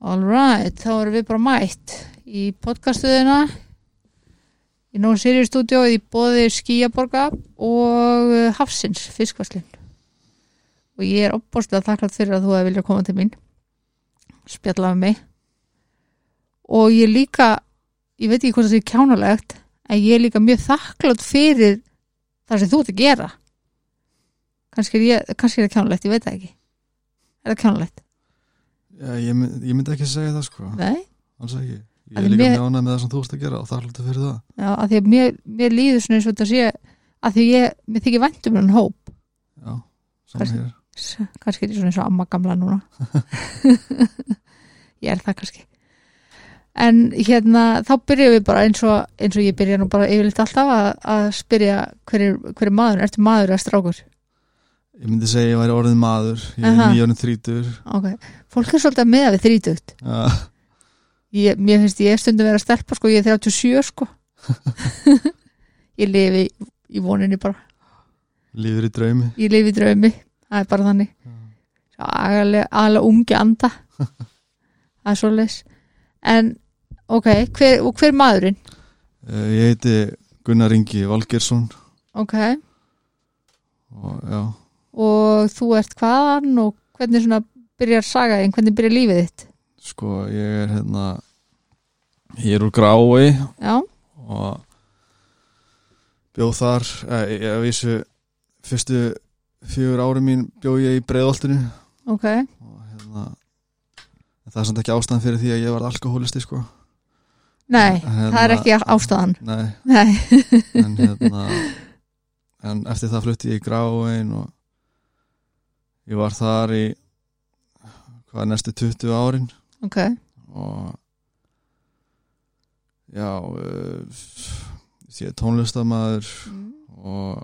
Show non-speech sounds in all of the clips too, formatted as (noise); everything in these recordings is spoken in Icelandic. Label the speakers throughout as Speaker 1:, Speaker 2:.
Speaker 1: All right, þá erum við bara mætt í podcastuðina í Nón Sirius stúdíó í bóði Skíaborga og eh, Hafsins fiskvarslin og ég er opbóðslega þakklátt fyrir að þú hefði viljað koma til mín spjalla með mig og ég er líka ég veit ekki hvort það sé kjánalegt en ég er líka mjög þakklátt fyrir það sem þú ert að gera kannski er, ég, kannski er það kjánalegt, ég veit það ekki er það kjánalegt?
Speaker 2: Já, ég, mynd, ég myndi ekki segja það sko,
Speaker 1: Nei?
Speaker 2: alls ekki. Ég
Speaker 1: Af
Speaker 2: er
Speaker 1: því
Speaker 2: líka
Speaker 1: mér-
Speaker 2: mjög ánægð með það sem þú ert að gera og það hlutu fyrir það.
Speaker 1: Já, að því að mér, mér líður svona eins og þetta sé að því ég, mér þykir væntum hann hóp
Speaker 2: Já, saman
Speaker 1: Hvers-
Speaker 2: hér.
Speaker 1: S- kannski er ég svona eins og amma gamla núna ég er það kannski en hérna þá byrjum við bara eins og, eins og ég byrja nú bara yfirleitt alltaf að, að spyrja hverju hver maður, ertu maður eða strákur
Speaker 2: Ég myndi segja ég væri orðin maður, ég er
Speaker 1: Aha.
Speaker 2: nýjónin þrítur.
Speaker 1: ok, fólk er svolítið að meða við þrítugt
Speaker 2: Já, (laughs)
Speaker 1: ég, mér finnst ég stundum vera að stelpa sko, ég er 37 sko ég lifi í, í voninni bara
Speaker 2: lífur í draumi.
Speaker 1: ég lifi í draumi, það er bara þannig aðalega ungi
Speaker 2: (laughs)
Speaker 1: anda það er svoleiðis en ok, hver, og hver maðurinn
Speaker 2: Uh, ég heiti Gunnar Ingi Valgersson
Speaker 1: ok,
Speaker 2: og já,
Speaker 1: og þú ert hvaðan og hvernig svona byrjar saga þín, hvernig byrjar lífið þitt
Speaker 2: sko ég er hérna, ég er úr grái
Speaker 1: já,
Speaker 2: og bjóð þar, eh, ég að vísu, fyrstu fjögur ári mín bjóð ég í breiðoltinu
Speaker 1: ok
Speaker 2: og hérna en það er samt ekki ástæðan fyrir því að ég var alkoholisti sko
Speaker 1: nei,
Speaker 2: Hérna-
Speaker 1: það er ekki ástæðan
Speaker 2: Nei,
Speaker 1: nei,
Speaker 2: en hérna en eftir það flutti ég í gráin og ég var þar í hvað næstu 20 árin
Speaker 1: ok,
Speaker 2: og já eh, ég er tónlistamaður og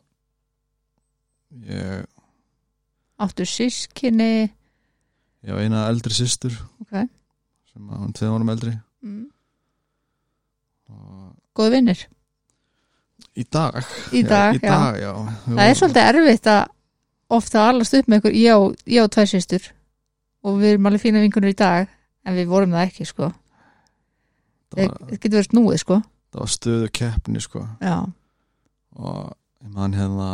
Speaker 2: ég
Speaker 1: áttu sískinni
Speaker 2: ég á eina eldri systur
Speaker 1: Ok.
Speaker 2: sem að hún er tveim árum eldri
Speaker 1: mm.
Speaker 2: og
Speaker 1: góð vinnir
Speaker 2: í dag
Speaker 1: í dag,
Speaker 2: já, í dag já.
Speaker 1: já það er svolítið erfitt að ofta að allast upp með ykkur, ég á, ég á tvær sýstur og við erum alveg fína vinkunur í dag en við vorum það ekki sko
Speaker 2: það var,
Speaker 1: það getur verið snúið sko
Speaker 2: það var stöðu keppni sko
Speaker 1: já,
Speaker 2: og ég man hérna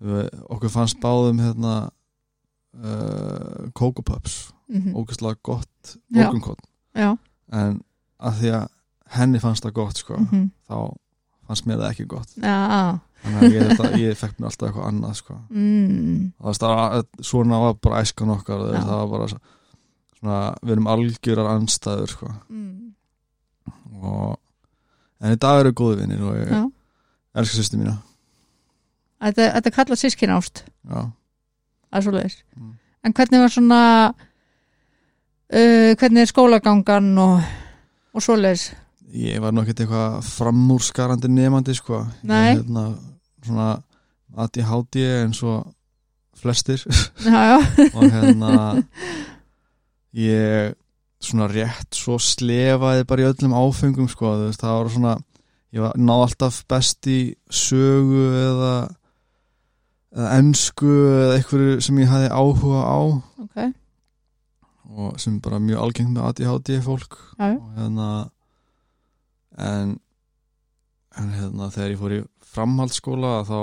Speaker 2: við- okkur fannst báðum hérna uh, Coco Pups
Speaker 1: mhm,
Speaker 2: ógæslega gott
Speaker 1: Já.
Speaker 2: morgunkott
Speaker 1: já
Speaker 2: en að því að henni fannst það gott sko
Speaker 1: mhm,
Speaker 2: þá fannst mér það ekki gott
Speaker 1: já, já,
Speaker 2: þannig að ég, þetta, ég fekk mér alltaf eitthvað annað sko
Speaker 1: mm,
Speaker 2: það var stara, svona var bara æskan okkar
Speaker 1: Já.
Speaker 2: það var bara svo- svona við erum algjörar anstæður sko
Speaker 1: mm,
Speaker 2: og en í dag eru góði vinnir og ég
Speaker 1: já.
Speaker 2: elska sýstu mína
Speaker 1: þetta, þetta kalla sískin ást
Speaker 2: já.
Speaker 1: það er svoleiðis
Speaker 2: Mm.
Speaker 1: en hvernig var svona uh, hvernig er skólagangan og, og svoleiðis
Speaker 2: ég var nú ekkert eitthvað framúrskarandi nefandi sko
Speaker 1: Nei.
Speaker 2: ég, hérna, svona að ég háti ég eins og flestir (laughs)
Speaker 1: já, já,
Speaker 2: og hérna ég svona rétt svo slefaði bara í öllum áfengum sko þú veist, það var svona ég var ná alltaf best í sögu eða eða ensku eða einhverju sem ég hafði áhuga á
Speaker 1: ok,
Speaker 2: og sem er bara mjög algengt með ADHD fólk
Speaker 1: Já, já.
Speaker 2: og hérna en en hérna þegar ég fór í framhaldsskóla þá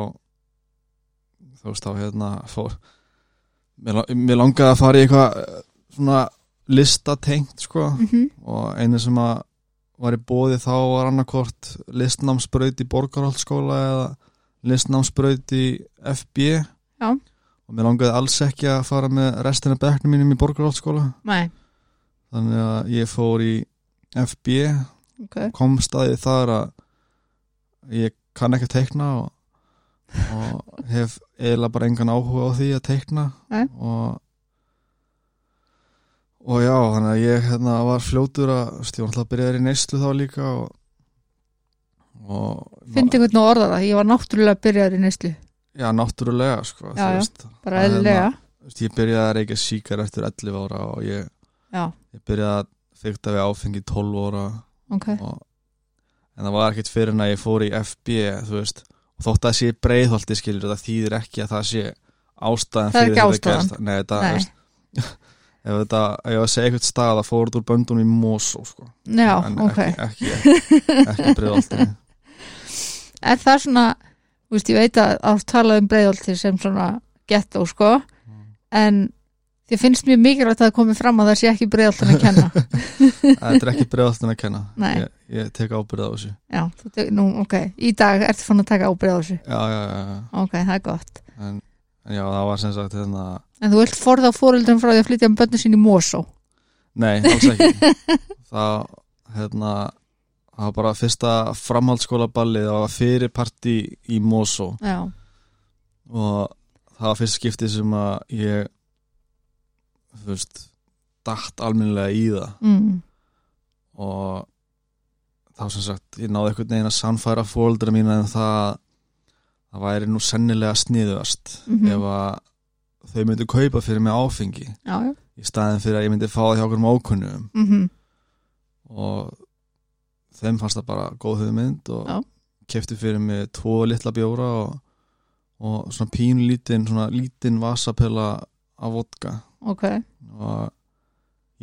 Speaker 2: þú veist þá hérna fór mér, la- mér langaði að fara í eitthvað eh, svona listatengt sko
Speaker 1: mhm
Speaker 2: og einu sem að var í bóði þá var annarkvort listnámsbraut í borgarhaldsskóla eða listnámsbraut í FB
Speaker 1: Já.
Speaker 2: og mér langaði alls ekki að fara með restina bekknum mínum í borgarhaldsskóla
Speaker 1: nei,
Speaker 2: þannig að ég fór í FB
Speaker 1: ok
Speaker 2: kom staðið þar að ég kann ekki að teikna og, og hef eiginlega bara engan áhuga á því að teikna
Speaker 1: Nei.
Speaker 2: og og já, þannig að ég hérna, var fljótur að þú veist, ég var alltaf að byrjaði í neyslu þá líka og, og
Speaker 1: fyndi hvernig að orða það, ég var náttúrulega byrjaður í neyslu,
Speaker 2: já, náttúrulega sko,
Speaker 1: Já,
Speaker 2: þú
Speaker 1: já.
Speaker 2: veist,
Speaker 1: bara
Speaker 2: Það er
Speaker 1: eðlilega
Speaker 2: þú veist, ég byrjaði að reykja síkar eftir 11 ára og ég,
Speaker 1: já,
Speaker 2: ég byrjaði að fyrta við áfengi 12 ára
Speaker 1: ok,
Speaker 2: og, en það var ekkert fyrir en að ég fór í FB þú veist, og þótt að það sé breiðholti skilur það þýðir ekki að það sé ástæðan
Speaker 1: Það er
Speaker 2: fyrir
Speaker 1: ekki
Speaker 2: þetta
Speaker 1: ástæðan.
Speaker 2: gerst. Nei, það,
Speaker 1: nei
Speaker 2: Veist, ef þetta, ef ég var að segja eitthvað stað að fóruð úr böndunum í Mosó sko.
Speaker 1: já,
Speaker 2: en
Speaker 1: ok
Speaker 2: ekki, ekki, ekki, ekki
Speaker 1: (laughs)
Speaker 2: breiðoltið
Speaker 1: en það er svona, þú veist, ég veit að að tala um breiðolti sem svona gettó, sko
Speaker 2: Mm.
Speaker 1: en þið finnst mjög mikilvægt að það komi fram að það sé ekki breiðoltin að kenna
Speaker 2: (laughs) þetta er ekki breiðoltið að kenna
Speaker 1: Nei.
Speaker 2: ég, ég tek ábyrða á þessu
Speaker 1: já, þú, te- nú, ok, í dag ertu fann að taka ábreið á þessu
Speaker 2: já, já, já, já.
Speaker 1: ok, það er gott
Speaker 2: En, en já, það var sem sagt hérna,
Speaker 1: en þú vilt forða fóreldrum frá því að flytja um bönnu sín í Mosó
Speaker 2: nei, alls ekki það, hérna það var bara fyrsta framhaldsskóla ballið það var fyrir partí í Mosó
Speaker 1: já,
Speaker 2: og það var fyrst skipti sem að ég þú veist dætt almennilega í það
Speaker 1: mm,
Speaker 2: og þá sem sagt ég náði einhvern veginn að sannfæra fóldra mína en það það væri nú sennilega sniðuast
Speaker 1: Mhm.
Speaker 2: ef að þau myndu kaupa fyrir mig áfengi
Speaker 1: já, já
Speaker 2: í staðin fyrir að ég myndi fá það hjá okkur mákunnum
Speaker 1: mm
Speaker 2: og þeim fannst það bara góð hugmynd og
Speaker 1: Já.
Speaker 2: kefti fyrir mig tvo litla bjóra og, og svona pínlítinn svona lítinn vasapela af vodka
Speaker 1: ok
Speaker 2: og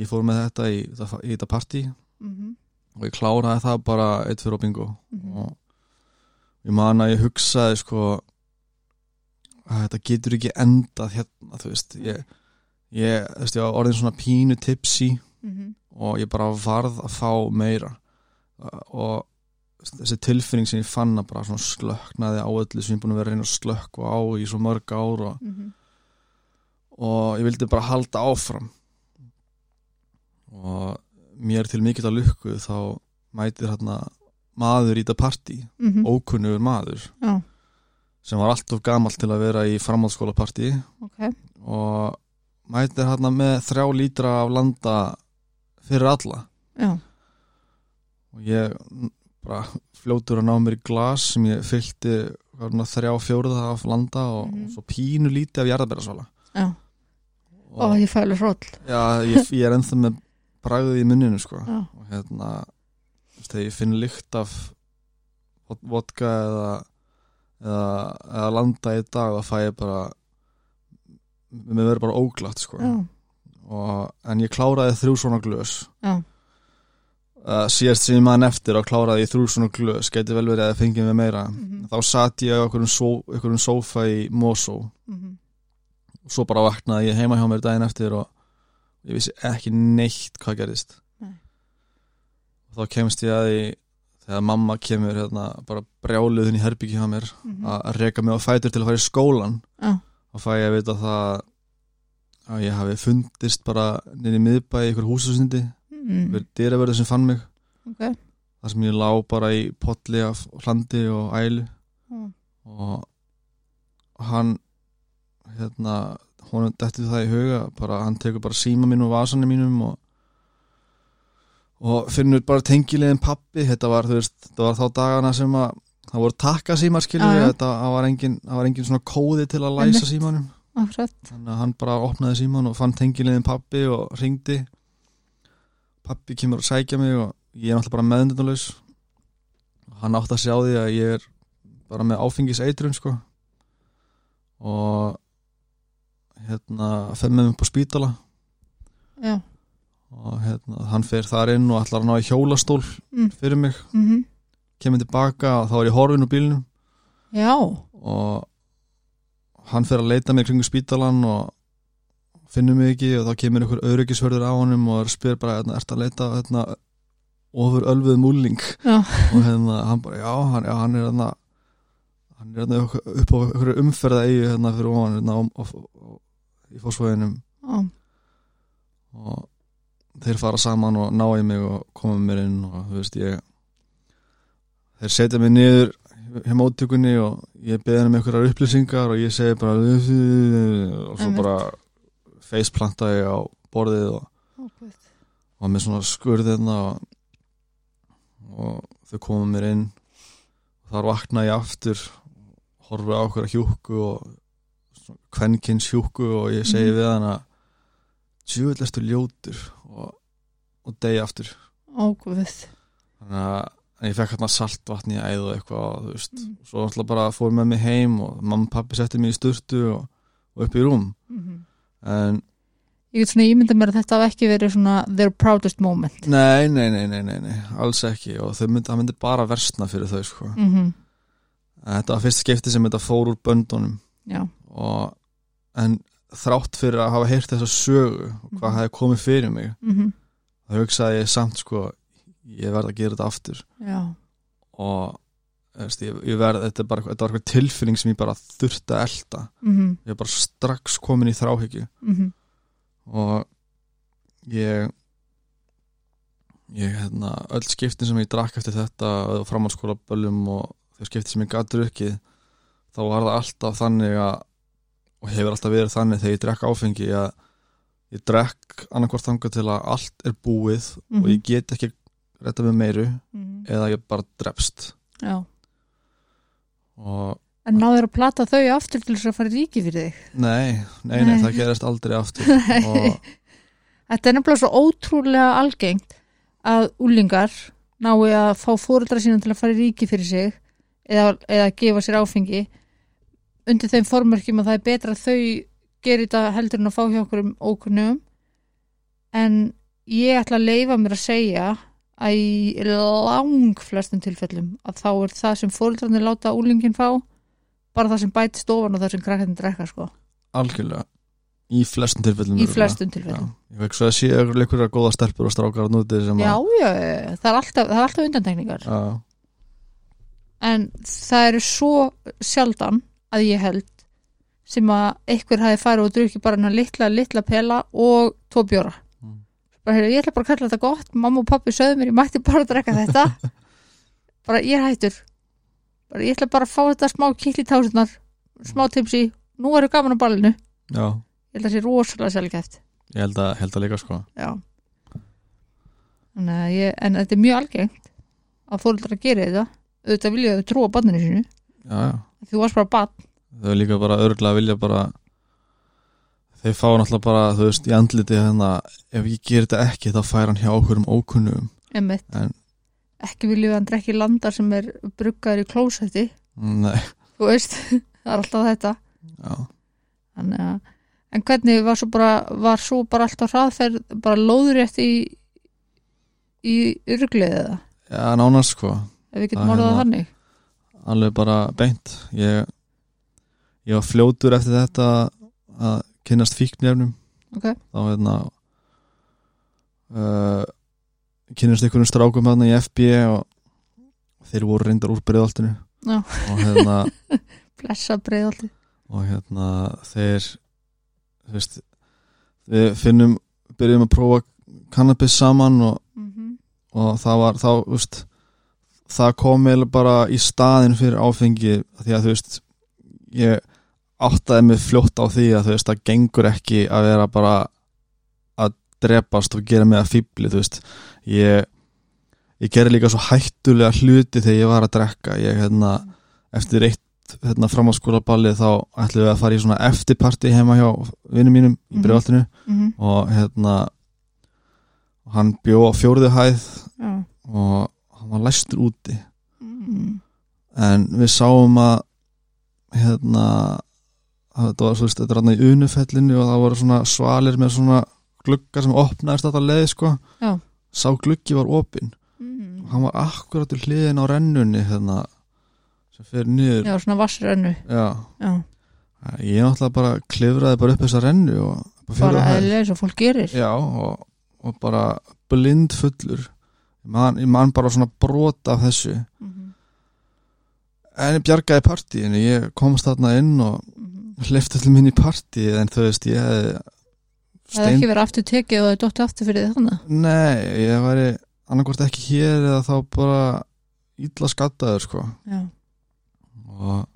Speaker 2: ég fór með þetta í, í þetta partí
Speaker 1: mm -hmm.
Speaker 2: og ég kláraði það bara eitt fyrir á bingo
Speaker 1: Mhm. Mm.
Speaker 2: og ég man að ég hugsaði sko að þetta getur ekki endað hérna þú veist ég, ég, þú veist, ég var orðin svona pínu tipsi
Speaker 1: Mhm.
Speaker 2: og ég bara varð að fá meira og þessi tilfinning sem ég fann að bara svona slöknaði á öllu sem ég er búin að vera að reyna að slökku á í svo mörg ár og,
Speaker 1: Mhm.
Speaker 2: og ég vildi bara halda áfram og mér til mikill að lukku þá mætir hérna maður í þetta partí
Speaker 1: Mhm.
Speaker 2: ókunnugur maður
Speaker 1: Mm. Já.
Speaker 2: sem var alltof gamall til að vera í framhaldsskólapartí
Speaker 1: ok,
Speaker 2: og mætir hérna með þrjá lítra af landa fyrir alla
Speaker 1: já,
Speaker 2: og ég n- bara fljótur að ná mér í glas sem ég fylgti svona, þrjá fjóruða af landa og,
Speaker 1: Mhm.
Speaker 2: og svo pínu lítið af jarðabærasvala
Speaker 1: já
Speaker 2: og
Speaker 1: og ég fælu hróll
Speaker 2: já, ég, ég er ennþá með bragðið í munninu sko
Speaker 1: já,
Speaker 2: og hérna þú veist, þegar ég finn lykt af vod- vodka eða, eða, eða landa í dag þá fæ ég bara mér verður bara óglatt sko
Speaker 1: já,
Speaker 2: og, en ég kláraði þrjú svona glös
Speaker 1: Já.
Speaker 2: uh, síðast sem ég maður eftir og kláraði ég þrjú svona glös geti vel verið að fengið mig meira
Speaker 1: Mhm.
Speaker 2: þá satt ég á einhverjum, só, einhverjum sófa í Mosó
Speaker 1: Mhm.
Speaker 2: og svo bara vaknaði ég heima hjá mér daginn eftir og ég vissi ekki neitt hvað gerðist
Speaker 1: Nei.
Speaker 2: og þá kemst ég að því þegar mamma kemur hérna, bara brjáluðin í herbyggi hjá mér
Speaker 1: Mhm.
Speaker 2: að að reka mig á fætur til að fara í skólan
Speaker 1: Já.
Speaker 2: og fæ ég að vita það að ég hafi fundist bara nýri miðbæ í ykkur húsasundi
Speaker 1: Mhm.
Speaker 2: verið dyravörður sem fann mig
Speaker 1: ok
Speaker 2: þar sem ég lá bara í potli af hlandi og ælu
Speaker 1: Já.
Speaker 2: og hann hérna honum dettur það í huga bara, hann tekur bara síma mín og vasanum mínum og, og finnur bara tengilegin pappi þetta var, þú veist, þetta var þá dagana sem að það voru takka símar
Speaker 1: Já,
Speaker 2: skilur
Speaker 1: já.
Speaker 2: þetta það var, engin, það var engin svona kóði til að læsa
Speaker 1: Einmitt.
Speaker 2: símanum
Speaker 1: akkurat,
Speaker 2: þannig að hann bara opnaði síman og fann tengilegin pappi og ringdi pappi kemur að sækja mig og ég er náttúrulega bara meðundunarlaus hann átti að sjá því að ég er bara með áfengis eitrun sko og hérna fer með mig upp á spítala
Speaker 1: já
Speaker 2: og hérna hann fer þar inn og ætlar að ná í hjólastól
Speaker 1: Mm.
Speaker 2: fyrir mig,
Speaker 1: mhm
Speaker 2: kemur tilbaka og þá er ég horfin úr bílnum
Speaker 1: Já,
Speaker 2: og hann fer að leita mig kringu spítalan og finnum mig ekki og þá kemur einhver öryggisvörður á honum og er spyr bara, hérna, ert að leita hérna, ofur ölfuð múling
Speaker 1: Já.
Speaker 2: og hérna, hann bara, já, hann, já, hann er hérna hann er hérna upp á einhverju umferða eigu hérna fyrir ofan hérna, og, og, og, í fósfóðinum
Speaker 1: já,
Speaker 2: og þeir fara saman og ná í mig og koma mér inn og þú veist ég þeir setja mig niður hjá móttökunni og ég beðið um einhverjar upplýsingar og ég segi bara og svo
Speaker 1: Einmitt.
Speaker 2: bara faceplanta ég á borðið og,
Speaker 1: Ó, guð.
Speaker 2: og með svona skurðina og, og þau koma mér inn þar vakna ég aftur horfi á okkur að hjúku og kvenkins hjúku og ég segi
Speaker 1: Mhm.
Speaker 2: við hann að djúvill ertu ljótur og, og degi aftur
Speaker 1: Ó, guð.
Speaker 2: þannig að en ég fekk hérna saltvatn í æð og eitthvað og þú veist,
Speaker 1: Mhm.
Speaker 2: svo alltaf bara fór með mig heim og mamma og pappi setti mig í sturtu og, og upp í rúm
Speaker 1: Mhm.
Speaker 2: en
Speaker 1: ég get svona ímynda mér að þetta hafi ekki verið svona their proudest moment
Speaker 2: Nei, nei, nei, nei, nei, nei, alls ekki og þau myndi, það myndi bara versna fyrir þau sko.
Speaker 1: mm
Speaker 2: Þetta var fyrst skipti sem þetta fór úr böndunum
Speaker 1: já,
Speaker 2: og, en þrátt fyrir að hafa heyrt þessa sögu og hvað
Speaker 1: Mhm.
Speaker 2: hefði komið fyrir mig
Speaker 1: mm
Speaker 2: þá hugsaði ég samt sko ég verð að gera þetta aftur
Speaker 1: já,
Speaker 2: og veist, ég, ég verð, þetta, er bara, þetta var eitthvað tilfinning sem ég bara þurfti að elta
Speaker 1: mm
Speaker 2: ég var bara strax komin í þráhyggju
Speaker 1: Mhm.
Speaker 2: og ég ég hérna öll skiptin sem ég drakk eftir þetta og framhalskóla böljum og þau skipti sem ég gat drukkið þá var það alltaf þannig að og hefur alltaf verið þannig þegar ég drekk áfengi að ég drekk annarkvort þangað til að allt er búið og
Speaker 1: Mhm.
Speaker 2: ég get ekki retta með meiru eða ég bara drefst
Speaker 1: já
Speaker 2: og
Speaker 1: en náður að plata þau aftur til þess að fara í ríki fyrir þig
Speaker 2: nei, nei, nei,
Speaker 1: Nei.
Speaker 2: það gerist aldrei
Speaker 1: (laughs)
Speaker 2: aftur og
Speaker 1: þetta er nefnilega svo ótrúlega algengt að úlingar nái að fá fóreldra sína til að fara í ríki fyrir sig eða, eða gefa sér áfengi undir þeim formörkjum að það er betra að þau gerir þetta heldur en að fá hjá okkur um ókunnum en ég ætla að leifa mér að segja að í lang flestum tilfellum að þá er það sem fóreldrarnir láta úlingin fá bara það sem bæti stofan og það sem krakkarnir drekka sko,
Speaker 2: algjörlega í flestum tilfellum
Speaker 1: í
Speaker 2: örugglega.
Speaker 1: flestum
Speaker 2: Já,
Speaker 1: tilfellum
Speaker 2: ég veit svo að sé einhverja góða stelpur og strákar að núti sem
Speaker 1: Já,
Speaker 2: að
Speaker 1: já, já, það er alltaf, það er alltaf undantekningar
Speaker 2: já,
Speaker 1: en það eru svo sjaldan að ég held sem að einhver hafi farið og drukkið bara hennar litla, litla pela og tvo bjóra
Speaker 2: Mm.
Speaker 1: bara heyrðu, ég ætla bara að kalla þetta gott mamma og pappi sögðu mér, ég mætti bara að drekka þetta bara ég er hættur bara ég ætla bara að fá þetta smá kýtli tásunar, smá tipsi nú eru gaman á ballinu,
Speaker 2: já,
Speaker 1: ég held að það sé rosalega sjálfgæft
Speaker 2: ég held að, held að líka sko
Speaker 1: já en, ég, en þetta er mjög algengt að fóreldrar geri þetta auðvitað vilja þau trúa banninu sínu
Speaker 2: já, já.
Speaker 1: þú varst bara bann
Speaker 2: þau er líka bara örgulega vilja bara þeir fá náttúrulega bara þú veist, í andliti hérna ef ég ger þetta ekki þá fær hann hjá okkur um ókunnum
Speaker 1: einmitt.
Speaker 2: En-
Speaker 1: ekki viljum við hann drekki landa sem er bruggaður í klósetti
Speaker 2: nei,
Speaker 1: þú veist, (laughs) það er alltaf þetta
Speaker 2: já,
Speaker 1: Þannig að, en hvernig var svo bara var svo bara alltaf hraðferð bara lóðrétt í í urgliðið það
Speaker 2: já nánast sko
Speaker 1: ef við
Speaker 2: Það
Speaker 1: getum orðað
Speaker 2: hérna-
Speaker 1: það þannig
Speaker 2: alveg bara beint ég, ég var fljótur eftir þetta að kynnast fíknefnum
Speaker 1: Ok.
Speaker 2: þá hérna uh, kynnast einhverjum strákum hérna í FB og þeir voru reyndar úr breiðaltinu
Speaker 1: Já.
Speaker 2: og hérna
Speaker 1: blessa breiðaldi
Speaker 2: og hérna þeir þú veist við finnum, byrjum að prófa cannabis saman og,
Speaker 1: mm
Speaker 2: og það var þá, þú veist það kom eða bara í staðin fyrir áfengi því að þú veist ég áttaði mig fljótt á því að þú veist það gengur ekki að vera bara að drepast og gera mig að fýbli þú veist ég, ég gerði líka svo hættulega hluti þegar ég var að drekka ég hérna eftir eitt hérna, framhalskóla þá ætlum við að fara í svona eftirparti heima hjá vinnum mínum í
Speaker 1: Mhm.
Speaker 2: bregaltinu og hérna hann bjó á fjórðu hæð
Speaker 1: já.
Speaker 2: og hann var læstur úti
Speaker 1: Mm.
Speaker 2: en við sáum að hérna að þetta var svo veist, þetta er hann í unufellinu og það voru svona svalir með svona gluggar sem opnaðist þetta leið sko
Speaker 1: Já.
Speaker 2: sá gluggi var opinn og
Speaker 1: Mm.
Speaker 2: hann var akkurat úr hliðin á rennunni hérna sem fyrir niður
Speaker 1: já, svona vassrennu
Speaker 2: Já.
Speaker 1: já.
Speaker 2: ég náttúrulega bara klifraði bara upp þessa rennu og bara
Speaker 1: bara
Speaker 2: fjórða hæð.
Speaker 1: eðlilega eins og fólk gerir
Speaker 2: Já, og, og bara blind fullur ég man, ég man bara svona brota af þessu
Speaker 1: Mhm.
Speaker 2: en ég bjargaði partíinu, ég komst þarna inn og
Speaker 1: Mhm.
Speaker 2: hlifti allir minni í partí en þú veist, ég hefði
Speaker 1: það hefði ekki verið aftur tekið og það er dótti aftur fyrir þannig
Speaker 2: Nei, ég væri annarkvort ekki hér eða þá bara illa skattaður sko
Speaker 1: já,
Speaker 2: og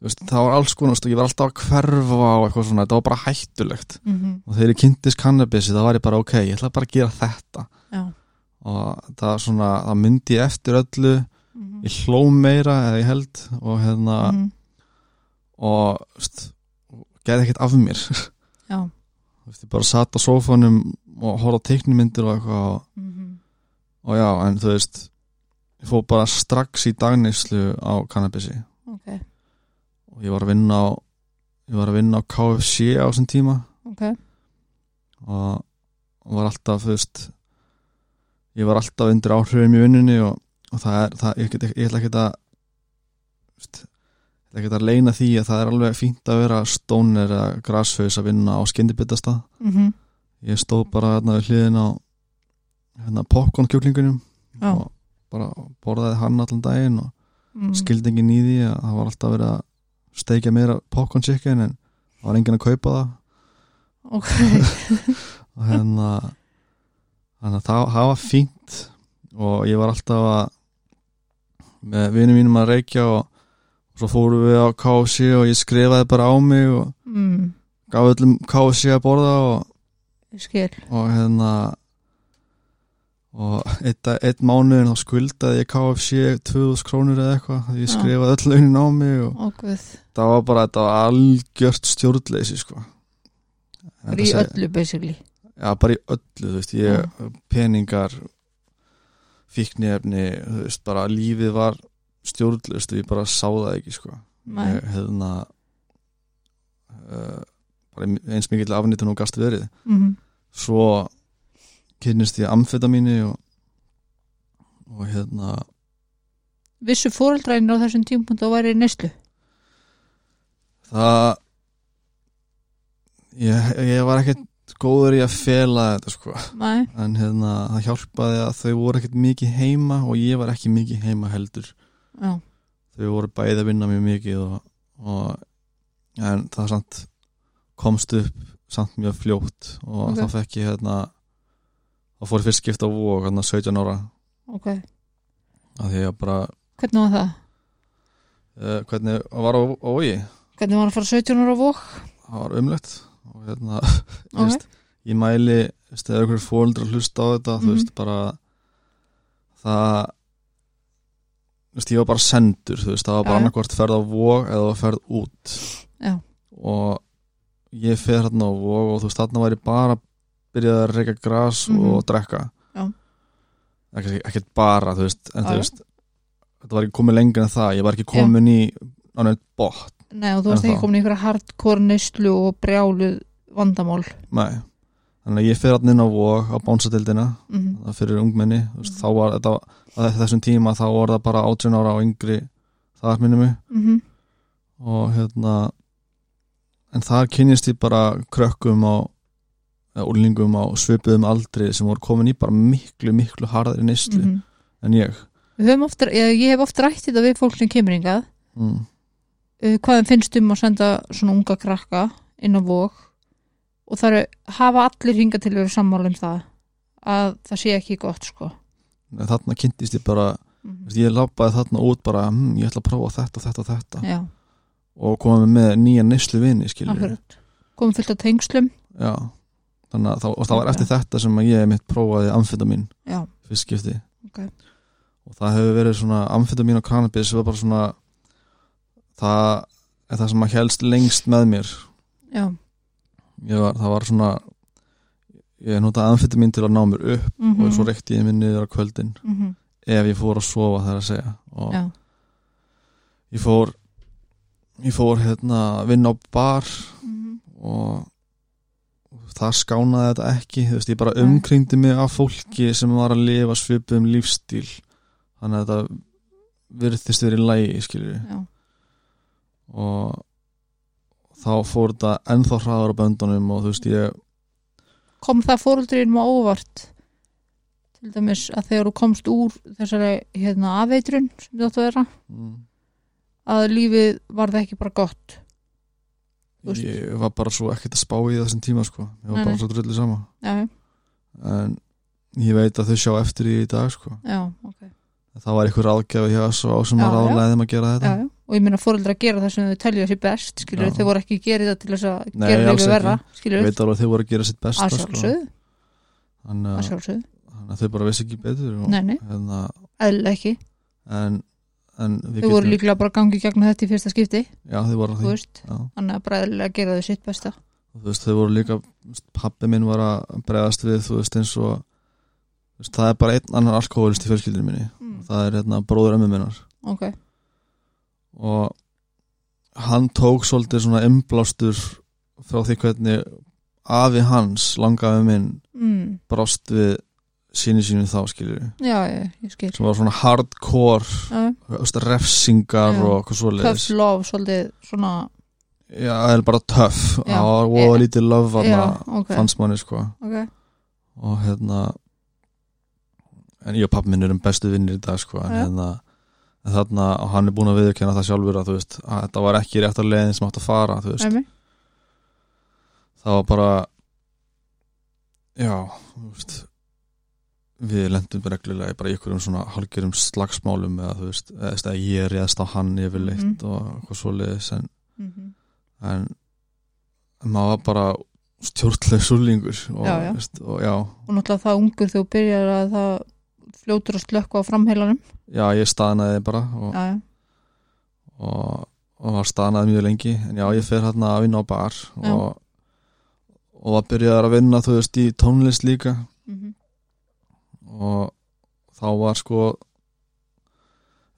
Speaker 2: þú veist, það var alls konar, þú veist, ég var alltaf að hverfa og eitthvað svona, þetta var bara hættulegt
Speaker 1: Mhm.
Speaker 2: og þegar ég kynntist kannabisi þá var ég bara ok, ég ætla bara að gera þetta
Speaker 1: já.
Speaker 2: og það, var svona, það myndi ég eftir öllu
Speaker 1: Mhm.
Speaker 2: ég hló meira eða ég held og hérna
Speaker 1: Mhm.
Speaker 2: og veist, gerði ekkert af mér (laughs)
Speaker 1: já.
Speaker 2: veist, ég bara satt á sófanum og horfði á teiknumyndir og eitthvað og,
Speaker 1: Mhm.
Speaker 2: og já, en þú veist ég fór bara strax í dagneyslu á kannabisi
Speaker 1: ok,
Speaker 2: og ég var að vinna á ég var að vinna á KFC á þessum tíma
Speaker 1: ok
Speaker 2: og var alltaf þú veist ég var alltaf undir áhrifum í vinnunni og, og það er, það, ég, get, ég, ætla ekki að þú veist, ég ætla ekki að leina því að það er alveg fínt að vera stónir eða grasfjöðs að vinna á skyndibitastað
Speaker 1: mm -hmm.
Speaker 2: ég stóð bara hérna við hliðin á hérna popcorn kjúklingunum
Speaker 1: Já. Mm.
Speaker 2: og bara borðaði hann allan daginn og skildi enginn í því að það var alltaf verið að steikja meira popcorn chicken en það var enginn að kaupa það
Speaker 1: ok, (laughs)
Speaker 2: og hérna þannig að það, það var fínt og ég var alltaf að með vinum mínum að reykja og svo fórum við á KFC og ég skrifaði bara á mig og
Speaker 1: mm,
Speaker 2: gaf öllum KFC að borða og,
Speaker 1: ég skil
Speaker 2: og hérna og eitt, eitt mánuðin þá skuldaði ég KFC 2000 krónur eða eitthvað ég
Speaker 1: Já.
Speaker 2: skrifaði öll launin á mig og
Speaker 1: og guð,
Speaker 2: það var bara þetta var algjört stjórnleysi sko En
Speaker 1: í
Speaker 2: þetta seg-
Speaker 1: öllu basically
Speaker 2: já, bara í öllu, þú veist, ég peningar fíknefni, þú veist, bara lífið var stjórnlust og ég bara sá það ekki sko,
Speaker 1: Nei.
Speaker 2: ég hefðna uh, bara eins mikill afnýttun og gast verið
Speaker 1: mm,
Speaker 2: svo kynnist ég amfetamíni og, og hérna
Speaker 1: vissu fóraldræðin á þessum tímpunkt og væri í neslu
Speaker 2: það ég, ég var ekkert góður í að fela þetta sko
Speaker 1: Nei.
Speaker 2: en hérna það hjálpaði að þau voru ekkert mikið heima og ég var ekki mikið heima heldur
Speaker 1: já,
Speaker 2: þau voru bæði að vinna mjög mikið og, og en það samt komst upp samt mjög fljótt og
Speaker 1: Ok.
Speaker 2: þá fekk ég hérna þá fór ég fyrst skipta á vóg hérna 17 ára
Speaker 1: ok,
Speaker 2: að því að bara
Speaker 1: hvernig var það?
Speaker 2: uh, hvernig það var á vógi
Speaker 1: hvernig var að fara 17 ára á vok?
Speaker 2: það var umlegt og hérna
Speaker 1: Ok.
Speaker 2: okay. ég mæli þú veist, eða ykkur fóldra hlusta á þetta þú
Speaker 1: Mhm.
Speaker 2: veist bara það þú veist, ég var bara sendur þú veist, það var bara
Speaker 1: Já, já.
Speaker 2: annarkvort ferð á vog eða ferð út
Speaker 1: Já.
Speaker 2: og ég fer hérna á vog og þú veist þarna væri bara byrjaði að reyka gras
Speaker 1: Mhm.
Speaker 2: og drekka
Speaker 1: Já.
Speaker 2: ekki, ekkert bara þú veist, en
Speaker 1: Já,
Speaker 2: þú
Speaker 1: já.
Speaker 2: veist þetta var ekki komið lengur en það, ég var ekki komin í á neitt bótt,
Speaker 1: Nei, og þú varst
Speaker 2: En
Speaker 1: ekki
Speaker 2: þá?
Speaker 1: komin í einhverja hardcore neslu og brjáluð vandamál
Speaker 2: nei þannig að ég fer hérna inn á vog á bánsadildina
Speaker 1: mm.
Speaker 2: það fyrir ungmenni þú veist, þá var þetta að þessum tíma þá var það bara 18 ára og yngri þar minnum við
Speaker 1: Mm
Speaker 2: og hérna en þar kynjast ég bara krökkum á eða úlingum á svipuðum aldri sem voru komin í bara miklu miklu harðari neyslu
Speaker 1: Mhm.
Speaker 2: en ég
Speaker 1: Við höfum oft, ég, ég hef oft rætt þetta við fólk sem kemur hingað
Speaker 2: mm.
Speaker 1: uh, hvað þeim finnst um að senda svona unga krakka inn á vok og það eru, hafa allir hingað til að vera sammála um það að það sé ekki gott sko
Speaker 2: En þarna kynntist ég bara þú veist, ég labbaði þarna út bara hm, ég ætla að prófa þetta og þetta og þetta
Speaker 1: Já,
Speaker 2: og komið með nýja neyslu vini skilur
Speaker 1: akkurat komum fullt af tengslum
Speaker 2: já þannig að það, og það var eftir þetta sem að ég mitt prófaði amfetamin
Speaker 1: Já,
Speaker 2: fyrst skipti
Speaker 1: Ok.
Speaker 2: og það hefur verið svona amfetamin og cannabis sem var bara svona það er það sem að helst lengst með mér
Speaker 1: já,
Speaker 2: Ég var, það var svona ég notaði amfetamin til að ná mér upp
Speaker 1: mm
Speaker 2: og svo reykti ég minn niður á kvöldin ef ég fór að sofa það er að segja og
Speaker 1: Mhm. já.
Speaker 2: ég fór ég fór hérna að vinna á bar
Speaker 1: Mm
Speaker 2: og það skánaði þetta ekki þú veist, ég bara
Speaker 1: Nei.
Speaker 2: umkringdi mig af fólki sem var að lifa svipum lífstíl þannig að þetta virðist verið í lægi skilur
Speaker 1: já.
Speaker 2: og þá fór þetta ennþá hraðar á böndunum og þú veist ég
Speaker 1: kom það fóruldriðin á óvart til dæmis að þegar þú komst úr þessari hérna afeitrun sem þú áttu að vera
Speaker 2: mm,
Speaker 1: að lífið var það ekki bara gott Þú veist.
Speaker 2: ég var bara svo ekkert að spá í þessum tíma sko, ég var
Speaker 1: Nei, nei.
Speaker 2: bara svo drullið sama
Speaker 1: já,
Speaker 2: en ég veit að þau sjá eftir því í dag sko,
Speaker 1: já, ok já,
Speaker 2: það var einhver ráðgjafi hjá svo á sem
Speaker 1: Já, já.
Speaker 2: að ráðlega þeim að gera þetta
Speaker 1: já. og ég meina fóruldra að gera það sem þau telja sér best skilur,
Speaker 2: Já.
Speaker 1: þau voru ekki að gera það til þess að
Speaker 2: Nei,
Speaker 1: gera
Speaker 2: alls
Speaker 1: lífið verra
Speaker 2: ég
Speaker 1: skilur,
Speaker 2: veit alveg að þau voru að gera sitt besta sko.
Speaker 1: að sjálfsögðu
Speaker 2: þannig
Speaker 1: að
Speaker 2: að
Speaker 1: sjálfsögðu,
Speaker 2: þannig að þau bara vissi ekki betur og,
Speaker 1: Nei, nei.
Speaker 2: Hérna,
Speaker 1: eðlilega ekki
Speaker 2: en, en við
Speaker 1: þau voru líklega bara gangið gegn þetta í fyrsta skipti
Speaker 2: já, þau voru
Speaker 1: þú
Speaker 2: því
Speaker 1: veist,
Speaker 2: já, og
Speaker 1: þannig að bara eðlilega gera þau sitt besta
Speaker 2: þú veist, þau voru líka pappi minn var að bregðast við þú veist eins og þú veist, það er bara einn annar alkoholist í fjölskyldinu minni
Speaker 1: mm.
Speaker 2: það er hérna bróður ömmu minnar
Speaker 1: ok,
Speaker 2: og hann tók svolítið svona umblástur frá því hvernig afi hans, langaði minn
Speaker 1: mm.
Speaker 2: brást við sinni sínu þá skilur
Speaker 1: já, ég, ég skil
Speaker 2: sem var svona hardcore
Speaker 1: Já,
Speaker 2: þú veist, refsingar
Speaker 1: Já.
Speaker 2: og eitthvað svoleiðis
Speaker 1: tough love, svolítið svona
Speaker 2: já, það er bara töff
Speaker 1: Já.
Speaker 2: það var voða
Speaker 1: Já.
Speaker 2: lítið löf
Speaker 1: já,
Speaker 2: þarna,
Speaker 1: ok,
Speaker 2: fannst manni sko
Speaker 1: ok
Speaker 2: og hérna en ég og pappi minn erum bestu vinnir í dag sko en
Speaker 1: Já.
Speaker 2: hérna en þarna og hann er búin að viðurkenna það sjálfur að þú veist að þetta var ekki rétt að leiðin sem átt að fara þú veist
Speaker 1: Æmi.
Speaker 2: það var bara já þú veist við lendum reglulega bara í einhverjum svona halgjörum slagsmálum eða þú veist eða þú veist, að ég réðst á hann yfirleitt
Speaker 1: Mhm.
Speaker 2: og eitthvað svoleiðis en,
Speaker 1: Mhm.
Speaker 2: en maður var bara stjórnlega súlingur og,
Speaker 1: Já, já.
Speaker 2: þú Veist, og já,
Speaker 1: og náttúrulega það ungur þegar þú byrjar að það fljótur að slökka á framheilanum
Speaker 2: já, ég staðnaði bara og,
Speaker 1: já, já,
Speaker 2: og, og var stanað mjög lengi en já, ég fer hérna að vinna á bar
Speaker 1: Já.
Speaker 2: og, og var byrjaðar að vinna þú veist í tónlist líka
Speaker 1: mhm,
Speaker 2: og þá var sko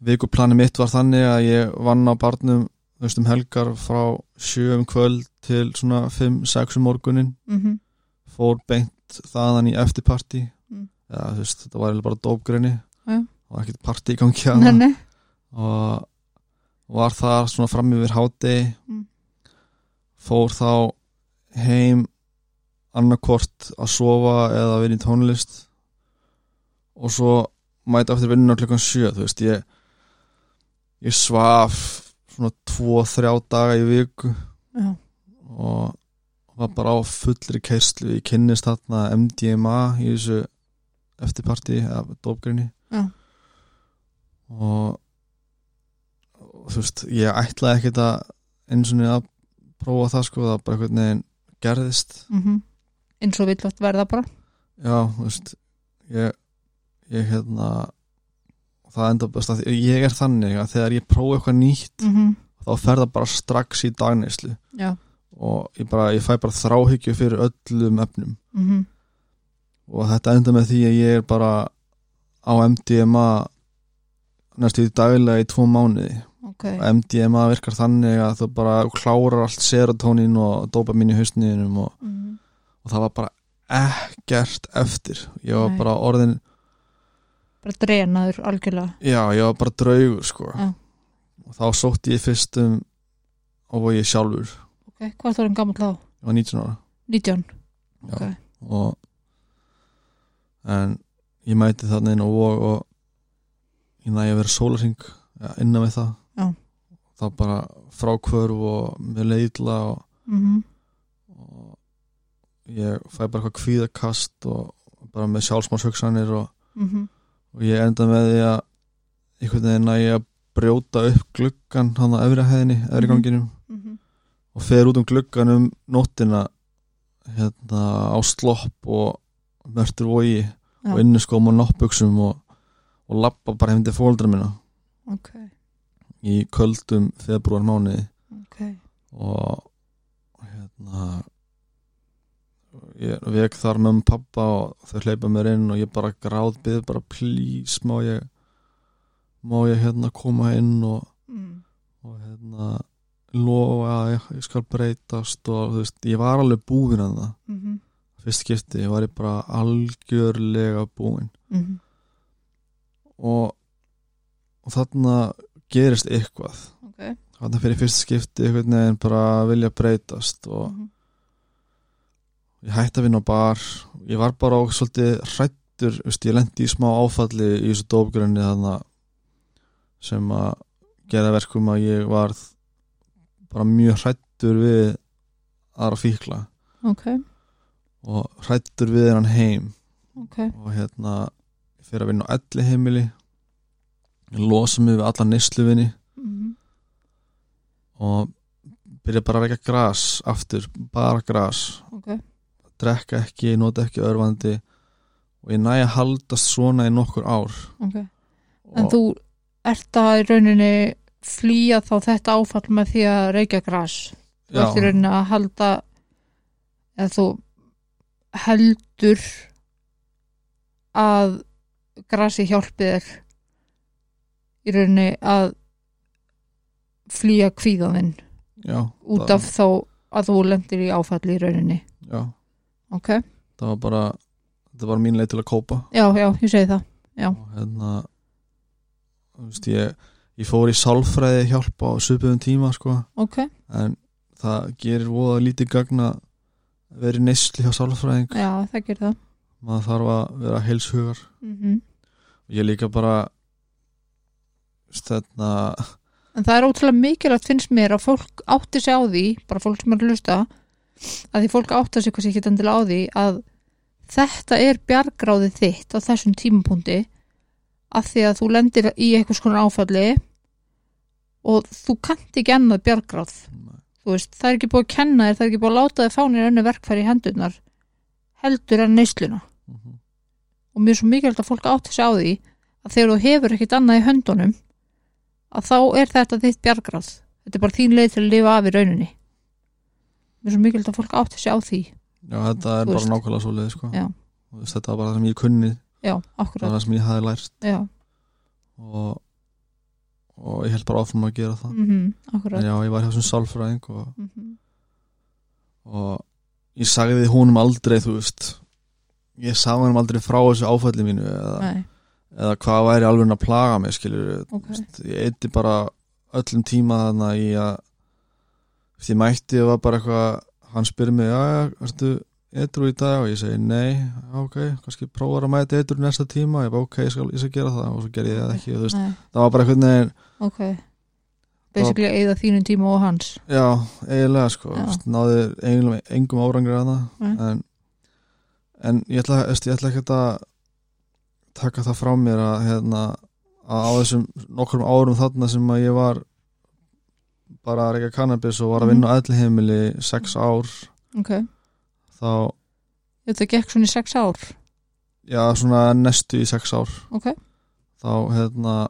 Speaker 2: vikuplani mitt var þannig að ég vann á barnum þú veist um helgar frá sjö um kvöld til svona 5-6 um morgunin
Speaker 1: mhm,
Speaker 2: fór beint þaðan í eftirparti
Speaker 1: Mm.
Speaker 2: eða þú veist, þetta var eiginlega bara dópgrunni
Speaker 1: Já.
Speaker 2: og ekkert partí í gangi að
Speaker 1: Mhm. nei, nei
Speaker 2: og var þar svona fram yfir háti
Speaker 1: Mm.
Speaker 2: fór þá heim annarkvort að sofa eða að vera í tónlist og svo mæta eftir vinnuna klukkan sjö þú veist ég ég svaf svona tvo, þrjá daga í viku
Speaker 1: já,
Speaker 2: og var bara á fullri keislu ég kynnist þarna MDMA í þessu eftirparti eða dópgrinni
Speaker 1: Já.
Speaker 2: og, og þú veist ég ætlaði ekkert að eins og niður að prófa það sko það bara einhvern veginn gerðist
Speaker 1: mhm eins og vill oft verða bara
Speaker 2: já, þú veist ég, ég hérna það enda best að ég er þannig að þegar ég prófa eitthvað nýtt
Speaker 1: mhm,
Speaker 2: þá fer það bara strax í dagneyslu
Speaker 1: já,
Speaker 2: og ég, bara, ég fæ bara þráhyggju fyrir öllum efnum
Speaker 1: mhm
Speaker 2: og þetta enda með því að ég er bara á MDMA næstu í daglega í tvo mánuði
Speaker 1: ok,
Speaker 2: og MDMA virkar þannig að þú bara klárar allt serotónin og dopamin í hausninum og,
Speaker 1: mhm,
Speaker 2: og það var bara ekkert eftir ég var
Speaker 1: Nei.
Speaker 2: bara orðin
Speaker 1: bara drenaður algjörlega
Speaker 2: já, ég var bara draugur sko
Speaker 1: Já.
Speaker 2: og þá sótti ég fyrst um og var ég sjálfur ég
Speaker 1: ok, hvað er það orðin gammal þá?
Speaker 2: var 19 ára
Speaker 1: 19,
Speaker 2: Já.
Speaker 1: ok
Speaker 2: og en ég mæti þarna inn á vog og ég næ að vera sólarsing ja, innan við það
Speaker 1: Já.
Speaker 2: þá bara frákvörf og með leidla og,
Speaker 1: mhm,
Speaker 2: og ég fæ bara eitthvað kvíðakast og bara með sjálfsmárshugsanir og,
Speaker 1: mhm,
Speaker 2: og ég enda með því að einhvern veginn að ég að brjóta upp gluggan hann á efri hæðinni,
Speaker 1: Mhm.
Speaker 2: efri ganginum
Speaker 1: mhm
Speaker 2: og fer út um gluggan um nóttina hérna á slopp og mörtur vogi
Speaker 1: Já.
Speaker 2: og inniskóm og náttbuksum og, og lappa bara heim til fóldra minna
Speaker 1: ok,
Speaker 2: í köldum februar mánuði
Speaker 1: ok,
Speaker 2: og hérna ég vek þar með um pappa og þau hleypa mér inn og ég bara gráðbyð bara please má ég má ég hérna koma inn og
Speaker 1: mhm,
Speaker 2: og hérna lofa að ég, ég skal breytast og þú veist, ég var alveg búinn að það
Speaker 1: mhm
Speaker 2: fyrst skipti, ég var ég bara algjörlega búinn
Speaker 1: mhm,
Speaker 2: og, og þarna gerist eitthvað
Speaker 1: ok,
Speaker 2: þarna fyrir fyrst skipti einhvern veginn bara vilja breytast og
Speaker 1: mhm,
Speaker 2: ég hætti að vinna á bar ég var bara á svolítið hrættur veist, ég lendi í smá áfalli í þessu dófgrunni þarna sem að gera verkum að ég var bara mjög hrættur við aðra fíkla
Speaker 1: ok,
Speaker 2: og hrættur við hann heim
Speaker 1: ok
Speaker 2: og hérna ég fyrir að vinna á elli heimili ég losa mig við alla neysluvinni
Speaker 1: mhm,
Speaker 2: og byrja bara að reyka gras aftur, bara gras
Speaker 1: ok,
Speaker 2: drekka ekki, nota ekki örvandi og ég næja haldast svona í nokkur ár
Speaker 1: ok En
Speaker 2: og
Speaker 1: þú ert að í rauninni flýja þá þetta áfall með því að reykja gras. Þú ert í
Speaker 2: já,
Speaker 1: rauninni að halda eða þú heldur að grasi hjálpi þér í rauninni að flýja kvíðaninn
Speaker 2: já,
Speaker 1: út
Speaker 2: það-
Speaker 1: af þá að þú lendir í áfalli í rauninni.
Speaker 2: já,
Speaker 1: ok,
Speaker 2: það var bara þetta var mín leið til að kópa
Speaker 1: já, já, ég segi það Já.
Speaker 2: og hérna þú veist, ég, ég fór í sálfræði hjálp á söpöðum tíma sko,
Speaker 1: ok,
Speaker 2: en það gerir voða lítið gagn að vera í neysli hjá sálfræðing
Speaker 1: já, það gerir það
Speaker 2: maður þarf að vera heilshugar
Speaker 1: mm
Speaker 2: ég líka bara þú veist, þarna
Speaker 1: en það er ótrúlega mikilvægt finnst mér að fólk átti sig á því bara fólk sem er að hlusta að því fólk átti sig hvað sem getur endilega á því að þetta er bjargráðið þitt á þessum tímapunkti af því að þú lendir í einhvers konar áfalli og þú kannt ekki annað bjargráð þú veist, það er ekki búið að kenna þér það er ekki búið að láta þér fánir önnu verkfæri í hendurnar heldur en neysluna
Speaker 2: mhm,
Speaker 1: og mér er svo mikilvægt að fólk átti sig á því að þegar þú hefur ekkit annað í höndunum að þá er þetta þitt bjargráð þetta er bara þín leið til að lifa af í rauninni mér er svo mikilvægt að fólk átti sig á því
Speaker 2: já, þetta er
Speaker 1: Þú
Speaker 2: bara
Speaker 1: veist.
Speaker 2: nákvæmlega svo leið sko.
Speaker 1: Já.
Speaker 2: Þú veist, þetta var bara það sem ég kunni
Speaker 1: já,
Speaker 2: það var
Speaker 1: akkurat
Speaker 2: það sem ég hafi lært
Speaker 1: já,
Speaker 2: og, og ég held bara áfram að gera það
Speaker 1: mm
Speaker 2: en
Speaker 1: akkurat
Speaker 2: já, ég var hjá þessum sálfræðing og,
Speaker 1: mm
Speaker 2: og ég sagði honum aldrei þú veist ég sagði honum aldrei frá þessu áfælli mínu eða,
Speaker 1: nei,
Speaker 2: eða hvað væri alveg að plaga mig skilur,
Speaker 1: ok,
Speaker 2: ég eitthi bara öllum tíma þarna í að þú veist, ég mætti og var bara eitthvað hann spyr mig, já, já, ertu eitru í dag og ég segi nei, "Já, ok kannski prófar að mæta eitru næsta tíma ég bara ok, ég skal, ég skal gera það og svo gerði ég það ekki þú veist,
Speaker 1: nei,
Speaker 2: það var bara einhvern veginn
Speaker 1: ok basically eða þínum tíma og hans
Speaker 2: Já, eiginlega sko
Speaker 1: Já.
Speaker 2: veist, náði eiginlega engum árangri að
Speaker 1: Nei.
Speaker 2: það en, en ég ætla, veist, ég ætla ekki að taka það frá mér að, hérna, að á þessum nokkrum árum þarna sem að ég var bara að reyka kannabis og
Speaker 1: Mhm.
Speaker 2: var að vinna á ætlihemili sex ár
Speaker 1: ok,
Speaker 2: þá,
Speaker 1: þetta gekk svona í sex ár
Speaker 2: já svona næstu í sex ár
Speaker 1: ok,
Speaker 2: þá hérna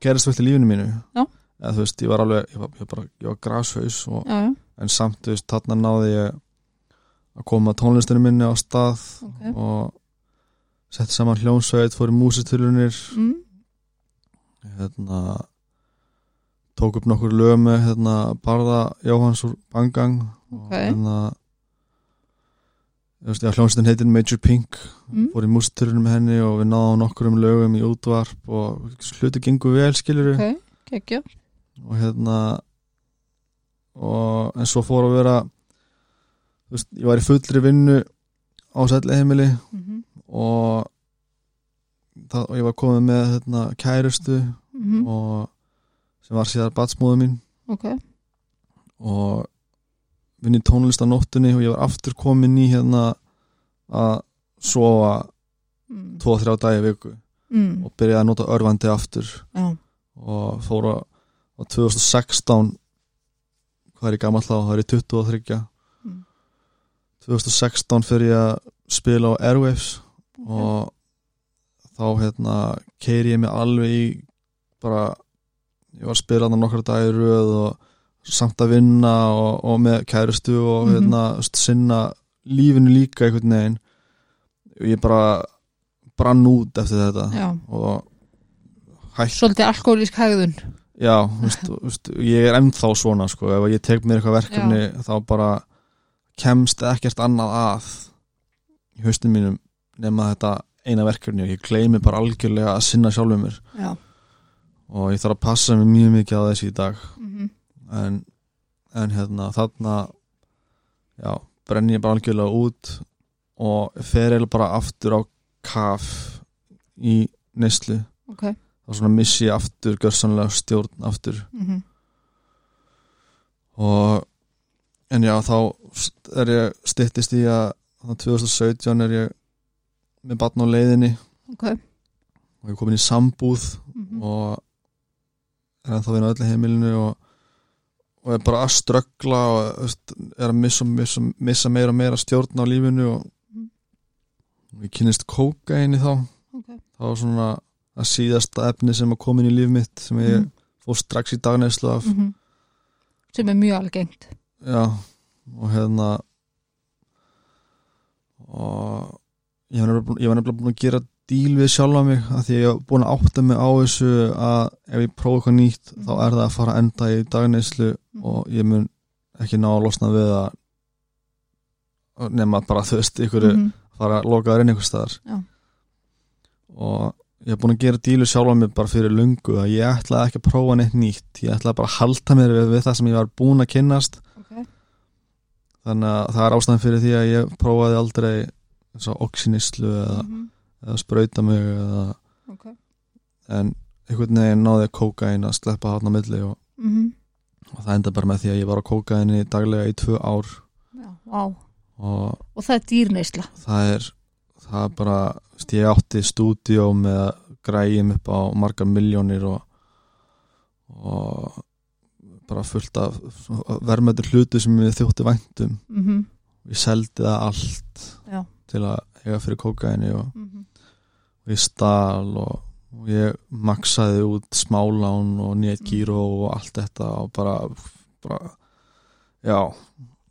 Speaker 2: gerist vel í lífinu mínu
Speaker 1: Já.
Speaker 2: eða þú veist, ég var alveg, ég var, ég var, bara, ég var grashaus og
Speaker 1: já, já,
Speaker 2: en samt, þú veist, þarna náði ég að koma tónlistinu minni á stað
Speaker 1: Ok.
Speaker 2: og setti saman hljónsveit, fór í músitilunir
Speaker 1: mm,
Speaker 2: hérna tók upp nokkur lög með hérna Barða Jóhanns úr Bangang og
Speaker 1: Ok.
Speaker 2: hérna þú veist, já, hljónsveitin heitin Major Pink
Speaker 1: mm,
Speaker 2: fór í músitilunir með henni og við náðum nokkur um lögum í útvarp og hluti gengur vel, skilur
Speaker 1: ok, gekkja
Speaker 2: og hérna og en svo fór að vera þú veist, ég var í fullri vinnu á sætli heimili
Speaker 1: mm -hmm.
Speaker 2: og það, og ég var komið með hérna, kærustu
Speaker 1: Mm.
Speaker 2: og sem var síðar batsmóðu mín
Speaker 1: mhm, ok,
Speaker 2: og vinn í tónlist á nóttunni og ég var aftur komin í hérna að sofa
Speaker 1: mm,
Speaker 2: 2-3 dagi í viku
Speaker 1: mm,
Speaker 2: og byrjaði að nota örvandi aftur
Speaker 1: já,
Speaker 2: og fór að á 2016 hvað er ég gammal þá, það er ég 23
Speaker 1: Mm.
Speaker 2: 2016 fyrir ég að spila á Airwaves og þá hérna keiri ég mig alveg í bara, ég var að spila þannig nokkra dagir röð og samt að vinna og, og með kærustu og
Speaker 1: Mhm.
Speaker 2: hérna þú veist, sinna lífinu líka einhvern veginn og ég bara brann út eftir þetta
Speaker 1: já
Speaker 2: og hætti
Speaker 1: svolítið alkoholísk hægðun
Speaker 2: Já, veist, veist, ég er ennþá svona sko, ef ég tek mér eitthvað verkefni þá bara kemst ekkert annað að í haustum mínum nema þetta eina verkefni og ég gleymi bara algjörlega að sinna sjálfum mér
Speaker 1: já,
Speaker 2: og ég þarf að passa mig mjög mikið á þessi í dag
Speaker 1: mhm,
Speaker 2: en, en hérna þarna já, brenn ég bara algjörlega út og fer eiginlega bara aftur á kaf í neyslu
Speaker 1: ok
Speaker 2: þá svona missi ég aftur görsanlega stjórn aftur
Speaker 1: mhm,
Speaker 2: og en já þá st- er ég styttist í að þarna 2017 er ég með batn á leiðinni
Speaker 1: ok
Speaker 2: og ég er komin í sambúð
Speaker 1: mhm,
Speaker 2: og er ennþá vinna öllu heimilinu og, og er bara að ströggla og þú veist, er að missa, missa, missa meira og meira stjórn á lífinu og
Speaker 1: Mhm.
Speaker 2: ég kynist kóka eini þá
Speaker 1: ok
Speaker 2: þá var svona að síðasta efni sem að komin í líf mitt sem ég
Speaker 1: mhm,
Speaker 2: fór strax í dagneislu af
Speaker 1: mhm. sem er mjög algengt
Speaker 2: Já, og hérna og ég var nefnilega búinn- ég var nefnilega búin að gera díl við sjálfa mig að því að ég var búin að átta mig á þessu að ef ég prófa eitthvað nýtt
Speaker 1: Mhm.
Speaker 2: þá er það að fara að enda í dagneyslu
Speaker 1: Mhm.
Speaker 2: og ég mun ekki ná að losna við að nema bara þú veist ykkur mm -hmm.
Speaker 1: Mhm,
Speaker 2: fara að loka þær inn einhvers staðar
Speaker 1: Já.
Speaker 2: og ég hef búin að gera dílu sjálf á mig bara fyrir lungu að ég ætlaði ekki að prófa neitt nýtt ég ætlaði bara að halda mér við, við það sem ég var búin að kynnast
Speaker 1: Ok.
Speaker 2: þannig að það er ástæðan fyrir því að ég prófaði aldrei eins og oxinislu eða,
Speaker 1: Mhm.
Speaker 2: eða sprauta mig eða,
Speaker 1: Ok.
Speaker 2: en einhvern veginn náði að kóka einn að sleppa hátna milli og,
Speaker 1: Mhm.
Speaker 2: og það enda bara með því að ég var að kóka henni daglega í tvö ár
Speaker 1: Já, vá.
Speaker 2: og
Speaker 1: og það er dýrneisla
Speaker 2: það er það er bara, þú veist, ég átti stúdíó með græjum upp á margar miljónir og, og bara fullt af verðmættur hlutu sem við þjótti væntum
Speaker 1: mm -hmm.
Speaker 2: ég seldi það allt
Speaker 1: Já.
Speaker 2: til að eiga fyrir kókaini og,
Speaker 1: Mm -hmm.
Speaker 2: og ég stal og, og ég maksaði út smálán og nýtt
Speaker 1: Mm.
Speaker 2: gíró og allt þetta og bara, bara já,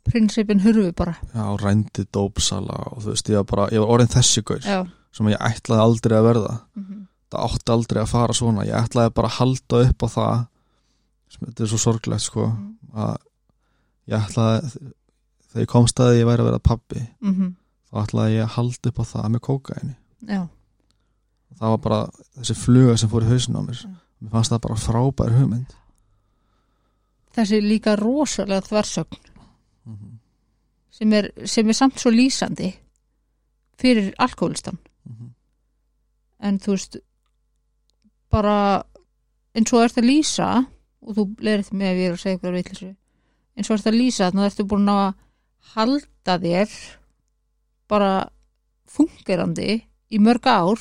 Speaker 1: prinsipin hurfi bara
Speaker 2: já, rændi dópsala og þú veist, ég var bara, ég var orðin þessi gaur
Speaker 1: já.
Speaker 2: sem ég ætlaði aldrei að verða
Speaker 1: Mm
Speaker 2: það átti aldrei að fara svona ég ætlaði bara að halda upp á það sem þetta er svo sorglegt sko
Speaker 1: Mm.
Speaker 2: að ég ætlaði þegar ég komst að því ég væri að vera pabbi þá ætlaði ég að halda upp á það með kókaini
Speaker 1: mhm. já,
Speaker 2: það var bara þessi fluga sem fór í hausin á mér
Speaker 1: Mm.
Speaker 2: mér fannst það bara frábær hugmynd
Speaker 1: þessi er líka rosalega þversögn
Speaker 2: mm
Speaker 1: sem er, sem er samt svo lýsandi fyrir alkoholistan
Speaker 2: -hmm.
Speaker 1: en þú veist bara eins og ert að lýsa og þú leirð með að við erum að segja ykkur að veitlisri eins og ert að lýsa þannig að ertu búin að halda þér bara fungerandi í mörg ár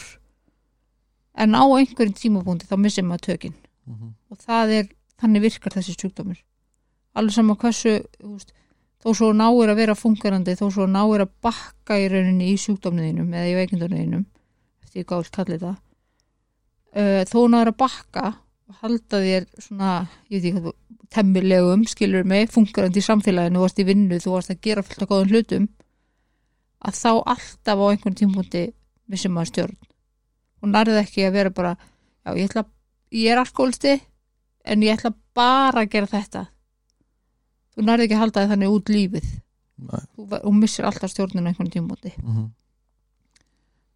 Speaker 1: en á einhverjum tímapunkti þá missir maður tökin og það er, þannig virkar þessi sjúkdómur alveg sama hversu þú veist, þó svo náir að vera fungerandi þó svo náir að bakka í rauninni í sjúkdómniðinum eða í veikindunniðinum eftir ég gáðil kallið það uh, þó náir að bakka og halda þér svona ég veit ekki hvað þú, temmilegum, skilur mig fungerandi í samfélaginu, þú varst í vinnu þú varst að gera fullt af góðum hlutum að þá alltaf á einhvern tímpúndi missum maður stjórn og nærði ekki að vera bara já, ég ætla að ég er alkoholisti en ég ætla bara að gera þetta þú nærði ekki að halda þér þannig út lífið
Speaker 2: Nei.
Speaker 1: þú, ver- og missir alltaf stjórnina einhvern tímóti
Speaker 2: Mm -hmm.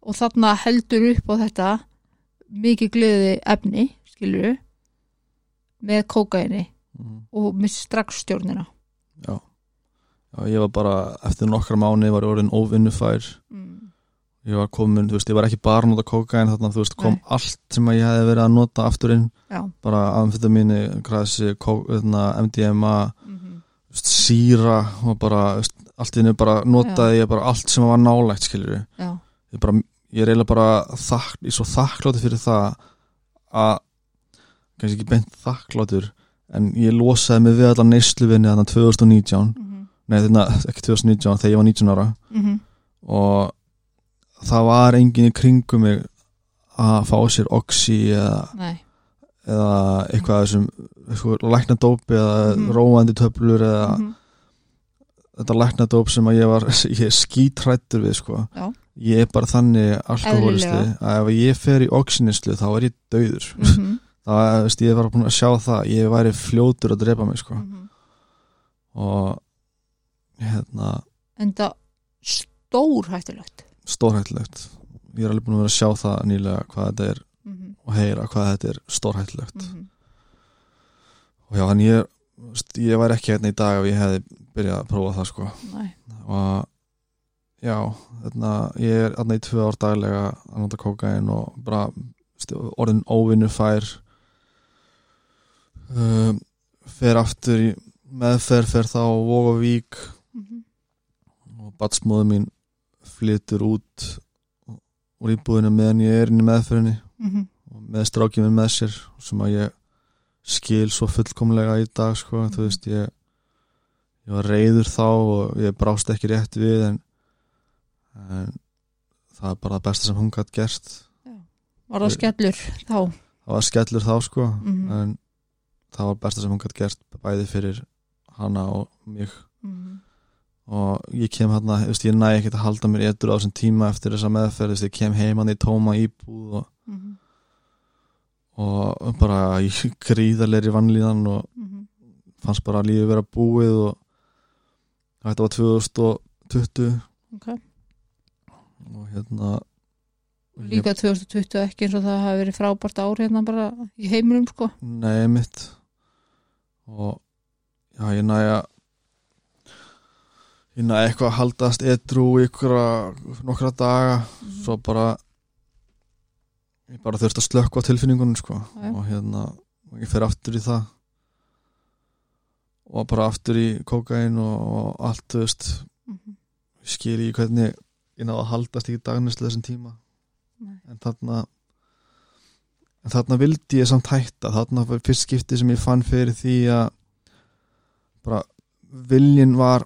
Speaker 1: og þarna heldur upp á þetta mikið gleði efni skilur með kókaini
Speaker 2: mhm.
Speaker 1: og missir strax stjórnina
Speaker 2: já Já, ég var bara, eftir nokkra mánu var ég orðin óvinnufær
Speaker 1: mm.
Speaker 2: ég var komin, þú veist, ég var ekki bara að nota kókain þarna, þú veist, kom
Speaker 1: Nei.
Speaker 2: allt sem að ég hefði verið að nota afturinn
Speaker 1: já
Speaker 2: bara amfetamíni, hérna, græsi, kók, öðna, MDMA,
Speaker 1: mm -hmm.
Speaker 2: þú veist, síra og bara þú veist, allt í henni bara notaði ég bara allt sem var nálægt skilur ég
Speaker 1: já,
Speaker 2: bara, ég er eiginlega bara þak, ég er svo þakkláttur fyrir það að kannski ekki beint þakkláttur en ég losaði mig við allan neysluvinni þannig 2019,
Speaker 1: mm -hmm.
Speaker 2: nei þetta ekki 2019 þegar ég var 19 ára
Speaker 1: Mm
Speaker 2: og það var enginn í kringum mig að fá sér oxi eða
Speaker 1: nei
Speaker 2: eða eitthvað af þessum eitthvað læknadópi eða
Speaker 1: Mhm.
Speaker 2: róandi töflur eða
Speaker 1: mm
Speaker 2: þetta læknadóp sem að ég var (laughs) ég er skítrættur við sko
Speaker 1: Já.
Speaker 2: ég er bara þannig alkoholisti að ef ég fer í oxinislu þá er ég dauður
Speaker 1: -hmm.
Speaker 2: (laughs) það er, veist, ég var búin að sjá það ég væri fljótur að drepa mig
Speaker 1: Mhm.
Speaker 2: sko og hérna,
Speaker 1: en það stór hættulegt
Speaker 2: stórhættulegt ég er alveg búin að vera að sjá það nýlega hvað þetta er
Speaker 1: mm -hmm.
Speaker 2: og heyra hvað þetta er stórhættulegt
Speaker 1: mm -hmm.
Speaker 2: og já, hann ég er þú veist, ég væri ekki hérna í dag ef ég hefði byrjað að prófa það sko
Speaker 1: nei
Speaker 2: og já, þarna, ég er þarna í tvö ár daglega að nota kókain og bara stu, orðin óvinnu fær um, fer aftur í meðferð fer þá á Vog og Vík
Speaker 1: mm -hmm.
Speaker 2: og batsmóðu mín flytur út úr íbúðinu meðan ég er inn í meðferðinni
Speaker 1: Mhm.
Speaker 2: og með strákjum með sér sem að ég skil svo fullkomlega í dag sko, þú veist ég, ég var reyður þá og ég brást ekki rétt við en, en það er bara það besta sem hún gætt gert
Speaker 1: var það skellur þá
Speaker 2: það var skellur þá sko
Speaker 1: Mhm.
Speaker 2: en það var besta sem hún gætt gert bæði fyrir hana og mig
Speaker 1: mm
Speaker 2: og ég kem hérna, þú veist, ég næ ekkert að halda mér etur á þessum tíma eftir þessa meðferð, þú veist, ég kem heim hann í tóma íbúð og,
Speaker 1: -hmm.
Speaker 2: og bara í gríðarleiri vannlíðan og
Speaker 1: Mm
Speaker 2: fannst bara að lífið vera búið og þetta var 20
Speaker 1: Ok.
Speaker 2: og hérna
Speaker 1: Líka 2020 ekki eins og það hafi verið frábært ár hérna bara í heiminum sko.
Speaker 2: Nei, mitt og já, ég næja ég næja eitthvað að haldast edru í ykkur nokkra daga
Speaker 1: Mm.
Speaker 2: svo bara ég bara þurfti að slökka á tilfinningunum sko.
Speaker 1: já.
Speaker 2: og hérna og ég fer aftur í það og bara aftur í kókain og, og allt, þú veist
Speaker 1: Mhm.
Speaker 2: ég skil í hvernig ég náða að haldast ekki dagnislega þessum tíma
Speaker 1: Nei.
Speaker 2: en þarna en þarna vildi ég samt hætta þarna var fyrst skipti sem ég fann fyrir því að bara viljin var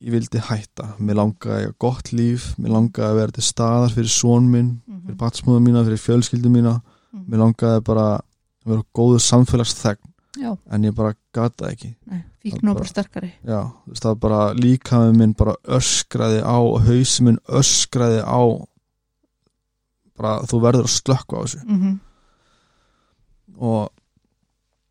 Speaker 2: ég vildi hætta, mér langaði að eiga gott líf mér langaði að vera til staðar fyrir són minn, fyrir
Speaker 1: Mhm.
Speaker 2: batsmóðum mína fyrir fjölskyldu mína,
Speaker 1: Mhm.
Speaker 2: mér langaði bara að vera góðu samfélagsþegn
Speaker 1: Já,
Speaker 2: en ég bara gata ekki
Speaker 1: nei, fíkn og bara sterkari
Speaker 2: Já, þú veist það bara líkamið minn bara öskraði á og hausin minn öskraði á bara þú verður að slökka á þessu
Speaker 1: mm
Speaker 2: og,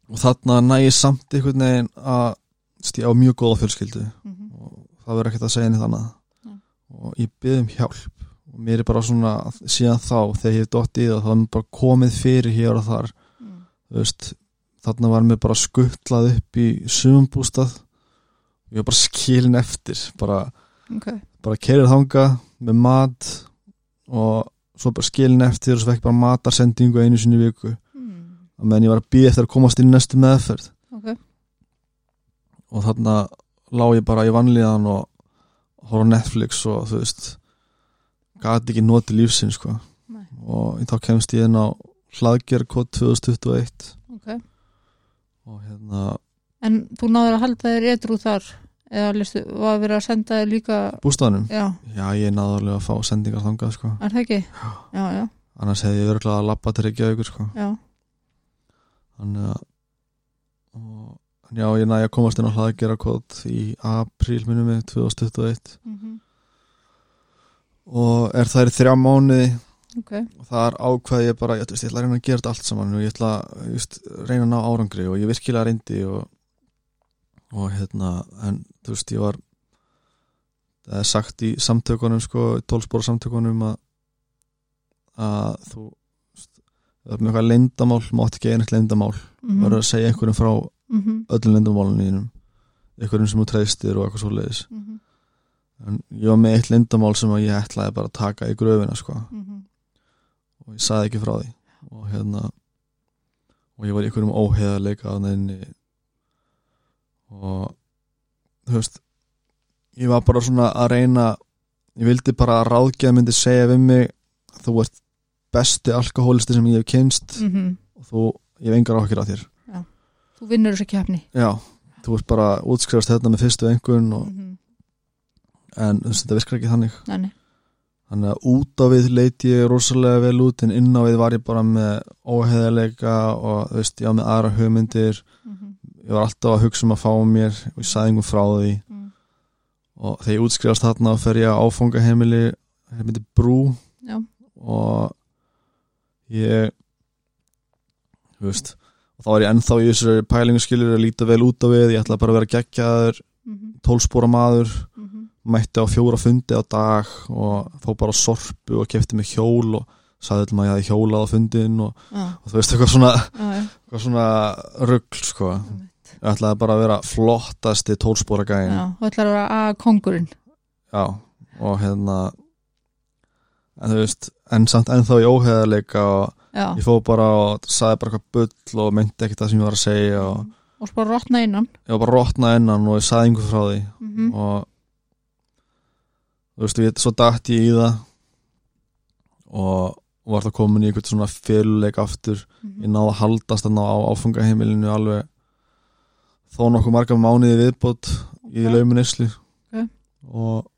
Speaker 2: og þarna næ ég samt einhvern veginn að stíða á mjög góða fjölskyldu
Speaker 1: Mhm,
Speaker 2: og það verður ekkert að segja neitt annað
Speaker 1: Nei.
Speaker 2: og ég byrði um hjálp og mér er bara svona síðan þá þegar ég er dott í það þá er mér bara komið fyrir hér og þar
Speaker 1: mhm.
Speaker 2: þú veist, þarna var mér bara skuttlað upp í sumbústað ég var bara skilin eftir bara,
Speaker 1: Ok,
Speaker 2: bara kerið þanga með mat og svo bara skilin eftir og svo fekk bara matarsendingu einu sinni í viku
Speaker 1: mm.
Speaker 2: að meðan ég var að býja eftir að komast inn í næstu meðferð
Speaker 1: ok
Speaker 2: og þarna lá ég bara í vanlíðan og horf á Netflix og þú veist gati ekki notið lífsinn sko
Speaker 1: Nei.
Speaker 2: og þá kemst ég inn á hlaðgerkot 2021
Speaker 1: Ok.
Speaker 2: og hérna
Speaker 1: En þú náður að halda þér edru þar eða listu, var verið að senda þér líka
Speaker 2: bústæðanum
Speaker 1: já,
Speaker 2: Já, ég náði alveg að fá sendingar þangað sko.
Speaker 1: er það ekki? Já, já,
Speaker 2: annars hefði ég örgulega að labba til Reykjavíkur sko.
Speaker 1: já
Speaker 2: þannig að og, já, ég næði að komast inn á hlaðgerakot í apríl minnum við 2021
Speaker 1: mm
Speaker 2: og er það er þrjá mánuði
Speaker 1: Ok,
Speaker 2: og þar ákvað ég bara, ég, þú veist, ég ætla að reyna að gera þetta allt saman og ég ætla að þú veist, reyna að ná árangri og ég virkilega reyndi og, og hérna en þú veist, ég var það er sagt í samtökunum sko, tólspóra samtökunum að, að þú þú veist, það er með eitthvað leyndamál, mátt ekki einhvern leyndamál,
Speaker 1: mm
Speaker 2: mm. verður að segja einhverjum frá
Speaker 1: mm -hmm.
Speaker 2: öllum leyndamálunum þínum einhverjum sem þú treystir og eitthvað svoleiðis
Speaker 1: Mhm,
Speaker 2: en ég var með eitt leyndamál sem að ég ætlaði bara að taka í gröfina sko
Speaker 1: mhm.
Speaker 2: og ég saði ekki frá því og hérna og ég var í einhverjum óheðarleika á nefni og þú veist ég var bara svona að reyna ég vildi bara að ráðgjöð myndi segja við mig þú ert besti alkohólisti sem ég hef kynst og þú, ég hef engar áhyggjur á þér
Speaker 1: mhm. Þú vinnur þessu kefni
Speaker 2: já, þú ert bara útskrifast þetta með fyrstu engun og,
Speaker 1: mm -hmm.
Speaker 2: en þú veist, þetta virkar ekki þannig
Speaker 1: Nei, nei,
Speaker 2: Þannig að út á við leiti ég rosalega vel út en inn á við var ég bara með óheðarleika og þú veist, ég var með aðra hugmyndir
Speaker 1: mm -hmm.
Speaker 2: ég var alltaf að hugsa um að fá mér og ég saði einhver frá því
Speaker 1: Mm.
Speaker 2: og þegar ég útskrifast þarna þá fer ég að áfanga heimili heimili brú
Speaker 1: Já.
Speaker 2: og ég þú veist og þá er ég ennþá í þessari pælingu skilur að líta vel út á við, ég ætla bara að vera geggjaður
Speaker 1: Mhm,
Speaker 2: tólspóra maður
Speaker 1: Mm -hmm.
Speaker 2: mætti á fjóra fundi á dag og fó bara sorpu og kefti mig hjól og sagði öllum að ég hafði hjólað á fundin og,
Speaker 1: Já,
Speaker 2: og þú veist eitthvað svona,
Speaker 1: já, já
Speaker 2: eitthvað svona rugl sko,
Speaker 1: einmitt.
Speaker 2: ég ætlaði bara að vera flottasti tólspóra gæin
Speaker 1: Já, þú ætlar að vera að kongurinn
Speaker 2: Já, og hérna en þú veist en samt ennþá í óheðarleika og
Speaker 1: Já,
Speaker 2: ég fó bara og sagði bara eitthvað bull og myndi ekkert það sem ég var að segja og
Speaker 1: og svo bara rotna innan
Speaker 2: ég var bara rotnað innan og ég sagði einhver frá því
Speaker 1: mm -hmm.
Speaker 2: og þú veist, ég, svo datt ég í það og var það komin í einhvern svona fyrirleik aftur
Speaker 1: Mhm.
Speaker 2: ég náði að haldast þannig á áfungaheimilinu alveg þó nokkuð marga mánuði viðbót í
Speaker 1: Ok.
Speaker 2: laumin yslu
Speaker 1: Ok.
Speaker 2: og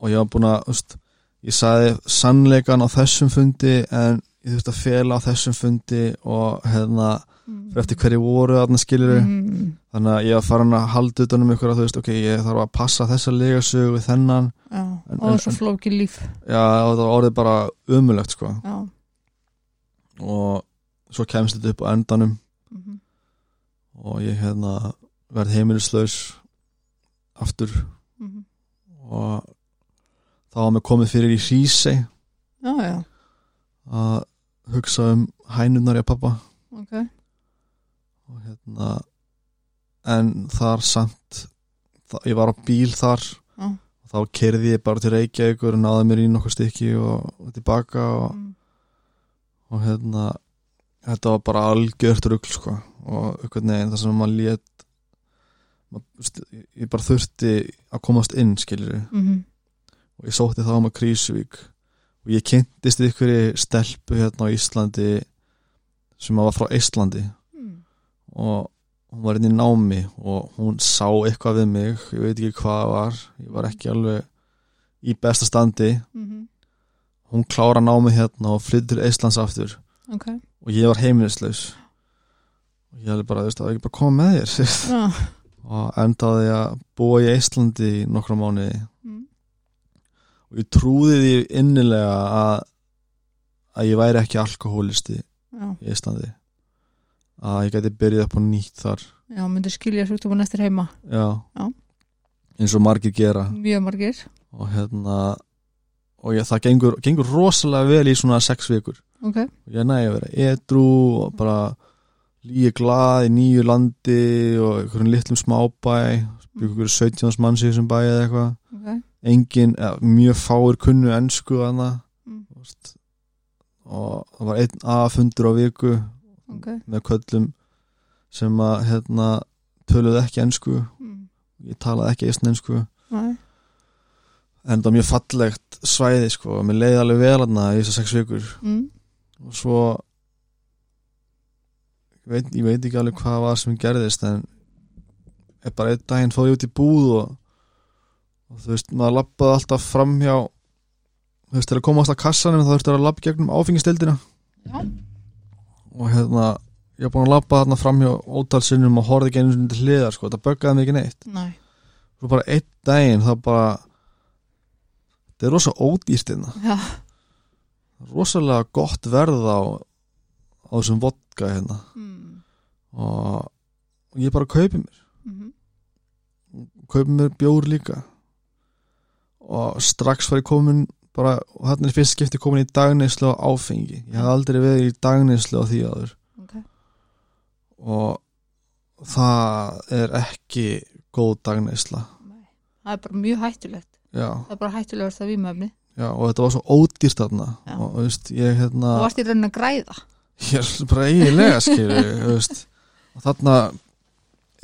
Speaker 2: og ég var búin að þú veist, ég sagði sannleikan á þessum fundi en ég þurfti að fela á þessum fundi og hefna,
Speaker 1: mhm.
Speaker 2: fyrir eftir hverju voru þarna skilur
Speaker 1: mm
Speaker 2: þannig að ég var farin að halda utanum ykkur að þú veist, ok, ég þarf að passa þessa legasögu við þennan,
Speaker 1: Já,
Speaker 2: En-
Speaker 1: og
Speaker 2: en-
Speaker 1: svo flókið líf
Speaker 2: já, og það var orðið bara ömulegt, sko,
Speaker 1: Já,
Speaker 2: og svo kemst þetta upp á endanum
Speaker 1: mm
Speaker 2: Mhm, og ég hérna verð heimilislaus aftur
Speaker 1: -hmm.
Speaker 2: og og þá var mér komið fyrir í Hrísey
Speaker 1: já, já,
Speaker 2: að hugsa um hænunar ég pappa
Speaker 1: ok
Speaker 2: og hérna en þar samt þa ég var á bíl þar
Speaker 1: Já.
Speaker 2: og þá kerði ég bara til Reykjavíkur og náði mér í nokkuð stykki og, og tilbaka og,
Speaker 1: Mm.
Speaker 2: og hérna þetta var bara algjört rugl sko og einhvern veginn það sem maður lét maður, þú veist, ég bara þurfti að komast inn skilur
Speaker 1: Mhm.
Speaker 2: og ég sótti þá um að Krísuvík og ég kynntist ykkur stelpu hérna á Íslandi sem var frá Íslandi
Speaker 1: Mm.
Speaker 2: og hún var inn í námi og hún sá eitthvað við mig ég veit ekki hvað það var ég var ekki alveg í besta standi
Speaker 1: Mhm.
Speaker 2: hún klára námi hérna og flyttur Íslands aftur
Speaker 1: ok
Speaker 2: og ég var heimilislaus og ég hefði bara, þú veist, það var ekki bara að koma með þér (laughs)
Speaker 1: já,
Speaker 2: og endaði að búa í Íslandi í nokkra mánuði
Speaker 1: mm.
Speaker 2: og ég trúði því innilega að, að ég væri ekki alkohólisti í
Speaker 1: já,
Speaker 2: Íslandi að ég gæti byrjað upp á nýtt þar
Speaker 1: já, myndi skilja sjúkdóman eftir heima
Speaker 2: já,
Speaker 1: Já.
Speaker 2: eins og margir gera
Speaker 1: mjög margir,
Speaker 2: og hérna og ég, það gengur, gengur rosalega vel í svona sex vikur
Speaker 1: ok
Speaker 2: og ég næði að vera edru og bara líka glað í nýju landi og einhverjum litlum smábæ byggur einhverjum 17 manns í þessum bæ eða eitthvað
Speaker 1: ok,
Speaker 2: engin, eða, mjög fáir kunnu ennsku hana
Speaker 1: Mm.
Speaker 2: og það var einn aðfundur á viku
Speaker 1: ok
Speaker 2: með köllum sem að hérna, töluðu ekki ennsku
Speaker 1: mm.
Speaker 2: ég talaði ekki eistnensku
Speaker 1: Nei.
Speaker 2: en þetta var mjög fallegt svæði sko, og mér leiði alveg vel hana í þessar sex vikur
Speaker 1: Mm.
Speaker 2: og svo ég veit, ég veit ekki alveg hvað var sem gerðist en ég bara einn daginn fór ég út í búð og, og þú veist, maður lappaði alltaf framhjá þú veist, til að komast að kassanum þá þurfti að lappa gegnum áfengisteldina
Speaker 1: Já.
Speaker 2: og hérna ég var búin að lappa þarna framhjá ótalsinnum og horfði ekki einu sinni til hliðar sko, það böggaði mig ekki neitt
Speaker 1: Nei.
Speaker 2: svo bara einn daginn þá bara þetta er rosa ódýrt hérna
Speaker 1: Já.
Speaker 2: rosalega gott verð á á þessum vodka hérna
Speaker 1: Mm.
Speaker 2: og ég bara kaupi mér
Speaker 1: Mhm.
Speaker 2: kaupi mér bjór líka og strax var ég komin bara, og þarna er fyrst skipti komin í dagneyslu á áfengi ég hafði aldrei verið í dagneyslu á því áður
Speaker 1: Ok.
Speaker 2: og það er ekki góð dagneysla
Speaker 1: Nei. það er bara mjög hættulegt
Speaker 2: já,
Speaker 1: það er bara hættulegast að vímöfni
Speaker 2: já, og þetta var svo ódýrt þarna
Speaker 1: Já.
Speaker 2: og þú veist, ég hérna
Speaker 1: þú varst í raunin að græða
Speaker 2: ég er bara eiginlega skilur þú veist og þarna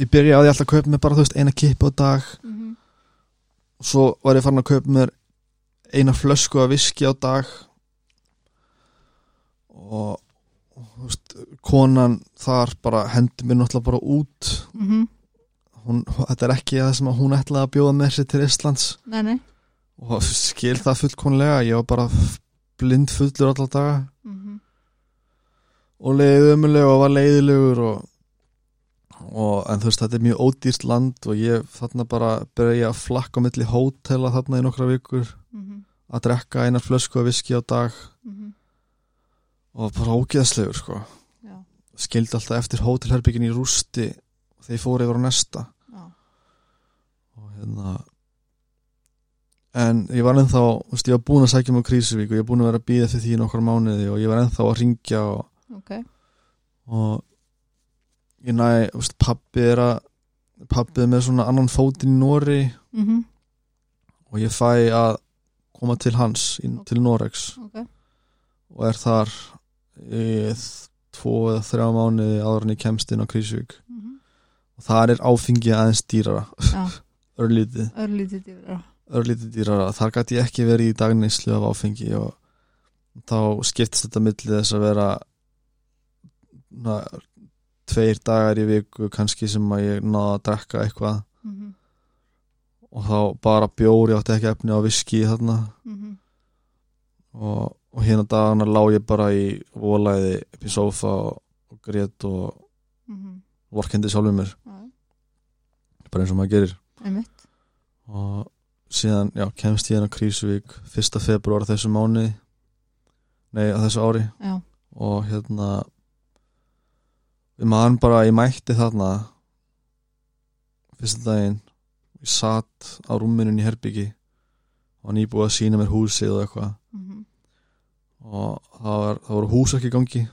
Speaker 2: ég byrja á því alltaf að kaupa mér bara þú veist eina kippu á dag
Speaker 1: mm
Speaker 2: og svo var ég farin að kaupa mér eina flösku af viski á dag og og, þú veist konan þar bara hendi mér náttúrulega bara út
Speaker 1: -hmm.
Speaker 2: hún, þetta er ekki það sem að hún ætlaði að bjóða með sér til Íslands
Speaker 1: nei, nei
Speaker 2: og skil það fullkonlega ég var bara blind fullur alltaf daga
Speaker 1: mm
Speaker 2: og leiðið ömuleg og var leiðilegur og, og en þú veist þetta er mjög ódýrt land og ég þarna bara byrja ég að flakka á milli hótela þarna í nokkra vikur
Speaker 1: -hmm.
Speaker 2: að drekka einar flösku af viski á dag
Speaker 1: mhm.
Speaker 2: og bara ógeðslegur sko
Speaker 1: Já.
Speaker 2: skildi alltaf eftir hótelherbyggin í rústi þegar ég fór yfir á nesta
Speaker 1: Já.
Speaker 2: og hérna en ég var ennþá þú veist, ég var búin að sækja mig á Krísuvík og ég var búin að vera að býða eftir því í nokkra mánuði og ég var ennþá að ringja og
Speaker 1: ok
Speaker 2: og ég næ, þú veist, pappi er að pappi er með svona annan fótinn í Nóri
Speaker 1: mm
Speaker 2: og ég fæ að koma til hans inn til Noregs
Speaker 1: ok
Speaker 2: og er þar í þ- tvo eða þrjá mánuði áður en ég kemst inn á Krísvík
Speaker 1: mm -hmm.
Speaker 2: og þar er áfengi aðeins dýrara
Speaker 1: já,
Speaker 2: (laughs) örlítið,
Speaker 1: örlítið dýra
Speaker 2: örlítið dýrara þar gæti ég ekki verið í dagneyslu af áfengi og þá skiptist þetta millið þess að vera na, tveir dagar í viku kannski sem að ég náða að drekka eitthvað
Speaker 1: mm -hmm.
Speaker 2: og þá bara bjór, ég átti ekki efni á viski þarna
Speaker 1: Mm -hmm.
Speaker 2: og, og hérna dagana lá ég bara í volæði upp í sófa og, og grét og
Speaker 1: Mm
Speaker 2: vorkendi sjálfum mér,
Speaker 1: -hmm.
Speaker 2: bara eins og maður gerir
Speaker 1: einmitt
Speaker 2: og síðan, já, kemst ég inn á Krísuvík 1. februar þessu mánu nei, á þessu ári
Speaker 1: já,
Speaker 2: og hérna við maður bara, ég mætti þarna fyrsta daginn ég satt á rúminu í herbyggi og nýbúið að sína mér húsið og eitthvað
Speaker 1: mhm,
Speaker 2: og það, var, það voru húsverki í gangi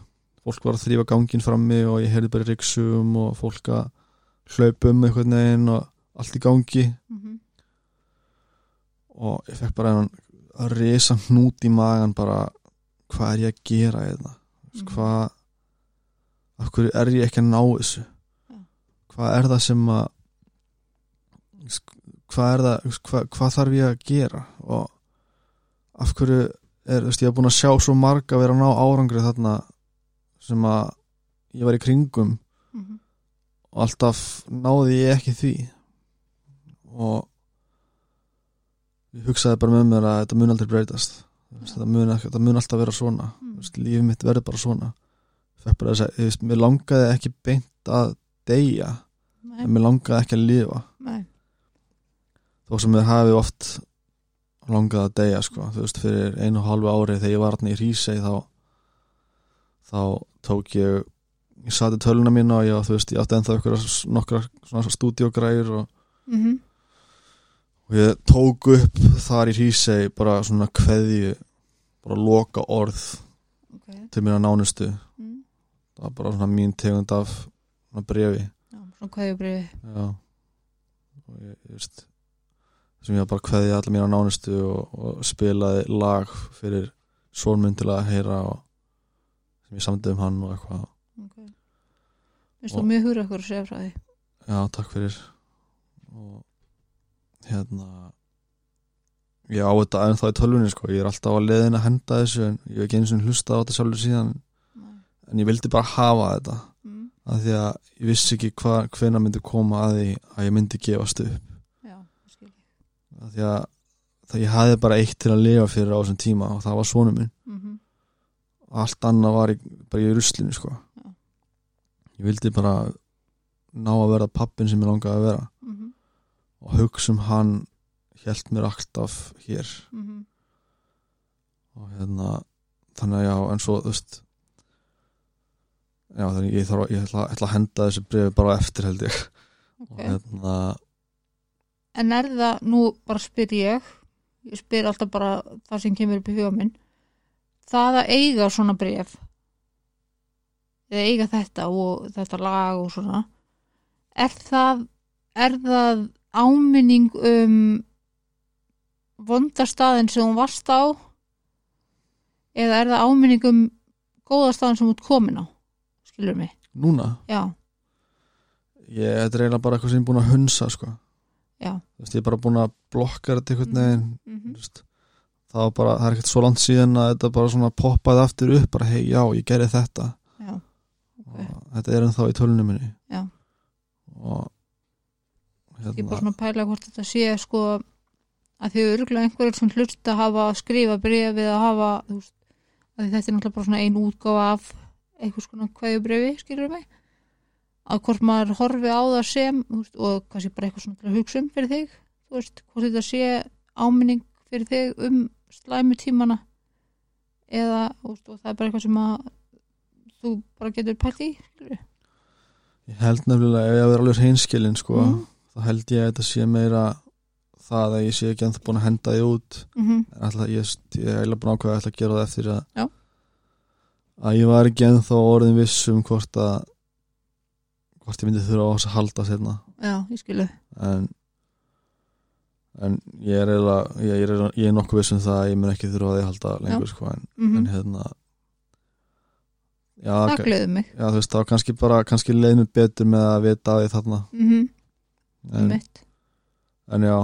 Speaker 2: fólk var að þrýfa gangin frammi og ég heyrði bara ríksum og fólk að hlaupum einhvern veginn og allt í gangi
Speaker 1: mhm.
Speaker 2: og ég fekk bara að risa hnút í magan bara hvað er ég að gera hérna mm.
Speaker 1: Mhm.
Speaker 2: hvað af hverju er ég ekki að ná þessu
Speaker 1: Já.
Speaker 2: hvað er það sem að hvað er það hvað, hvað þarf ég að gera og af hverju er, þú veist, ég hef búin að sjá svo marga vera að ná árangri þarna sem að ég var í kringum
Speaker 1: Mhm.
Speaker 2: og alltaf náði ég ekki því og ég hugsaði bara með mér að þetta mun aldrei breytast Þú veist, þetta mun, ekki- þetta mun alltaf vera svona
Speaker 1: Mm.
Speaker 2: Þú veist, lífið mitt verður bara svona það er bara þess að, þú veist, mér langaði ekki beint að deyja
Speaker 1: Nei,
Speaker 2: en mér langaði ekki að lifa
Speaker 1: nei,
Speaker 2: þó sem mér hafi oft langaði að deyja sko. þú veist, fyrir einu og halvu ári þegar ég var hann í Rísei þá þá tók ég ég sati töluna mína og ég, var, þú veist, ég átti ennþá ykkur nokkra svona stúdíogræður og,
Speaker 1: mhm,
Speaker 2: og ég tók upp þar í Rísei bara svona kveðju bara loka orð
Speaker 1: ok
Speaker 2: til mér að nánustu
Speaker 1: Mm.
Speaker 2: það var bara svona mín tegund af svona brefi
Speaker 1: Já, Svona hvað ég breyði
Speaker 2: Já og ég, ég veist sem ég var bara kveði allar mína nánustu og, og spilaði lag fyrir svonmynd til að heyra og sem ég samdi um hann og eitthvað
Speaker 1: Mér stóð
Speaker 2: Og-
Speaker 1: mjög hugra ykkur að segja frá því
Speaker 2: Já, takk fyrir og hérna ég á þetta ennþá í tölvunni sko, ég er alltaf á leiðin að henda þessu en ég hef ekki eins og hlusta á þetta sjálfur síðan
Speaker 1: Nei.
Speaker 2: en ég vildi bara hafa þetta
Speaker 1: Mm,
Speaker 2: af því að ég vissi ekki hva, hvena myndi koma að því að ég myndi gefast upp
Speaker 1: Já, ég skil ég
Speaker 2: af því að það ég hafði bara eitt til að lifa fyrir á þessum tíma og það var svonum minn
Speaker 1: Mhm,
Speaker 2: allt annað var í, bara í ruslinu sko.
Speaker 1: Já.
Speaker 2: ég vildi bara ná að verða pappin sem ég langaði að vera
Speaker 1: mhm,
Speaker 2: og hugsa um hann held mér alltaf hér
Speaker 1: mhm,
Speaker 2: og hérna þannig að já, en svo þú veist já, þannig að ég þarf að- ég ætla, ætla að henda þessu brefi bara á eftir held ég
Speaker 1: ok.
Speaker 2: og hérna,
Speaker 1: En er það, nú bara spyr ég ég spyr alltaf bara það sem kemur upp í huga minn það að eiga svona bref eða eiga þetta og þetta lag og svona er það er það áminning um vondastaðin sem hún varst á eða er það áminning um góðastaðin sem hún er komin á skilur mig,
Speaker 2: núna
Speaker 1: já,
Speaker 2: ég, þetta er eiginlega bara eitthvað sem ég er búin að hunsa sko.
Speaker 1: já
Speaker 2: Þú veist, ég er bara búin að blokka þetta einhvern veginn
Speaker 1: mm
Speaker 2: Þú veist, það var bara, það er ekkert svo langt síðan að þetta bara svona poppaði aftur upp bara hei, já, ég gerði þetta
Speaker 1: já, ok
Speaker 2: og þetta er ennþá í tölunum minni
Speaker 1: Já.
Speaker 2: og
Speaker 1: ég er bara
Speaker 2: hérna,
Speaker 1: svona að pæla hvort þetta sé sko að því örgulega einhverjir sem hlusta hafa að skrifa brefið að hafa þú veist, að því þetta er náttúrulega bara svona ein útgáfa af einhvers konar hverju brefi skilur mig að hvort maður horfi á það sem þú veist, og kannski bara eitthvað svona til að hugsa um fyrir þig þú veist, hvort þetta sé áminning fyrir þig um slæmi tímana eða þú veist, og það er bara eitthvað sem að þú bara getur pælt í skilur við
Speaker 2: ég held nefnilega ef ég verið alveg hreinskilin sko,
Speaker 1: Mhm.
Speaker 2: þá held ég að þetta sé meira það að ég sé ekki ennþá búin að henda því út
Speaker 1: Mhm,
Speaker 2: en alltaf, ég, ég er eiginlega búin að ákveða að ætla að gera það eftir að
Speaker 1: Já.
Speaker 2: að ég var ekki ennþá orðin viss um hvort að hvort ég myndi þurfa á þess að halda sérna
Speaker 1: já, ég skilu
Speaker 2: en en ég er eiginlega ég, ég, er, eiginlega- ég er nokkuð viss um það að ég mun ekki þurfa að ég halda lengur sko en,
Speaker 1: mm
Speaker 2: en hérna já,
Speaker 1: það
Speaker 2: ok-
Speaker 1: gleður mig
Speaker 2: já þú veist þá kannski bara kannski leið mér betur með að vita að ég þarna
Speaker 1: mm -hmm,
Speaker 2: en, en já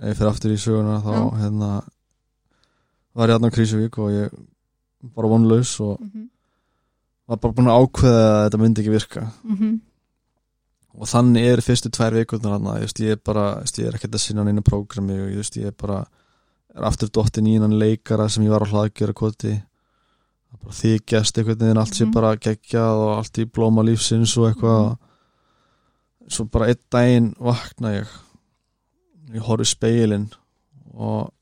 Speaker 2: ef ég fer aftur í söguna þá
Speaker 1: Já.
Speaker 2: hérna var ég hérna á Krísuvík og ég bara vonlaus og var bara búin að ákveða að þetta myndi ekki virka
Speaker 1: Mhm,
Speaker 2: og þannig er fyrstu tvær vikundar hann að ég er bara, þú veist, ég er ekkert að sinna neina prógrami og þú veist, ég er bara er aftur dottin í innan leikara sem ég var á hlaðgjöra koti Það bara þykjast einhvern veginn, allt sé
Speaker 1: Mhm.
Speaker 2: bara geggjað og allt í blóma lífsins og eitthvað
Speaker 1: Mhm.
Speaker 2: svo bara einn daginn vakna ég ég horf í speilin og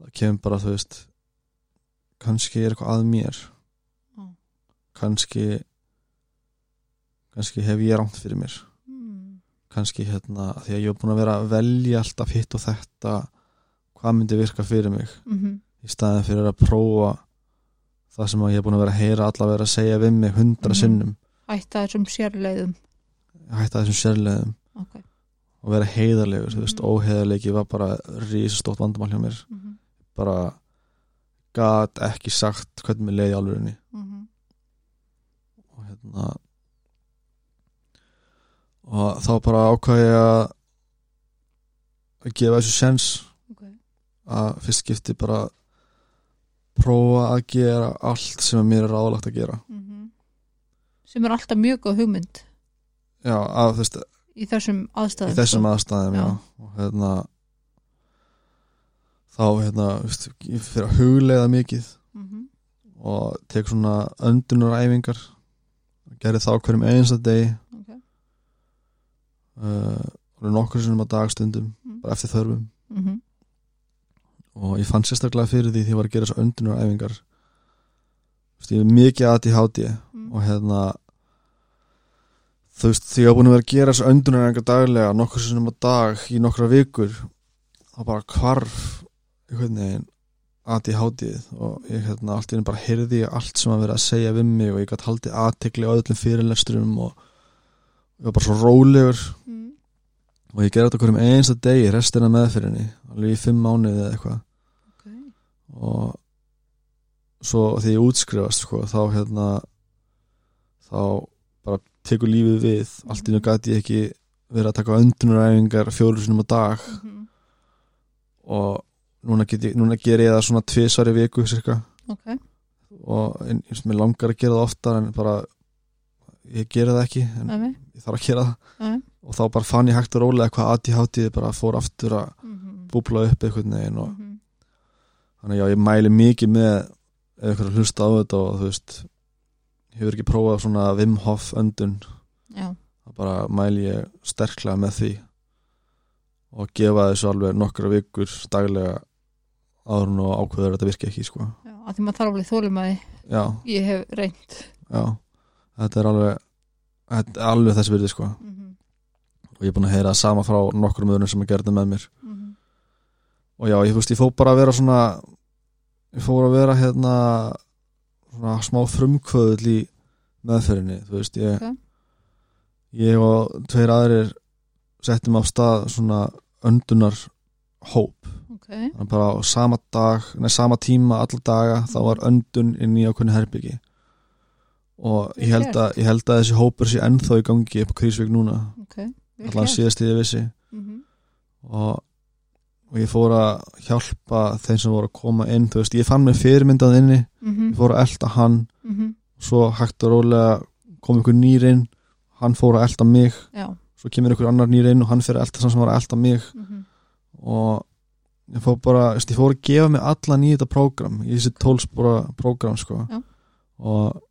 Speaker 2: það kemur bara, þú veist kannski er eitthvað að mér
Speaker 1: Já.
Speaker 2: kannski kannski hef ég rangt fyrir mér
Speaker 1: mhm,
Speaker 2: kannski hérna, því að ég hef búin að vera að velja alltaf hitt og þetta hvað myndi virka fyrir mig
Speaker 1: mm -hmm.
Speaker 2: í staðin fyrir að prófa það sem að ég hef búin að vera að heyra alla vera að segja við mig hundra
Speaker 1: Mhm.
Speaker 2: sinnum
Speaker 1: Ætta þessum sérleiðum
Speaker 2: hætta þessum sérlegum
Speaker 1: okay.
Speaker 2: og vera heiðarlegur, þú veist,
Speaker 1: Mhm.
Speaker 2: óheiðarleiki var bara rísastótt vandamál hjá mér
Speaker 1: mm -hmm.
Speaker 2: bara gat ekki sagt hvernig mér leiði alvörinni
Speaker 1: Mhm.
Speaker 2: og hérna og þá bara ákvæði að að gefa þessu sens
Speaker 1: Ok.
Speaker 2: að fyrst skipti bara prófa að gera allt sem að mér er ráðlagt að gera
Speaker 1: Mhm. sem er alltaf mjög góð hugmynd
Speaker 2: já, að, þú veist,
Speaker 1: í þessum aðstæðum
Speaker 2: í þessum
Speaker 1: sko.
Speaker 2: aðstæðum já.
Speaker 1: Já.
Speaker 2: og hérna þá hérna, þú veist, ég fyrir að hugleiða mikið
Speaker 1: Mhm.
Speaker 2: og tek svona öndunaræfingar gerði það á hverjum einsta degi
Speaker 1: Ok.
Speaker 2: uh, nokkur sinnum á dagstundum
Speaker 1: Mm.
Speaker 2: bara eftir þörfum
Speaker 1: Mhm.
Speaker 2: og ég fann sérstaklega fyrir því því ég var að gera þessu öndunaræfingar Þú veist, ég er mikið aðt í hátíð
Speaker 1: Mm.
Speaker 2: og hérna þú veist, því ég var búin að vera að gera þessu öndunaræfingar daglega nokkur sinnum á dag í nokkra vikur þá bara hvarf einhvern veginn aðt í hátíð og ég hérna allt í einu bara heyrði ég allt sem að vera að segja við mig og ég gætt haldið aðtekli á öllum fyrirlesturum og ég var bara svo rólegur
Speaker 1: Mm.
Speaker 2: og ég gerði þetta á hverjum einsta degi restina meðfyrinni, alveg í fimm mánuði eða eitthvað
Speaker 1: Ok.
Speaker 2: og svo því ég útskrifast sko, þá hérna þá bara tekur lífið við allt í nú gæti ég ekki verið að taka öndunaræfingar fjóru sinum á dag
Speaker 1: Mhm.
Speaker 2: og núna, get ég, núna ger ég það svona tvisvar í viku cirka
Speaker 1: Ok.
Speaker 2: og en- eins og mér langar að gera það oftar en bara ég gera það ekki en
Speaker 1: Æmi.
Speaker 2: ég þarf að gera það
Speaker 1: Jæja.
Speaker 2: og þá bara fann ég hægt og rólega hvað ADHD bara fór aftur að
Speaker 1: Mhm.
Speaker 2: búbla upp einhvern veginn og
Speaker 1: Mhm.
Speaker 2: þannig að já, ég mæli mikið með ef ykkur er að hlusta á þetta og þú veist hefur ekki prófað svona Wim Hof öndun
Speaker 1: Já.
Speaker 2: þá bara mæli ég sterklega með því og gefa þessu alveg nokkra vikur daglega áður en og ákveður að þetta virki ekki sko.
Speaker 1: Já, að því maður þarf alveg þólum að
Speaker 2: já,
Speaker 1: ég hef reynd
Speaker 2: já þetta er alveg þetta er alveg þessi virði sko.
Speaker 1: mm -hmm.
Speaker 2: og ég er búin að heyra það sama frá nokkrum öðrum sem að gera þetta með mér
Speaker 1: Mhm.
Speaker 2: og já, ég, þú veist, ég fór bara að vera svona ég fór að vera hérna svona smá frumkvöðull í meðferðinni, þú veist, ég
Speaker 1: Ok.
Speaker 2: ég og tveir aðrir settum á stað svona öndunar hóp,
Speaker 1: Ok,
Speaker 2: þannig bara á sama dag nei, sama tíma, alla daga, þá var öndun inn í ákveðni herbyggi og ég
Speaker 1: Vel
Speaker 2: held, að, ég held að þessi hópur sé ennþá í gangi upp Krísvík núna,
Speaker 1: vel
Speaker 2: allan
Speaker 1: gert.
Speaker 2: síðast ég vissi
Speaker 1: Mhm.
Speaker 2: og, og ég fór að hjálpa þeim sem voru að koma inn þú veist, ég fann mér fyrirmyndað inni
Speaker 1: Mhm.
Speaker 2: ég fór að elta hann,
Speaker 1: Mhm.
Speaker 2: svo hægt og rólega kom einhver nýr inn hann fór að elta mig,
Speaker 1: Já
Speaker 2: svo kemur einhver annar nýr inn og hann fyrir að elta þann sem var að elta mig
Speaker 1: Mhm.
Speaker 2: og ég fór bara þú veist, ég fór að gefa mig allan í þetta prógram í þessi tólspora prógram sko.
Speaker 1: Já.
Speaker 2: og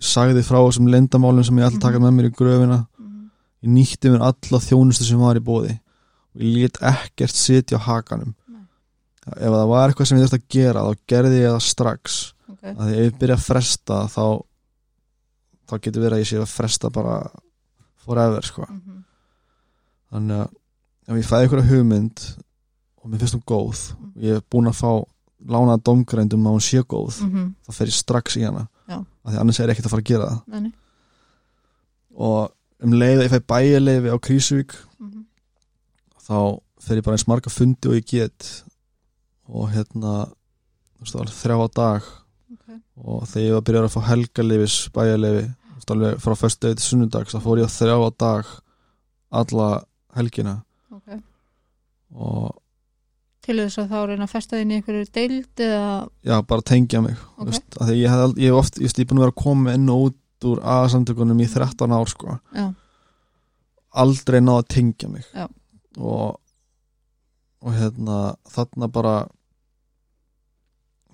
Speaker 2: sagði frá þessum lendamálum sem ég alltaf taka með mér í gröfina
Speaker 1: Mhm.
Speaker 2: ég nýtti mér alla þjónustu sem var í bóði og ég lét ekkert sitja á hakanum
Speaker 1: Nei.
Speaker 2: ef það var eitthvað sem ég þurfti að gera þá gerði ég það strax
Speaker 1: Ok.
Speaker 2: að ef ég byrja að fresta þá þá getur verið að ég sé að fresta bara forever sko
Speaker 1: Mhm.
Speaker 2: þannig að ef ég fæði einhverja hugmynd og mér finnst hún góð og ég er búin að fá lánaða domgrændum að hún sé góð
Speaker 1: Mhm.
Speaker 2: þá fer ég strax í hana
Speaker 1: Já.
Speaker 2: af því annars er ég ekkert að fara að gera það
Speaker 1: Nei, nei.
Speaker 2: og um leið að ég fæ bæjarleifi á Krísuvík
Speaker 1: Mhm.
Speaker 2: þá fer ég bara eins marga fundi og ég get og hérna þú veist, alveg þrjá á dag
Speaker 1: Ok.
Speaker 2: og þegar ég var að byrja að fá helgarleifis bæjarleifi, þú veist, alveg frá fyrstu til sunnudags, þá fór ég að þrjá á dag alla helgina
Speaker 1: Ok.
Speaker 2: og
Speaker 1: Til þess að þá reyna að festa þín í einhverju deild eða
Speaker 2: já, bara tengja mig
Speaker 1: Ok.
Speaker 2: þú veist, að því ég hef, ég hef oft, ég veist, ég er búin að vera að koma inn og út úr aðsamtökunum í 13 ár sko,
Speaker 1: Mm. Já.
Speaker 2: aldrei náð að tengja mig
Speaker 1: Já.
Speaker 2: og og hérna þarna bara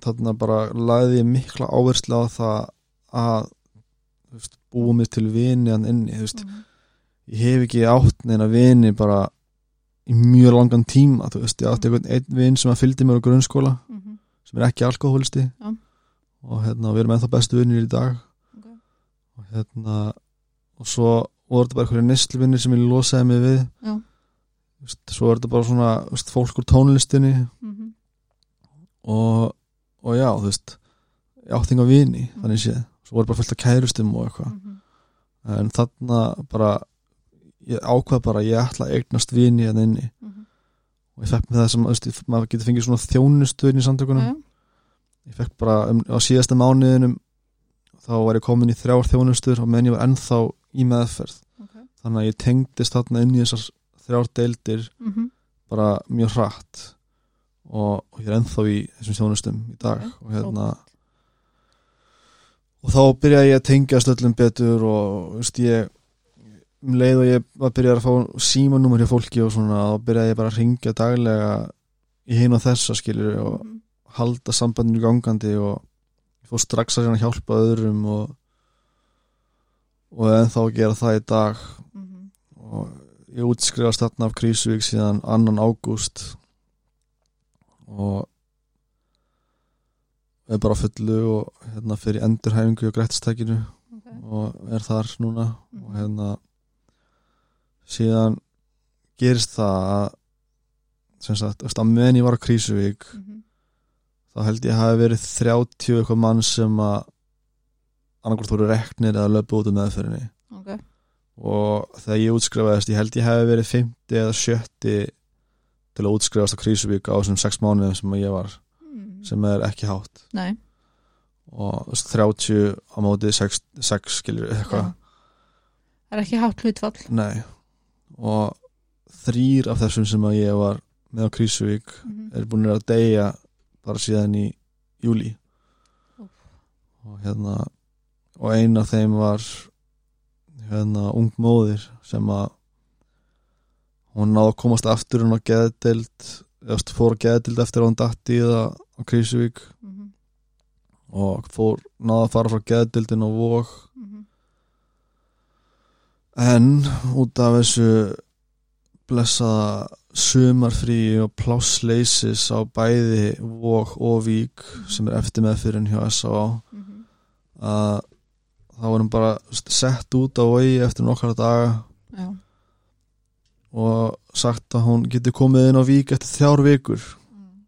Speaker 2: þarna bara lagði ég mikla áverslu á það að þú veist, búa mig til vini hann inni, þú veist,
Speaker 1: Mhm.
Speaker 2: ég hef ekki átt neina vini bara í mjög langan tíma, þú veist, ég
Speaker 1: Mm.
Speaker 2: átti einhvern einn vin sem að fylgdi mér á grunnskóla
Speaker 1: Mhm.
Speaker 2: sem er ekki alkoholisti
Speaker 1: Já.
Speaker 2: og hérna við erum ennþá bestu vinnir í dag
Speaker 1: Ok.
Speaker 2: og hérna og svo og er þetta bara einhverja nistluvinni sem ég losaði mig við
Speaker 1: Já.
Speaker 2: Þú veist, svo er þetta bara svona þú veist, fólk úr tónlistinni
Speaker 1: mm -hmm.
Speaker 2: og, og já, þú veist ég átti enga vini,
Speaker 1: Mm.
Speaker 2: þannig séð svo voru bara fullt af kærustum og eitthvað
Speaker 1: mhm,
Speaker 2: en þarna bara ég ákvað bara, ég ætla að eignast vini hérna inni og ég fekk með það sem, þú veist, maður getur fengið svona þjónustu inn í samtökunum ég fekk bara um, á síðasta mánuðinum þá var ég komin í þrjár þjónustur og meðan ég var ennþá í meðferð
Speaker 1: Ok.
Speaker 2: þannig að ég tengdist þarna inn í þessar þrjár deildir
Speaker 1: mhm,
Speaker 2: bara mjög hratt og, og ég er ennþá í þessum þjónustum í dag
Speaker 1: Ok,
Speaker 2: og hérna og þá byrjaði ég að tengja stöllum betur og þú veist ég um leið og ég var byrjaði að fá símanúmer hjá fólki og svona þá byrjaði ég bara að ringja daglega í hin og þessa skilur og,
Speaker 1: Mhm,
Speaker 2: halda sambandinu gangandi og ég fór strax að hérna hjálpa öðrum og og ennþá að gera það í dag
Speaker 1: mhm,
Speaker 2: og ég útskrifast þarna af Krísuvík síðan 2. ágúst og er bara á fullu og hérna fyrir endurhæfingu og grættstækinu og er þar núna og hérna síðan gerist það að sem sagt, þú veist, að meðan ég var á Krísuvík
Speaker 1: Mhm,
Speaker 2: þá held ég hafi verið 30 eitthvað mann sem að annarkvort voru reknir eða löpu út um meðferðinni
Speaker 1: Ok,
Speaker 2: og þegar ég útskrifaðist, ég held ég hafi verið 50 eða 70 til að útskrifast á Krísuvík á þessum 6 mánuðum sem ég var,
Speaker 1: Mhm.
Speaker 2: sem er ekki hátt
Speaker 1: Nei,
Speaker 2: og þú veist, 30 á móti 6, 6 skilur eitthvað,
Speaker 1: Já. það er ekki hátt hlutfall
Speaker 2: nei og þrýr af þessum sem að ég var með á Krísuvík
Speaker 1: Mhm.
Speaker 2: er búin að deyja bara síðan í júli
Speaker 1: Úff.
Speaker 2: og hérna og ein af þeim var hérna ung móðir sem að hún náði að komast aftur hún á geðdeild eða st- fór á geðdeild eftir að hún datt í það á Krísuvík
Speaker 1: Mhm,
Speaker 2: og fór, náði að fara frá geðdeildin og vók
Speaker 1: mhm,
Speaker 2: en út af þessu blessaða sumarfrí og plássleysis á bæði vók og vík sem er eftir meðfyrin hjá S.A.
Speaker 1: mhm.
Speaker 2: að þá erum bara þú veist, sett út á vegi eftir nokkara daga
Speaker 1: Já,
Speaker 2: og sagt að hún getur komið inn á vík eftir þrjár vikur
Speaker 1: Mhm.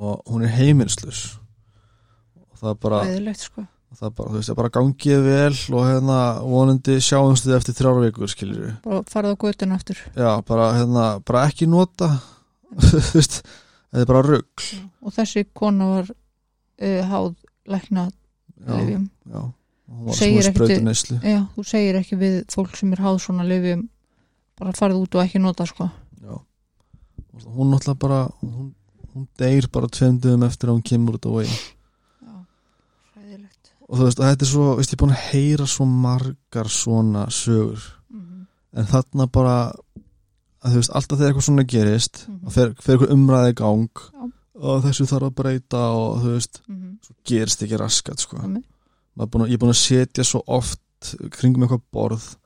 Speaker 2: og hún er heimilslus og það er bara,
Speaker 1: Æðilegt, sko
Speaker 2: það er bara, þú veist, það er bara gangið vel og hérna vonandi sjáumst þið eftir þrjár vikur skilur við
Speaker 1: Bara farið á götun aftur
Speaker 2: Já, bara, hérna, bara ekki nota (laughs) þú veist, þetta er bara rugg
Speaker 1: og þessi kona var uh, háð lækna
Speaker 2: já,
Speaker 1: lyfjum
Speaker 2: já. hún var
Speaker 1: Segir
Speaker 2: svona
Speaker 1: ekkert-
Speaker 2: sprautuneyslu
Speaker 1: Já, þú segir ekki við fólk sem er háð svona lyfjum bara farið út og ekki nota sko
Speaker 2: já. hún náttúrulega bara hún, hún deyr bara tveimdum eftir að hún kemur út á vegi
Speaker 1: Já, sæðilegt
Speaker 2: og þú veist, og þetta er svo, veist, ég er búin að heyra svo margar svona sögur
Speaker 1: mm
Speaker 2: en þarna bara að þú veist, alltaf þegar eitthvað svona gerist mm
Speaker 1: Mhm.
Speaker 2: -hmm. fer, fer eitthvað umræði í gang
Speaker 1: Já.
Speaker 2: og þessu þarf að breyta og þú veist,
Speaker 1: -hmm.
Speaker 2: gerist ekki raskat sko.
Speaker 1: Nei.
Speaker 2: Maður er búinn að- ég er búin að setja svo oft kringum eitthvað borð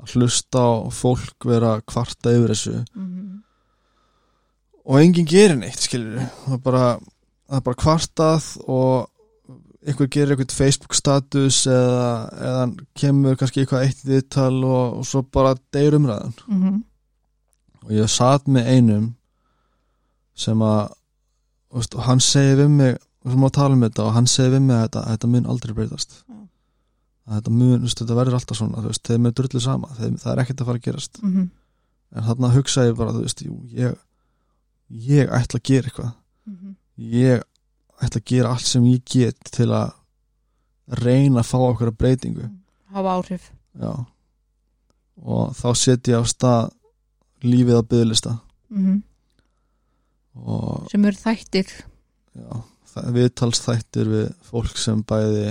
Speaker 2: að hlusta á fólk vera að kvarta yfir þessu
Speaker 1: Mhm.
Speaker 2: og enginn gerir neitt skilur það er bara, það er bara kvartað og einhver gerir eitthvað Facebook status eða, eða kemur kannski eitthvað eitt viðtal og, og svo bara deyr umræðan
Speaker 1: Mhm.
Speaker 2: og ég satt með einum sem að þú veist, og hann segi við mig við erum að tala um þetta og hann segi við mig að þetta, að þetta mun aldrei breytast
Speaker 1: Já.
Speaker 2: að þetta mun, þú veist, þetta verður alltaf svona þú veist, þeim er drullu sama, þeim, það er ekkert að fara að gerast
Speaker 1: -hmm.
Speaker 2: en þarna hugsa ég bara, þú veist jú, ég, ég ætla að gera eitthvað
Speaker 1: Mhm.
Speaker 2: ég ætla að gera allt sem ég get til að reyna að fá okkur að breytingu
Speaker 1: hafa áhrif
Speaker 2: já og þá setja ég á stað lífið á byggðlista
Speaker 1: mm
Speaker 2: og
Speaker 1: sem eru þættir
Speaker 2: Já, það er viðtalsþættir við fólk sem bæði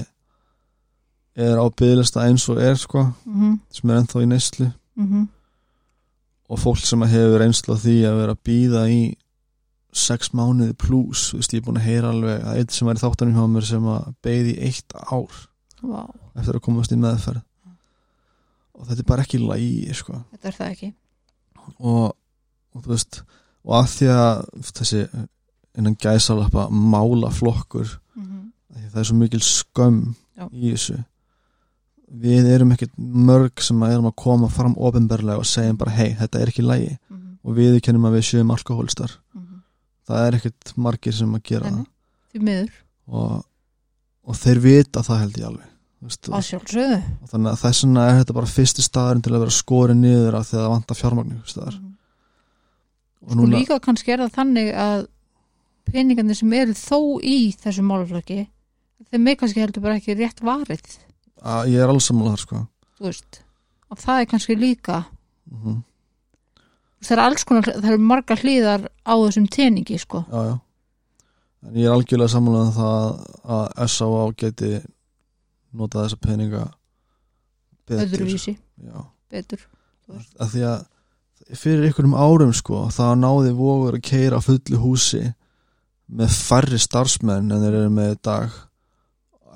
Speaker 2: er á byggðlista eins og er sko,
Speaker 1: mm -hmm.
Speaker 2: sem er ennþá í neyslu
Speaker 1: Mhm.
Speaker 2: og fólk sem hefur reynslu á því að vera að býða í sex mánuði pluss, þú veist, ég er búin að heyra alveg að eitt sem er í þáttanum hjá mér sem að beigði í eitt ár
Speaker 1: Vá,
Speaker 2: eftir að komast í meðferð og þetta er bara ekki lægi sko.
Speaker 1: þetta er það ekki
Speaker 2: og, og þú veist og að því að þessi innan gæsalappa málaflokkur
Speaker 1: mm -hmm.
Speaker 2: Af því það er svo mikil skömm
Speaker 1: Já.
Speaker 2: í þessu Þú við erum ekkert mörg sem að erum að koma fram ofinberlega og segjum bara hei, þetta er ekki lægi
Speaker 1: Mhm,
Speaker 2: og við kennum að við séum alkohólistar
Speaker 1: mhm.
Speaker 2: það er ekkert margir sem að gera
Speaker 1: Nei, því miður,
Speaker 2: það og, og þeir vita það held ég alveg þú veist,
Speaker 1: að
Speaker 2: og,
Speaker 1: sjálfsögðu
Speaker 2: og þannig að þess vegna er þetta bara fyrsti staðurinn til að vera skorið niður af því að það vantar fjármagn einhvers staðar.
Speaker 1: Mhm.
Speaker 2: og
Speaker 1: og
Speaker 2: núna,
Speaker 1: líka kannski er það þannig að peningarnir sem eru þó í þessu málaflöki þeim er kannski heldur bara ekki rétt varið
Speaker 2: að, ég er alls sammála þar sko
Speaker 1: þú veist, og það er kannski líka
Speaker 2: mm
Speaker 1: það er alls konar, það eru margar hlýðar á þessum teningi sko
Speaker 2: já, já. En ég er algjörlega sammála um það að S.A.A. geti notað þessa peninga betur.
Speaker 1: öðruvísi,
Speaker 2: Já,
Speaker 1: betur
Speaker 2: að því að fyrir einhverjum árum sko, það náði vogur að keira á fullu húsi með færri starfsmenn en þeir eru með í dag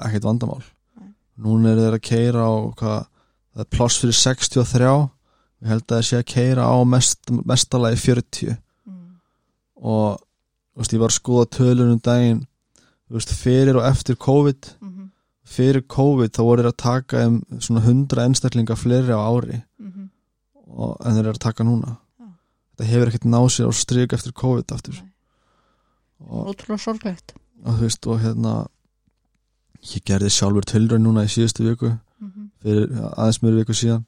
Speaker 2: ekkert vandamál.
Speaker 1: Nei.
Speaker 2: Núna eru þeir að keira á hvað, það er pláss fyrir 63 ég held að það sé að keira á mest, mestalagi 40
Speaker 1: mm.
Speaker 2: og þú veist, ég var að skoða tölur um daginn þú veist, fyrir og eftir COVID
Speaker 1: Mm
Speaker 2: fyrir COVID þá voru þeir að taka um svona 100 einstaklinga fleiri á ári
Speaker 1: -hmm.
Speaker 2: og, en þeir eru að taka núna
Speaker 1: Já.
Speaker 2: þetta hefur ekkert náð sér á strik eftir COVID aftur
Speaker 1: Nei.
Speaker 2: og,
Speaker 1: ótrúlega sorglegt
Speaker 2: og þú veist, og hérna ég gerði sjálfur tölur núna í síðustu viku
Speaker 1: mm -hmm.
Speaker 2: fyrir aðeins mjög viku síðan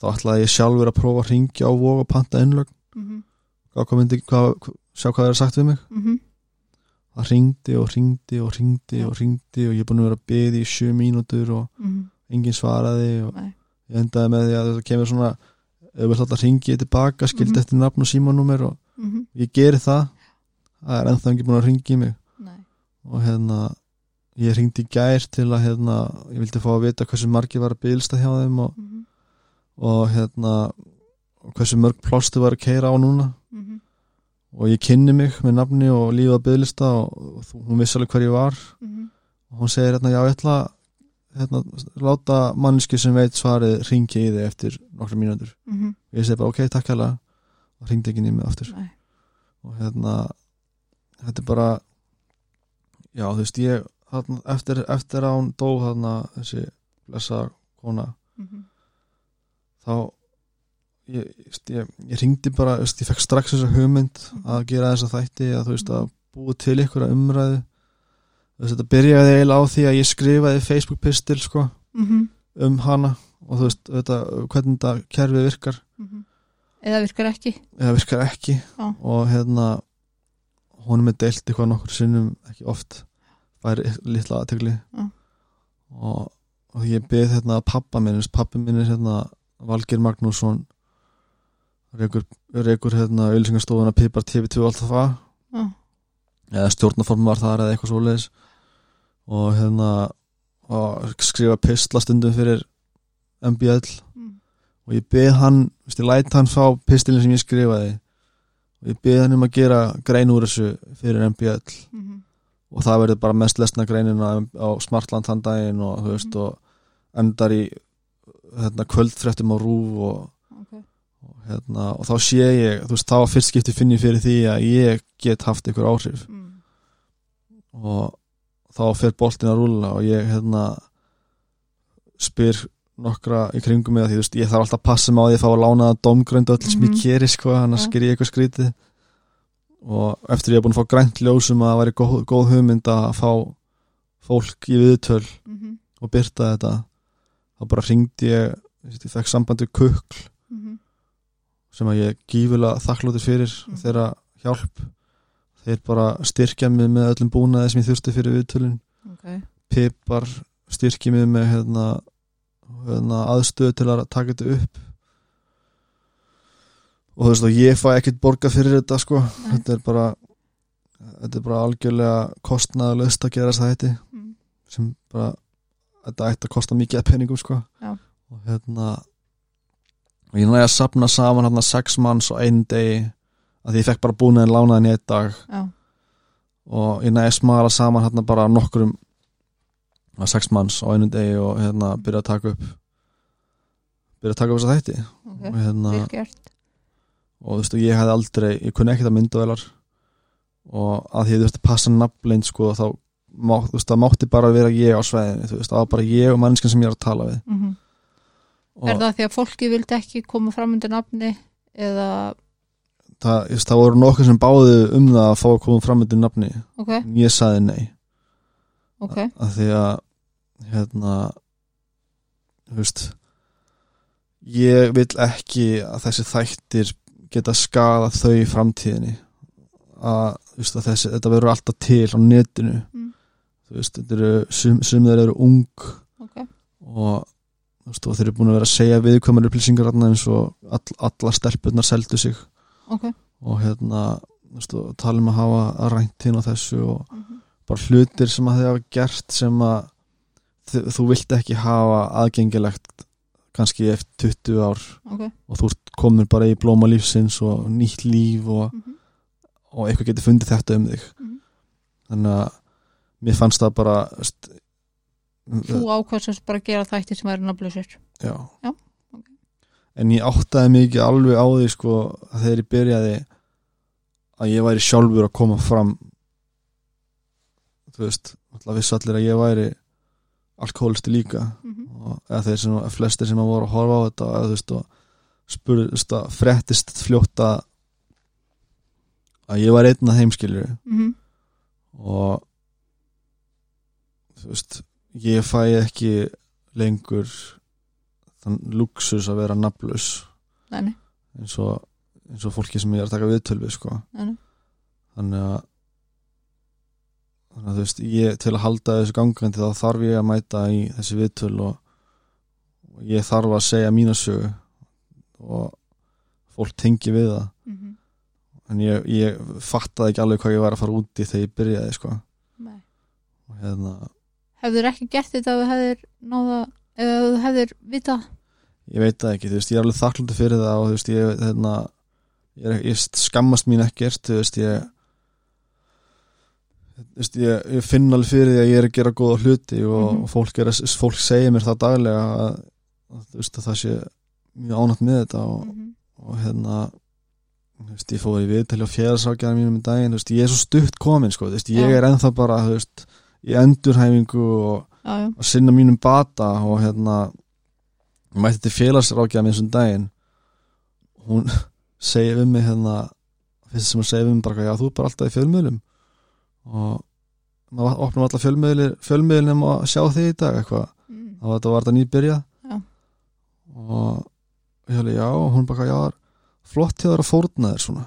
Speaker 2: þá ætlaði ég sjálfur að prófa að ringja á vog og panta innlögn
Speaker 1: Mm
Speaker 2: Hvað kom myndi- hvað- sjá hvað þeir að sagt við mig það ringdi og ringdi og ringdi og ringdi og ég er búin að vera að byði í sjö mínútur og enginn svaraði og
Speaker 1: Nei.
Speaker 2: ég endaði með því að þetta kemur svona ef við alltaf ringi tilbaka, skildi
Speaker 1: Mhm.
Speaker 2: eftir nafn og símanúmer og ég geri það það er ennþá enginn búin að ringi mig
Speaker 1: Nei.
Speaker 2: og hérna ég ringdi í gær til að hérna ég vildi fá að vita hversu margir var að bylsta hjá þeim og,
Speaker 1: Mm -hmm.
Speaker 2: og hérna og hversu mörg plástu var að keira á núna
Speaker 1: Mm -hmm.
Speaker 2: og ég kynni mig með nafni og lífið að bylsta og, og þú- hún vissi alveg hver ég var og hún segir hérna, já ég ætla að, hérna, láta manneski sem veit svarið ringi í þig eftir nokkra mínútur og ég segi bara ok, takk hella og ringdi ekki nými aftur
Speaker 1: Nei.
Speaker 2: og hérna, þetta er bara já þú veist ég þarna, eftir, eftir að hún dó þarna þessi blessa kona
Speaker 1: Mhm.
Speaker 2: þá ég, ég, veist, ég, ég ringdi bara, þú veist, ég fekk strax þessa hugmynd að gera þessa þætti að þú veist að búi til ykkur að umræðu þú veist, þetta byrjaði eiginlega á því að ég skrifaði Facebook pistil sko
Speaker 1: Mhm.
Speaker 2: um hana og þú veist, þetta, hvernig þetta kerfið virkar
Speaker 1: Mhm. eða virkar ekki
Speaker 2: eða virkar ekki
Speaker 1: Já.
Speaker 2: og hérna honum er deilt eitthvað nokkur sinnum ekki oft, bara litla aðtegli
Speaker 1: Já.
Speaker 2: og, og ég byrð hérna að pappa minnins pappi minnins hérna Valgir Magnússon rekur, rekur hérna auðlýsingastofuna Pipar TV2 alltaf það
Speaker 1: Já.
Speaker 2: eða stjórnaform var þar eða eitthvað svoleiðis og hérna og skrifa pistla stundum fyrir MBL
Speaker 1: Mm.
Speaker 2: og ég beð hann, veist, ég læt hann fá pistilin sem ég skrifaði og ég beð hann um að gera grein úr þessu fyrir MBL
Speaker 1: Mhm.
Speaker 2: og það verður bara mest lesna greinin á, á Smartland þann daginn og, þú veist, og endar í hérna, kvöldfréttum á rúf og,
Speaker 1: Ok.
Speaker 2: og, hérna, og þá sé ég, þú veist, þá var fyrst skipti finn ég fyrir því að ég get haft ykkur áhrif
Speaker 1: Mm.
Speaker 2: og þá fer boltin að rúla og ég hérna spyr nokkra í kringum mig að því, þú veist, ég þarf alltaf að passa mig á því að fá að lána það domgröndu öll sem ég
Speaker 1: Mhm.
Speaker 2: keri sko, hann að
Speaker 1: Ja.
Speaker 2: skýri ég eitthvað skrítið og eftir ég er búin að fá grænt ljósum að það væri góð, góð hugmynd að fá fólk í viðtöl
Speaker 1: Mhm.
Speaker 2: og byrta þetta þá bara hringdi ég, þú veist, ég fekk sambandi kukl
Speaker 1: Mhm.
Speaker 2: sem að ég er gífulega þakklótið fyrir
Speaker 1: Mhm.
Speaker 2: þeirra hjálp þeir bara styrkja mig með öllum búnaði sem ég þurfti fyrir viðtölin
Speaker 1: Ok.
Speaker 2: pipar styrki mig með hérna, hérna, aðstöðu til að taka þetta upp og þú veist og ég fæ ekkert borga fyrir þetta sko
Speaker 1: Nei.
Speaker 2: þetta er bara þetta er bara algjörlega kostnaðalöst að gera þetta
Speaker 1: Mm.
Speaker 2: sem bara þetta ætti að kosta mikið að penningum sko
Speaker 1: Já.
Speaker 2: og hérna og ég næði að sapna saman hérna sex manns á einn degi að því ég fekk bara búnaðin lánaðin í einn dag
Speaker 1: Já.
Speaker 2: og ég næði að smala saman hérna bara nokkrum að sex manns á einu degi og hérna byrja að taka upp byrja að taka upp þess að þætti
Speaker 1: Ok.
Speaker 2: og hérna
Speaker 1: Vel gert.
Speaker 2: og þú veist og ég hefði aldrei, ég kunni ekkert að mynda velar og að því ég þurfti að passa nafnleind sko þá má, þú veist, það mátti bara vera ég á sveðinu þú veist, það var bara ég og mannskan sem ég er að tala við
Speaker 1: mm
Speaker 2: og
Speaker 1: Er það því að fólki vildi ekki koma fram undir nafni eða,
Speaker 2: það, þú veist, það voru nokkuð sem báðu um það að fá að koma fram undir nafni
Speaker 1: ok,
Speaker 2: en ég saði nei
Speaker 1: ok
Speaker 2: að því að hérna þú veist ég vil ekki að þessi þættir geta skada þau í framtíðinni að, þú veist, að þessi, þetta verður alltaf til á netinu
Speaker 1: Mm.
Speaker 2: þú veist, þetta eru sum, sum þeir eru ung
Speaker 1: Ok.
Speaker 2: og þú veist, og þeir eru búin að vera að segja viðkvæmari upplýsingar þarna eins og all, alla stelpurnar seldu sig
Speaker 1: Ok,
Speaker 2: og hérna, þú veist, og tala um að hafa að rænt hinn á þessu og
Speaker 1: Mhm.
Speaker 2: bara hlutir sem að þið hafa gert sem að þi- þú vilt ekki hafa aðgengilegt kannski eftir 20 ár
Speaker 1: ok
Speaker 2: og þú ert komin bara í blóma lífsins og nýtt líf og,
Speaker 1: Mhm.
Speaker 2: og eitthvað getur fundið þetta um þig
Speaker 1: Mhm.
Speaker 2: þannig að mér fannst það bara st,
Speaker 1: Þú ákvæmst að bara gera þættir sem eru nafnlausir
Speaker 2: já.
Speaker 1: Já, ok.
Speaker 2: en ég áttaði mig ekki alveg á því sko að þegar ég byrjaði að ég væri sjálfur að koma fram þú veist alltaf vissi allir að ég væri alkoholisti líka
Speaker 1: mm -hmm.
Speaker 2: og eða þeir sem, eða flestir sem að voru að horfa á þetta eða þú veist og spurðist að frettist fljótt að að ég var einn að heimskilju
Speaker 1: Mhm.
Speaker 2: og þú veist ég fæ ekki lengur þann luxus að vera nafnlaus
Speaker 1: Nei, nei,
Speaker 2: eins og, eins og fólki sem ég er að taka viðtölu við sko
Speaker 1: nei, nei.
Speaker 2: þannig að þannig að þú veist ég til að halda þessu gangandi þá þarf ég að mæta í þessi viðtöl og, og ég þarf að segja mína sögu og fólk tengi við það
Speaker 1: Mm -hmm.
Speaker 2: en ég, ég fattaði ekki alveg hvað ég var að fara út í þegar ég byrjaði sko
Speaker 1: nei.
Speaker 2: og hérna,
Speaker 1: Hefður ekki gert þetta ef þú hefðir náða eða ef þú hefðir vitað
Speaker 2: ég veit það ekki þú veist ég er alveg þakklúti fyrir það og þú veist ég, hérna, ég, er, ég skammast mín ekkert þú veist ég þú veist, ég, ég finn alveg fyrir því að ég er að gera góða hluti og,
Speaker 1: Mhm.
Speaker 2: og fólk, er, að- fólk segir mér það daglega að, að, þú veist, að það sé mjög ánætt með þetta og,
Speaker 1: mm
Speaker 2: og hérna þú veist, ég fór í viðtali á fjæðarsákjara mínum í daginn, þú veist, ég er svo stutt komin sko, þú veist, ég
Speaker 1: Já.
Speaker 2: er ennþá bara þú veist, í endurhæfingu og
Speaker 1: Já, já,
Speaker 2: að sinna mínum bata og hérna ég mætti til félagsrákjaða minn sem daginn hún (laughs) segir við mig hérna fyrst sem hún segir við mig bara já þú er bara alltaf í fjölmiðlum og maður opnum alla fjölmiðli fjölmiðlum um að sjá þig í dag eitthvað
Speaker 1: mm.
Speaker 2: þá var þetta var þetta nýbyrja
Speaker 1: Já.
Speaker 2: og ég hefði já og hún bara já flott hjá þér að fórna þér svona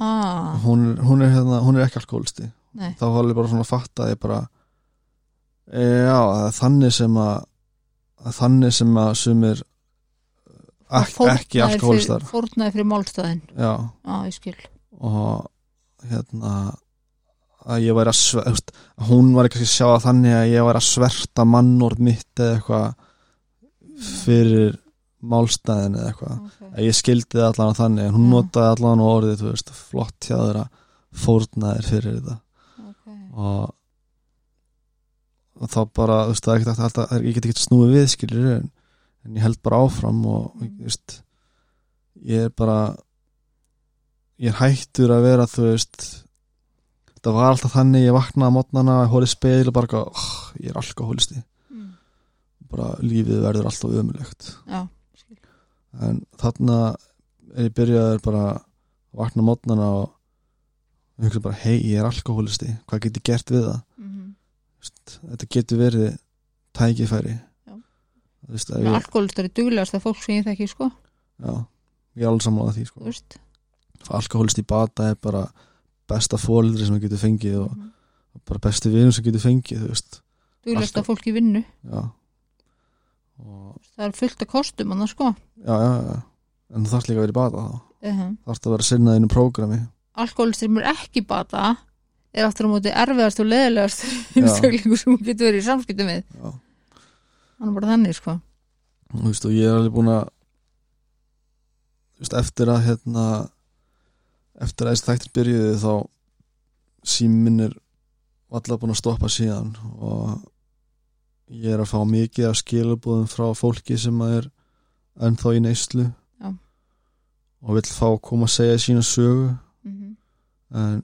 Speaker 1: ah,
Speaker 2: hún er, hún er, hérna, hún er ekki alkoholisti
Speaker 1: Nei.
Speaker 2: þá var alveg bara svona að fatta að ég bara e, já, það er þannig sem að, að þannig sem að sumir ek, ekki alkoholistar
Speaker 1: Fórnaði fyrir málstæðin
Speaker 2: já,
Speaker 1: Já, ég skil
Speaker 2: og hérna að ég væri að sverta að hún var ekki að sjá það þannig að ég væri að sverta mannorð mitt eða eitthvað fyrir málstæðin eða eitthvað
Speaker 1: okay.
Speaker 2: að ég skildi það allan að þannig en hún
Speaker 1: Já.
Speaker 2: notaði allan á orðið, þú veist flott hjá þeirra fórnaðir fyrir þetta
Speaker 1: Okay.
Speaker 2: og, og þá bara, þú veist, það er ekki alltaf, alltaf ég get ekki snúið við, skilur en, en ég held bara áfram og,
Speaker 1: Mm.
Speaker 2: þú veist ég er bara ég er hættur að vera, þú veist þetta var alltaf þannig ég vaknaði á mótnana, horið speil og bara, eitthvað, oh, ég er alkoholisti
Speaker 1: Mm.
Speaker 2: bara lífið verður alltaf ömulegt
Speaker 1: Já, skil
Speaker 2: en þarna er ég byrjaður bara að vakna mótnana og ég hugsa bara, hei, ég er alkoholisti hvað get ég gert við það? Mhm.
Speaker 1: mm
Speaker 2: Veist, þetta getur verið tækifæri
Speaker 1: Já.
Speaker 2: Þú veist, að
Speaker 1: -hmm.
Speaker 2: ég,
Speaker 1: Alkoholistar er duglegast að fólk sem ég þekki sko,
Speaker 2: já, ég er alveg sammála því
Speaker 1: þú
Speaker 2: sko.
Speaker 1: veist
Speaker 2: alkoholist í bata er bara besta fóliðri sem þú getur fengið og
Speaker 1: Mhm.
Speaker 2: bara besti vinur sem þú getur fengið þú veist,
Speaker 1: Duglegast
Speaker 2: Alltaf.
Speaker 1: að fólk í vinnu
Speaker 2: já og,
Speaker 1: Það er fullt af kostum annars sko
Speaker 2: já, já, já en þú þarft líka að vera í bata þá
Speaker 1: uh -huh.
Speaker 2: þarft að vera að sinna þínu prógrami
Speaker 1: Alkoholistar mér ekki bata er aftur á móti erfiðast og leðilegast (laughs)
Speaker 2: Já.
Speaker 1: einstaklingu sem hún getur verið í samskiptum við
Speaker 2: já.
Speaker 1: Hann er bara þannig sko
Speaker 2: þú veist, og ég er alveg búin að þú veist, eftir að hérna, eftir að þessi þættir byrjuði þá síminn er allar búin að stoppa síðan og ég er að fá mikið af skilabúðum frá fólki sem að er ennþá í neyslu
Speaker 1: Já.
Speaker 2: og vill fá að koma að segja sína sögu
Speaker 1: mm
Speaker 2: en,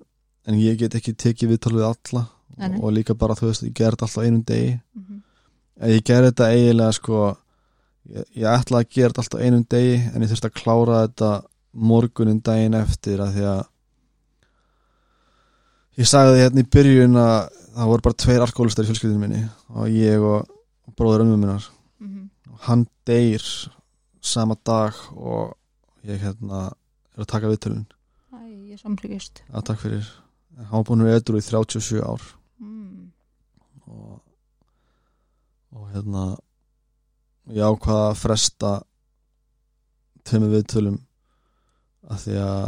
Speaker 2: en ég get ekki tekið viðtal við alla
Speaker 1: Nei, nei.
Speaker 2: og líka bara þú veist, ég gerði þetta alltaf á einum degi
Speaker 1: Mhm.
Speaker 2: En ég gerði þetta eiginlega sko ég, ég ætla að gera þetta alltaf á einum degi en ég þurfti að klára þetta morgunin daginn eftir að því að ég sagði hérna í byrjun að það voru bara tveir alkoholistar í fjölskyldinu minni og ég og, og bróður ömmu minnar
Speaker 1: Mhm.
Speaker 2: og hann deyr sama dag og ég hérna er að taka viðtölun
Speaker 1: Æ, ég samlíkist
Speaker 2: að takk fyrir En hann var búin að vera edru í 37 ár
Speaker 1: mm.
Speaker 2: og, og hérna ég ákvaða að fresta tveimur viðtölum af því að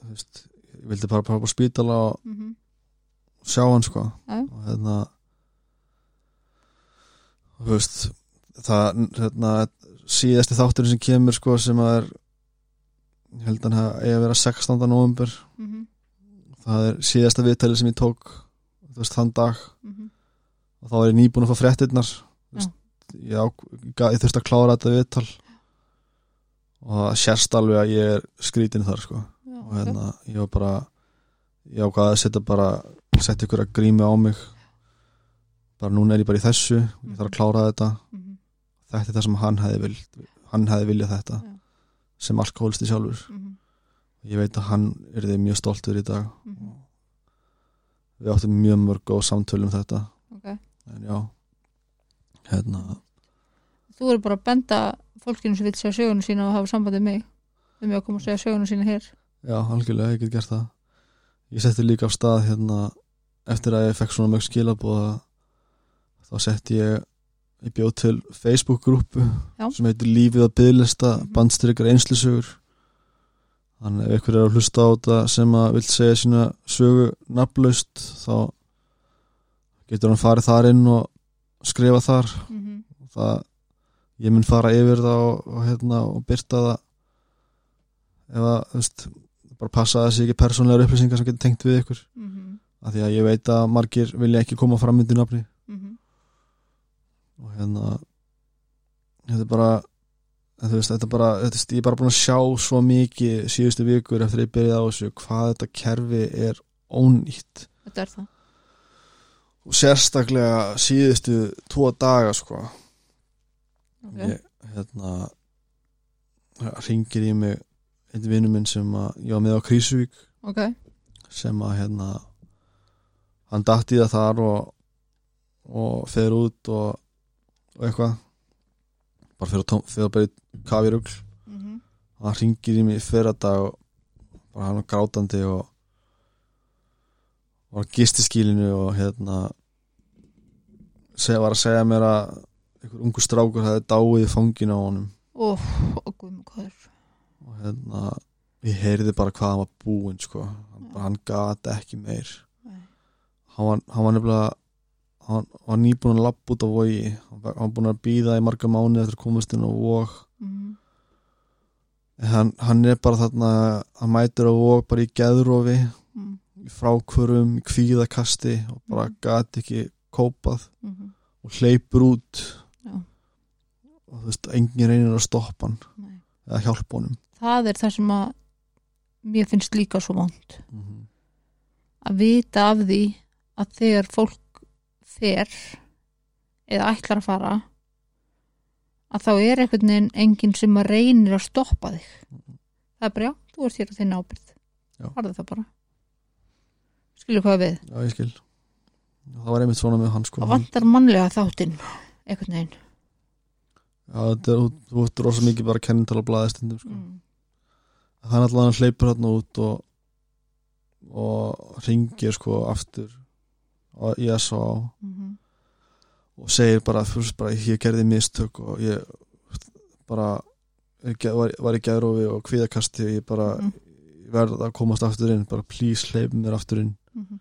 Speaker 2: þú veist, ég vildi bara bara á spítala og
Speaker 1: Mm -hmm.
Speaker 2: sjá hann sko
Speaker 1: Já.
Speaker 2: og hérna og þú veist það hérna síðasti þátturinn sem kemur sko sem að er ég held að hann hafi- eigi að vera 16. november
Speaker 1: Mm
Speaker 2: það er síðasta viðtalið sem ég tók þú veist þann dag
Speaker 1: mhm.
Speaker 2: og þá var ég nýbúin að fá fréttirnar Þú veist, ég, ák- ga- ég þurfti að klára þetta viðtal og það sérst alveg að ég er skrítin þar sko
Speaker 1: Já,
Speaker 2: og hérna ég var bara ég ákvaði að setja bara setja ykkur að grími á mig bara núna er ég bara í þessu ég þarf að klára þetta,
Speaker 1: Mhm.
Speaker 2: þetta er það sem hann hefði viljað hann hefði viljað þetta
Speaker 1: Já.
Speaker 2: sem alkoholisti sjálfur
Speaker 1: Mhm.
Speaker 2: ég veit að hann er þið mjög stoltur í dag
Speaker 1: Mhm.
Speaker 2: við áttum mjög mörg góð samtölu um þetta
Speaker 1: Ok.
Speaker 2: en já hérna,
Speaker 1: Þú eru bara að benda fólkinu sem vil segja sögunu sína og hafa sambandið mig um ég að koma að segja sögunu sína hér
Speaker 2: já, algjörlega ég get gert það ég setti líka af stað hérna eftir að ég fekk svona mörg skilabóð þá setti ég ég bjóð til Facebook-grúpu
Speaker 1: Já.
Speaker 2: sem heitir Lífið að byðlista
Speaker 1: Mhm.
Speaker 2: bandstrykkar einslisögur þannig ef ykkur er að hlusta á þetta sem að vill segja sína sögu nafnlaust þá getur hann farið þar inn og skrifa þar
Speaker 1: mm
Speaker 2: Mhm,
Speaker 1: -hmm.
Speaker 2: það ég mun fara yfir það og, og hérna og byrta það ef að, þú veist, bara passa að það sé ekki persónlegar upplýsingar sem getur tengt við ykkur
Speaker 1: Mm -hmm.
Speaker 2: af því að ég veit að margir vilja ekki koma fram undir nafni
Speaker 1: mhm,
Speaker 2: og hérna þetta er bara en þú veist, þetta er bara, þetta, er- ég er bara búin að sjá svo mikið síðustu vikur eftir að ég byrjaði á þessu hvað þetta kerfi er ónýtt
Speaker 1: Þetta er það
Speaker 2: og sérstaklega síðustu tvo daga sko
Speaker 1: okay.
Speaker 2: ég, hérna ringir í mig einn vinnu minn sem að ég var með á Krísuvík
Speaker 1: ok,
Speaker 2: sem að hérna hann datt í það þar og og fer út og, og eitthvað bara fyrir, tóm, fyrir bara í kafirugl
Speaker 1: mm -hmm.
Speaker 2: hann ringir í mig fyrir að dag og bara hann var grátandi og var á gistiskýlinu og hérna seg, var að segja mér að einhver ungu strákur hefði dáið í fanginu á honum
Speaker 1: og, og guðmur hvað
Speaker 2: og hérna ég heyrði bara hvað hann var búinn sko. hann, bara, hann gata ekki meir
Speaker 1: Nei.
Speaker 2: hann var, hann var nefnilega hann hann var nýbúin að labba út á vogi hann var- hann var búin að býða í marga mánu eftir að komast inn á vog
Speaker 1: mm
Speaker 2: En hann, hann er bara þarna hann mætir á vog bara í geðrofi
Speaker 1: -hmm.
Speaker 2: í frákvörum, í kvíðakasti og bara
Speaker 1: Mhm.
Speaker 2: gat ekki kópað
Speaker 1: Mm -hmm.
Speaker 2: og hleypur út
Speaker 1: Já.
Speaker 2: og þú veist, engin reynir að stoppa hann eða hjálpa honum
Speaker 1: það er það sem að mér finnst líka svo vond
Speaker 2: mm -hmm.
Speaker 1: að vita af því að þegar fólk fer eða ætlar að fara að þá er einhvern veginn enginn sem að reynir að stoppa þig það er bara já, þú ert hér að þinna ábyrð
Speaker 2: Mhm. Já.
Speaker 1: harðu það bara skilur hvað við,
Speaker 2: Já, ég skil Það var einmitt svona með hann sko
Speaker 1: það vantar mannlega þáttinn einhvern veginn
Speaker 2: Já, þetta er, þú- þú ert rosa mikið bara kennintala blaði stundum sko.
Speaker 1: mm.
Speaker 2: Hann allan hleypur hann út og og ringir sko aftur á ISO
Speaker 1: Mm
Speaker 2: og segir bara, fyrst bara ég gerði mistök og ég bara ég ge- var, var í geðrófi og kvíðakasti og ég bara
Speaker 1: Mhm.
Speaker 2: ég verð að komast aftur inn, bara please hleyp mér aftur inn
Speaker 1: Mm -hmm.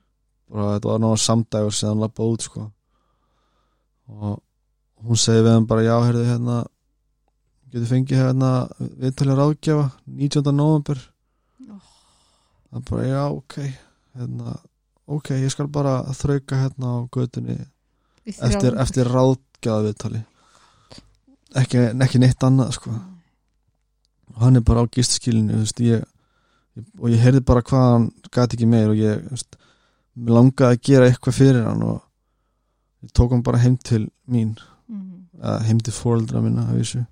Speaker 2: bara þetta var náttúrulega samdægur sem hann lappa út sko. og hún segi við hann bara já, heyrðu hérna getur fengið hérna viðtalið ráðgjafa 19. november
Speaker 1: Oh.
Speaker 2: hann bara já, ok hérna, ok, ég skal bara þrauka hérna á götunni eftir, eftir ráðgjafa viðtali ekki, ekki neitt annað sko. og hann er bara á gistskilinu veist, ég, ég, og ég heyrði bara hvað hann gæti ekki meir og ég þú veist, mér langaði að gera eitthvað fyrir hann og ég tók hann bara heim til mín
Speaker 1: mm.
Speaker 2: eða heim til fóreldra minna að vissu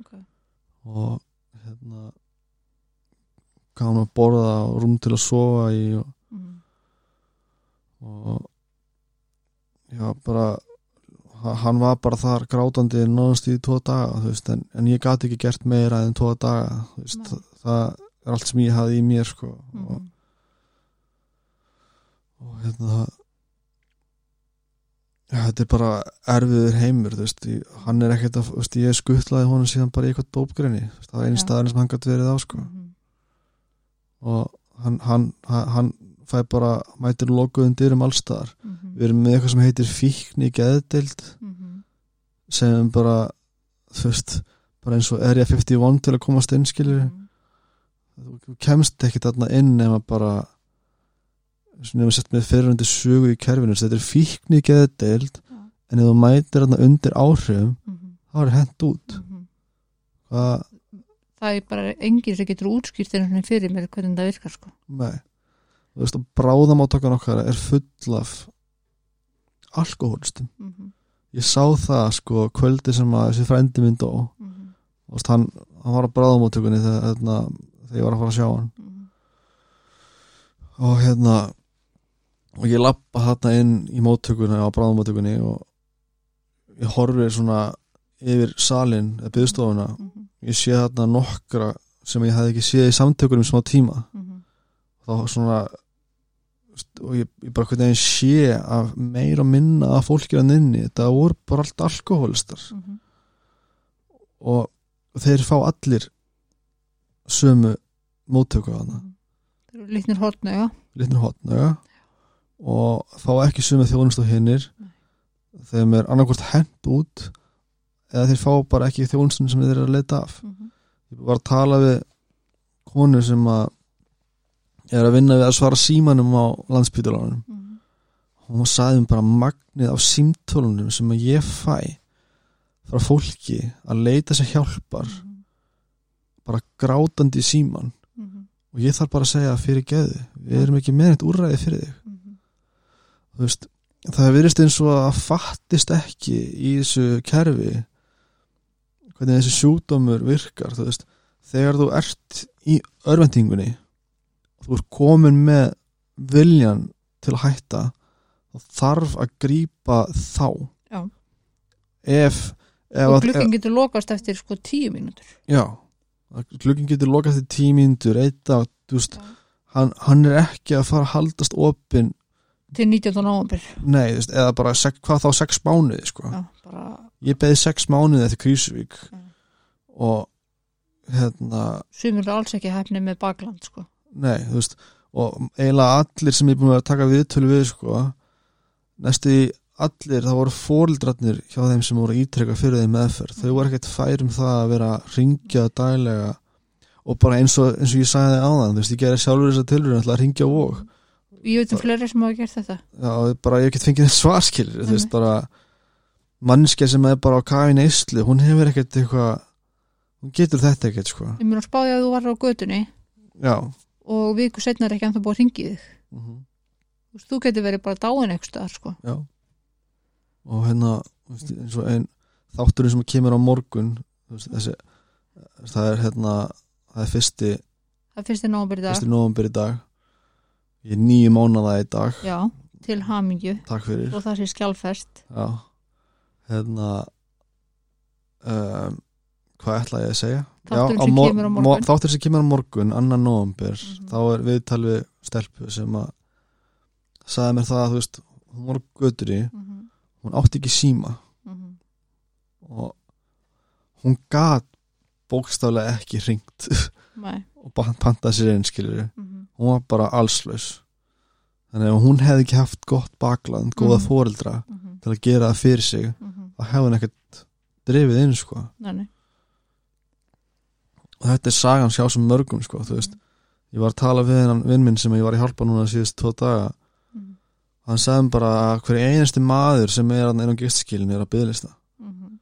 Speaker 1: Ok.
Speaker 2: og hérna gaf hann að borða og rúm til að sofa í og,
Speaker 1: Mm.
Speaker 2: og já bara ha- hann var bara þar grátandi nánast í tvo daga þú veist, en, en ég gat ekki gert meira en tvo daga þú veist,
Speaker 1: Nei.
Speaker 2: það er allt sem ég hafði í mér sko, og,
Speaker 1: Mm.
Speaker 2: og hérna já, þetta er bara erfiður heimur þú veist, ég, hann er ekkert að þú veist, ég skuttlaði honum síðan bara í eitthvað dópgrinni þú veist, það var einn
Speaker 1: Já.
Speaker 2: staðurinn sem hann gætt verið á sko.
Speaker 1: Mhm.
Speaker 2: og hann, hann, hann, hann fæ bara mætir lokuðum dyrum allstaðar
Speaker 1: Mhm.
Speaker 2: við erum með eitthvað sem heitir fíkn í geðdeild
Speaker 1: Mhm.
Speaker 2: sem bara þú veist, bara eins og er ég 51 til að komast inn skilur
Speaker 1: Mhm.
Speaker 2: þú kemst ekki þarna inn nema bara nema sett með fyrirhundi sögu í kerfinu þess að þetta er fíkn í geðdeild
Speaker 1: Já.
Speaker 2: en ef þú mætir þarna undir áhrifum
Speaker 1: Mhm.
Speaker 2: þá er hent út
Speaker 1: Mhm.
Speaker 2: það,
Speaker 1: það er bara enginn sem getur útskýrt einhvern veginn fyrir mér hvernig það virkar sko
Speaker 2: nei þú veist að bráðamáttakana okkar er full af alkohólistum
Speaker 1: Mhm.
Speaker 2: ég sá það sko kvöldi sem að þessi frændi minn dó
Speaker 1: Mhm.
Speaker 2: Þú veist, hann, hann var á bráðamáttökunni þegar, hérna, þegar ég var að fara að sjá hann
Speaker 1: Mhm.
Speaker 2: og hérna og ég lappa þarna inn í móttökunni á bráðumóttökunni og ég horfir svona yfir salin eða byggstofuna
Speaker 1: Mhm.
Speaker 2: ég sé þarna nokkra sem ég hafði ekki séð í samtökunum í smá tíma
Speaker 1: Mhm.
Speaker 2: þá svona og ég, ég bara hvernig sé að meira og minna að fólki að nynni þetta voru bara allt alkoholistar
Speaker 1: Mhm.
Speaker 2: og þeir fá allir sömu móttöku þarna
Speaker 1: Mhm. það eru litnir hortna já
Speaker 2: litnir hotnöga og fá ekki sumið þjónust á hinnir þeim er annarkvort hent út eða þeir fá bara ekki þjónustin sem þeir eru að leita af
Speaker 1: Mhm.
Speaker 2: ég var að tala við konu sem að er að vinna við að svara símanum á landspítulanum
Speaker 1: Mhm.
Speaker 2: hún sagði mér bara magnið af símtölunum sem að ég fæ frá fólki að leita sér hjálpar
Speaker 1: Mhm.
Speaker 2: bara grátandi í síman
Speaker 1: Mhm.
Speaker 2: og ég þarf bara að segja fyrir geðu við erum ekki með eitt úrræði fyrir þig
Speaker 1: Mhm.
Speaker 2: þú veist, það virðist eins og að fattist ekki í þessu kerfi hvernig þessi sjúkdómur virkar þú veist, þegar þú ert í örvendingunni þú ert komin með viljan til að hætta þá þarf að grípa þá
Speaker 1: Já.
Speaker 2: ef, ef
Speaker 1: og
Speaker 2: að-
Speaker 1: glukkin getur lokast eftir sko tíu mínútur
Speaker 2: Já, glugginn getur lokað til tímyndur, eitt dag, þú veist, hann, hann er ekki að fara að haldast opinn,
Speaker 1: til 19. november
Speaker 2: nei, þú veist, eða bara sek, hvað þá sex mánuði, sko.
Speaker 1: já, bara
Speaker 2: Ég beði sex mánuði eftir Krísuvík
Speaker 1: Já.
Speaker 2: og hérna,
Speaker 1: sumir eru alls ekki hefni með bakland sko
Speaker 2: nei, þú veist, og eiginlega allir sem ég er búin að vera að taka viðtölu við, sko, næstu í allir, það voru fóreldrarnir hjá þeim sem voru ítrekka fyrir þeim meðferð. Þau voru ekkert færum það að vera að ringja daglega og bara eins og, eins og ég sagði áðan, þú veist, ég gerði sjálfur þess að tilröðin ætla að ringja á vók.
Speaker 1: ég veit um fleiri sem hafa gert þetta
Speaker 2: Já, bara ég hef ekkert fengið svarskilur, þú veist,
Speaker 1: Einmitt.
Speaker 2: bara mannskja sem er bara á kafin eislu, hún hefur ekkert eitthvað, hún getur þetta ekkert, sko.
Speaker 1: ég mun að spáði að þú var á götunni
Speaker 2: Já. mhm,
Speaker 1: og viku setna er ekki ennþá búið að ringi þig Þú veist, þú getur verið bara dáin eitthvað staðar, sko
Speaker 2: Já. Og hérna, þú veist, eins og ein þátturinn sem kemur á morgun, þú veist, þessi, það er hérna, það er fyrsti,
Speaker 1: það finnst þið námið í dag
Speaker 2: fyrsti nóvumbir í dag. Ég er nýju mánada í dag,
Speaker 1: já, til hamingju
Speaker 2: takk fyrir.
Speaker 1: og það sé skjálfest
Speaker 2: Já. Hérna, um, hvað ætla ég að segja?
Speaker 1: Þátturinn
Speaker 2: Já,
Speaker 1: sem
Speaker 2: mor-
Speaker 1: kemur á
Speaker 2: mo-
Speaker 1: morgun.
Speaker 2: Þátturinn sem kemur á morgun, annan nóvumbir,
Speaker 1: Mhm.
Speaker 2: þá er viðtal við stelpu sem að sagði mér það að, þú veist, hún var göttur í,
Speaker 1: mm -hmm,
Speaker 2: hún átti ekki síma.
Speaker 1: mm -hmm.
Speaker 2: og hún gat bókstaflega ekki ringt
Speaker 1: Nei,
Speaker 2: (laughs) og pan- pantað sér einn skilur
Speaker 1: mm -hmm.
Speaker 2: hún var bara allslaus þannig að ef hún hefði ekki haft gott bakland, góða
Speaker 1: Mhm.
Speaker 2: fóreldra
Speaker 1: Mm -hmm.
Speaker 2: til að gera það fyrir sig
Speaker 1: Mm -hmm.
Speaker 2: þá hefði hún ekkert drifið inn sko.
Speaker 1: Nei, nei.
Speaker 2: og þetta er sagan sjá sem mörgum sko, þú veist, ég var að tala við hennan vinn minn sem ég var í hjálpa núna síðust tvo daga
Speaker 1: Mhm,
Speaker 2: hann sagði mér bara að hver einasti maður sem er hann inn á gistskilin er að byggðlista
Speaker 1: mhm,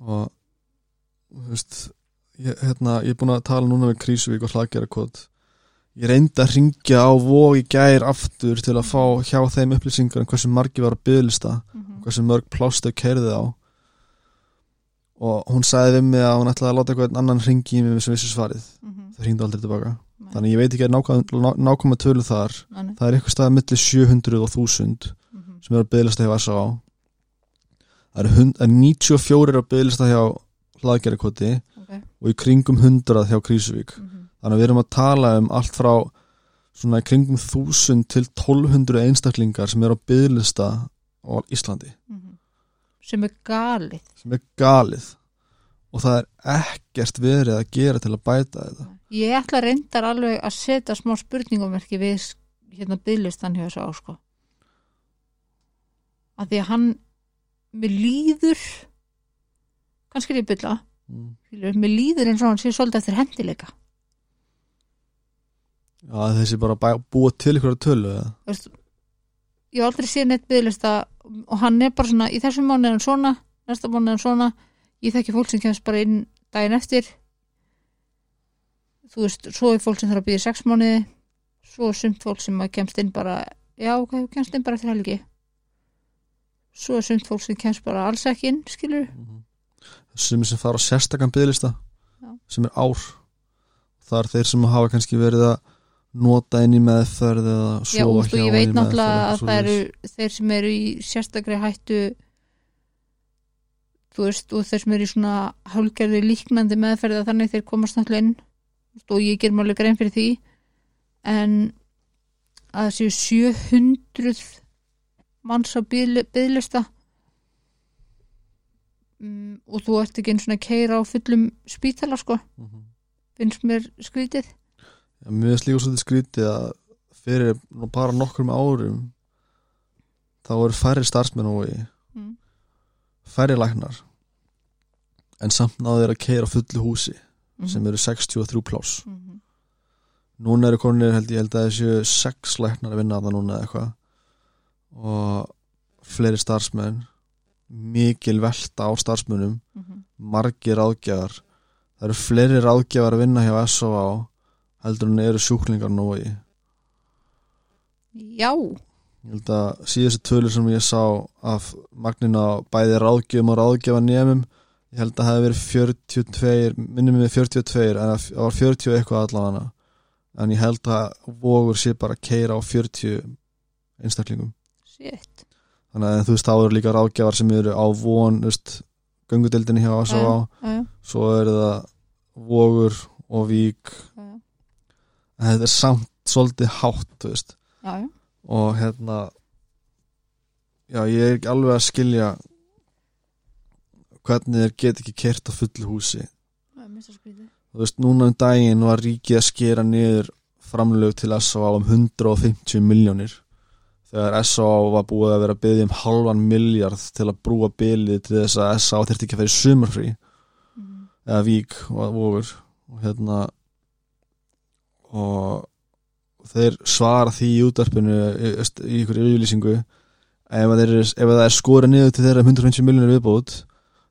Speaker 2: og þú veist ég, hérna, ég er búin að tala núna við Krísuvík og Hlagerakot ég reyndi að ringja á vói gær aftur til að fá hjá þeim upplýsingar um hversu margi var að byðlista
Speaker 1: Mhm.
Speaker 2: hversu mörg plástu kerði á og hún sagði við mig að hún ætlaði að láta eitthvað annan ringi í mig sem vissu svarið
Speaker 1: Mhm.
Speaker 2: það ringdi aldrei tilbaka
Speaker 1: Nei.
Speaker 2: þannig ég veit ekki að nákvæm, nákvæma tölu þar
Speaker 1: Þannig,
Speaker 2: það er eitthvað staðið milli 700 og 1000
Speaker 1: Mhm.
Speaker 2: sem eru að byðlista hjá SA það eru hund- það eru 94 að byðlista hjá hlaðgerðarkoti
Speaker 1: ok
Speaker 2: og í kringum 100 hjá Krísuvík
Speaker 1: Mhm.
Speaker 2: þannig að við erum að tala um allt frá svona í kringum 1000 til 1200 einstaklingar sem eru á byðlista á Íslandi
Speaker 1: Mhm. sem er galið
Speaker 2: sem er galið og það er ekkert verið að gera til að bæta þetta
Speaker 1: ég ætla reyndar alveg að setja smá spurningumerki við sk- hérna bygglistan hjá þessu ásko að því að hann mér líður kannski er ég að bylla
Speaker 2: mm.
Speaker 1: skilur, mér líður eins og hann sé svolítið eftir hendileika
Speaker 2: Já, þessi bara bæ, búa til ykkur tölu eða?
Speaker 1: Þú veist, ég hef aldrei séð neitt bygglista og hann er bara svona í þessum mánu er hann svona, næsta mánu er hann svona ég þekki fólk sem kemst bara inn daginn eftir þú veist, svo er fólk sem þarf að býða sex mánuði svo er sumt fólk sem að kemst inn bara já, ok, þú kemst inn bara eftir helgi svo er sumt fólk sem kemst bara alls ekki inn, skilur
Speaker 2: sem sem fara á sérstakann byðlista
Speaker 1: Já.
Speaker 2: sem er ár það er þeir sem hafa kannski verið að nota inn í meðferð eða
Speaker 1: já,
Speaker 2: sofa
Speaker 1: og sko,
Speaker 2: hjá
Speaker 1: ég
Speaker 2: inn í
Speaker 1: veit
Speaker 2: meðferð,
Speaker 1: náttúrulega
Speaker 2: eitthvað
Speaker 1: að það eru
Speaker 2: svoleiðis.
Speaker 1: þeir sem eru í sérstakri hættu þú veist, og þeir sem eru í svona hálgerði líknandi meðferða þannig þeir komast náttúrulega inn Þú veist, og ég ger máli grein fyrir því en að það séu 700 manns á byðlista mm, og þú ert ekki einn svona keira á fullum spítala sko,
Speaker 2: Mhm.
Speaker 1: finnst mér skrítið
Speaker 2: Já, Mér finnst líka svolítið skrítið að fyrir nú bara nokkrum árum þá voru færri starfsmenn og
Speaker 1: mm.
Speaker 2: færri læknar en samt náðu þeir að keira fullu húsi
Speaker 1: Mhm.
Speaker 2: sem eru 63 pláss
Speaker 1: mm -hmm.
Speaker 2: núna eru konir held ég held að þessu sex læknar að vinna að það núna eða eitthvað og fleiri starfsmenn mikil velta á starfsmennum
Speaker 1: Mm -hmm.
Speaker 2: margir ráðgjafar það eru fleiri ráðgjafar að vinna hjá SOA heldur en eru sjúklingar nú í
Speaker 1: já
Speaker 2: ég held að síðustu tölur sem ég sá af magninu á bæði ráðgjöfum og ráðgjöfa nefnum ég held að það hefði verið 42 minnum við 42 en það það var 40 eitthvað allavega en ég held að vogur sé bara að keira á 40 einstaklingum
Speaker 1: Sitt.
Speaker 2: þannig að þú veist þá eru líka ráðgjafar sem eru á von þú veist, göngudeldinni hjá SOA
Speaker 1: Já, já,
Speaker 2: svo eru það vogur og vík
Speaker 1: já, já.
Speaker 2: en þetta er samt svolítið hátt þú veist
Speaker 1: já, já.
Speaker 2: og hérna já, ég er ekki alveg að skilja hvernig þeir get ekki kert á fullu húsi
Speaker 1: Það er mest að skrítið.
Speaker 2: þú veist, núna um daginn var ríkið að skera niður framlög til S.A.A. um 150 miljónir þegar S.A.A. var búið að vera að byggja um halvan miljard til að brúa bylið til þess að S.A.A. þyrfti ekki að fara í sumarfrí
Speaker 1: Mm.
Speaker 2: eða vík og vogur og hérna og þeir svara því í útarpinu í, í ykkur yfirlýsingu ef, að þeir, eru- ef það er skora niður til þeirra 150 miljonir viðbót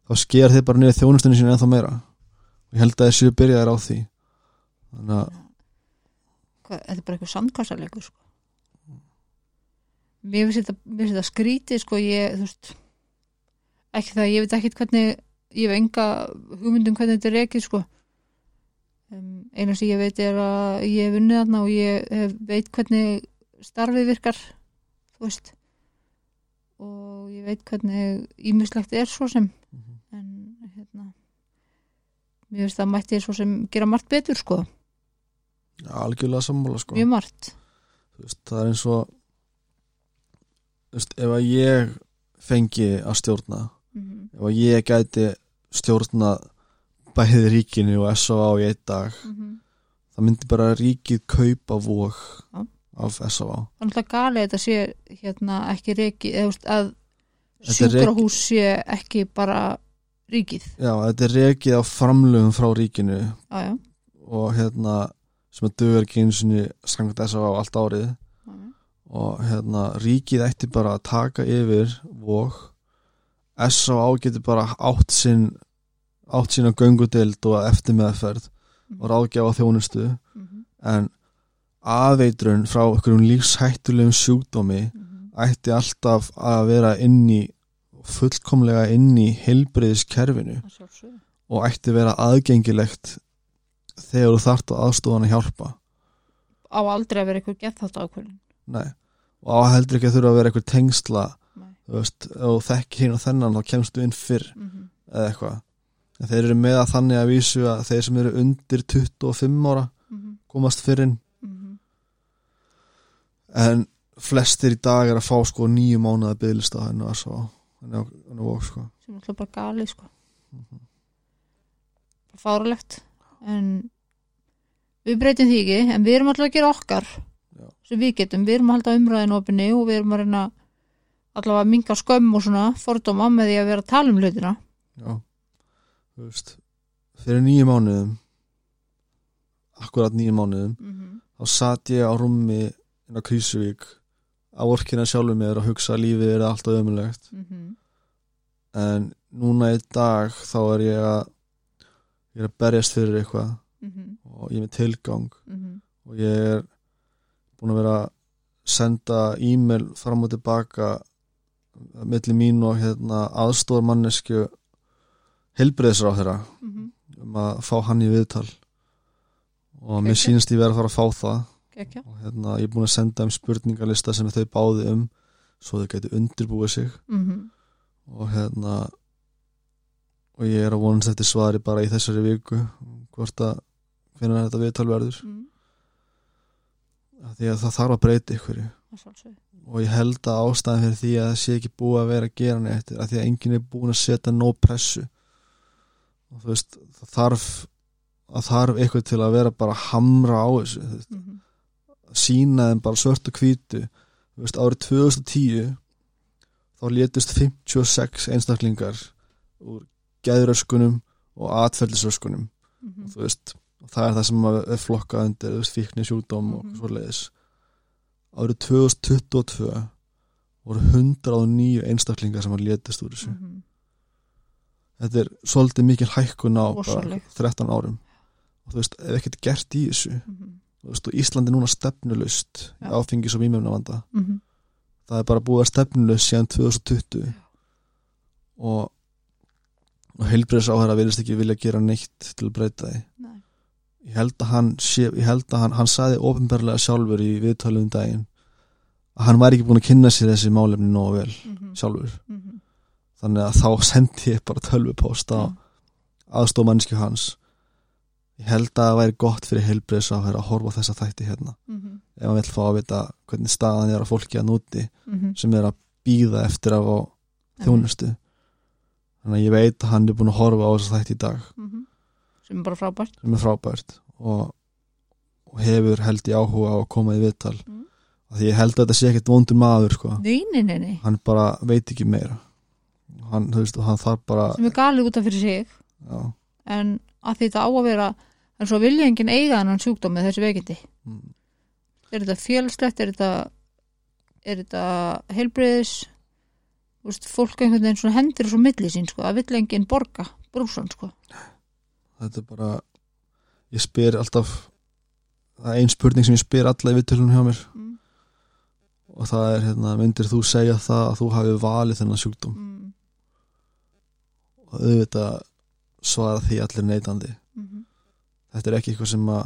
Speaker 2: þá sker þeir bara niður þjónustunni sín ennþá meira og ég held að þeir séu byrjaðar á því þannig að
Speaker 1: Hvað, þetta er bara eitthvað sandkassaleikur, sko. Mér finnst þetta, mér finnst þetta skrítið, sko, ég, þú veist, ekki það, ég veit ekkit hvernig, ég hef enga hugmyndum hvernig þetta er ekki, sko. Um, eina sem ég veit er að ég hef unnið þarna og ég hef, veit hvernig starfið virkar, þú veist, og ég veit hvernig ímislegt er svo sem, en hérna mér finnst að mætti svo sem gera margt betur sko,
Speaker 2: Já, algjörlega sammála sko
Speaker 1: mjög margt
Speaker 2: Þú veist, það er eins og þú veist, ef að ég fengi að stjórna
Speaker 1: mhm,
Speaker 2: ef að ég gæti stjórna bæði ríkinu og S.A.A. í einn dag
Speaker 1: mhm.
Speaker 2: það myndi bara ríkið kaupa vóg
Speaker 1: Já.
Speaker 2: af S.A.A.
Speaker 1: það er náttúrulega galið að þetta sé hérna ekki reiki, eða þú veist að
Speaker 2: Þetta er reki-
Speaker 1: sjúkrahús sé ekki bara ríkið
Speaker 2: Já, þetta er rekið á framlöfum frá ríkinu
Speaker 1: já, já,
Speaker 2: og hérna sem að dugur ekki einu sinni skangat S.A.A. allt árið
Speaker 1: já, já.
Speaker 2: og hérna ríkið ætti bara að taka yfir vóg S.A.A. getur bara átt sinn átt sína göngudild og eftir meðferð og ráðgjafa þjónustu
Speaker 1: Mhm,
Speaker 2: en aðveitrun frá einhverjum lífshættulegum sjúkdómi
Speaker 1: Mhm.
Speaker 2: ætti alltaf að vera inn í fullkomlega inn í heilbreyðiskerfinu
Speaker 1: Að sjálfsögðu.
Speaker 2: og ætti að vera aðgengilegt þegar þú þart á aðstofan að hjálpa
Speaker 1: á aldrei að vera eitthvað gett þátt ákvörðin
Speaker 2: Nei. og á heldur ekki að þurfa að vera eitthvað tengsla
Speaker 1: Nei.
Speaker 2: þú veist, ef þú þekki hérna þennan þá kemst þú inn fyrr
Speaker 1: mm -hmm.
Speaker 2: eða eitthvað en þeir eru með að þannig að vísu að þeir sem eru undir 25 ára
Speaker 1: mhm,
Speaker 2: komast fyrrinn en flestir í dag er að fá sko nýju mánuða bygglista henni að svo henni á- henni á Vogs, sko.
Speaker 1: sem er alltaf bara galið sko
Speaker 2: Mhm.
Speaker 1: bara fárulegt en við breytum því ekki en við erum alltaf að gera okkar
Speaker 2: Já.
Speaker 1: sem við getum, við erum að halda umræðin opinni og við erum að reyna allavega að minga skömm og svona fordóma með því að vera að tala um hlutina
Speaker 2: já þú veist fyrir nýju mánuðum akkurat nýju mánuðum
Speaker 1: mm -hmm.
Speaker 2: þá satt ég á rúmi inn á Krísuvík að orkina sjálfum mér að hugsa að lífið er alltaf ömulegt
Speaker 1: Mm -hmm.
Speaker 2: en núna í dag þá er ég að ég er að berjast fyrir eitthvað
Speaker 1: mhm,
Speaker 2: og ég er með tilgang og ég er búin að vera að senda e-mail fram og tilbaka milli mín og hérna aðstóðar mannesku helbriðisra á þeirra
Speaker 1: mhm.
Speaker 2: um að fá hann í viðtal og mér
Speaker 1: Geggjað.
Speaker 2: sýnst ég vera að fara að fá það
Speaker 1: Gekja.
Speaker 2: og hérna ég er búin að senda um spurningalista sem þau báði um svo þau gæti undirbúið sig
Speaker 1: Mm -hmm.
Speaker 2: og hérna og ég er að vonast eftir svari bara í þessari viku um hvort að hvernig þetta viðtal verður
Speaker 1: Mm
Speaker 2: af því að það þarf að breyta ykkur
Speaker 1: -hmm.
Speaker 2: og ég held að ástæðan fyrir því að það sé ekki búið að vera að gera neitt er að því að enginn er búin að setja nóg pressu og þú veist það þarf að þarf eitthvað til að vera bara að hamra á þessu þú veist,
Speaker 1: Mhm,
Speaker 2: sína þeim bara svört og hvítu þú veist árið 2010 þá létust 56 einstaklingar úr geðröskunum og atferðlisröskunum
Speaker 1: mhm,
Speaker 2: og þú veist, og það er það sem að er flokkað undir, þú veist, fíkni sjúkdóm
Speaker 1: Mhm.
Speaker 2: og svoleiðis árið 2022 voru 109 einstaklingar sem að létist úr
Speaker 1: Mm.
Speaker 2: þessu þetta er svolítið mikil hækkun á bara
Speaker 1: Rosaleg.
Speaker 2: 13 árum og þú veist, ef ekkert gert í þessu
Speaker 1: mhm,
Speaker 2: þú veist, og Íslandi núna stefnulust í
Speaker 1: Já.
Speaker 2: áfengi sem ímjöfna vanda
Speaker 1: mhm.
Speaker 2: það er bara búið að stefnulust síðan 2020 og, og heilbreyðs áhæra vilist ekki vilja gera neitt til að breyta því
Speaker 1: Nei.
Speaker 2: ég held að hann sé, ég held að hann, hann saði ofinbarlega sjálfur í viðtalum um daginn að hann væri ekki búin að kynna sér þessi málefni nógu vel sjálfur
Speaker 1: Mhm.
Speaker 2: þannig að þá (laughs) sendi ég bara tölvupóst á
Speaker 1: Já.
Speaker 2: aðstof mannsku hans ég held að það væri gott fyrir heilbreyðs að vera að horfa á þessa þætti hérna
Speaker 1: Mhm.
Speaker 2: ef hann vill fá að vita hvernig staðan er að fólki að núti
Speaker 1: Mhm.
Speaker 2: sem er að býða eftir að fá
Speaker 1: Mm.
Speaker 2: þjónustu þannig að ég veit að hann er búin að horfa á þessa þætti í dag
Speaker 1: Mhm. sem er bara frábært
Speaker 2: sem er frábært og, og hefur held ég áhuga á að koma í viðtal
Speaker 1: Mm.
Speaker 2: af því ég held að þetta sé ekkert vondur maður sko.
Speaker 1: nei, nei, nei, nei.
Speaker 2: hann bara veit ekki meira hann, þú veist, og hann þarf bara
Speaker 1: sem er galið út af fyrir sig
Speaker 2: já,
Speaker 1: en að því þetta á að vera en svo vilja enginn eiga hann sjúkdómi þessi veikindi
Speaker 2: mm,
Speaker 1: er þetta félslegt, er þetta er þetta heilbriðis Vist, fólk einhvern veginn svona hendur svo milli sín sko, að vill enginn borga brúsan sko
Speaker 2: þetta er bara ég spyr alltaf það er ein spurning sem ég spyr alla í viðtölunum hjá mér
Speaker 1: mm.
Speaker 2: og það er hérna, myndir þú segja það að þú hafi valið þennan sjúkdóm
Speaker 1: Mm.
Speaker 2: og auðvitað svara því allir neitandi
Speaker 1: Mm -hmm.
Speaker 2: þetta er ekki eitthvað sem að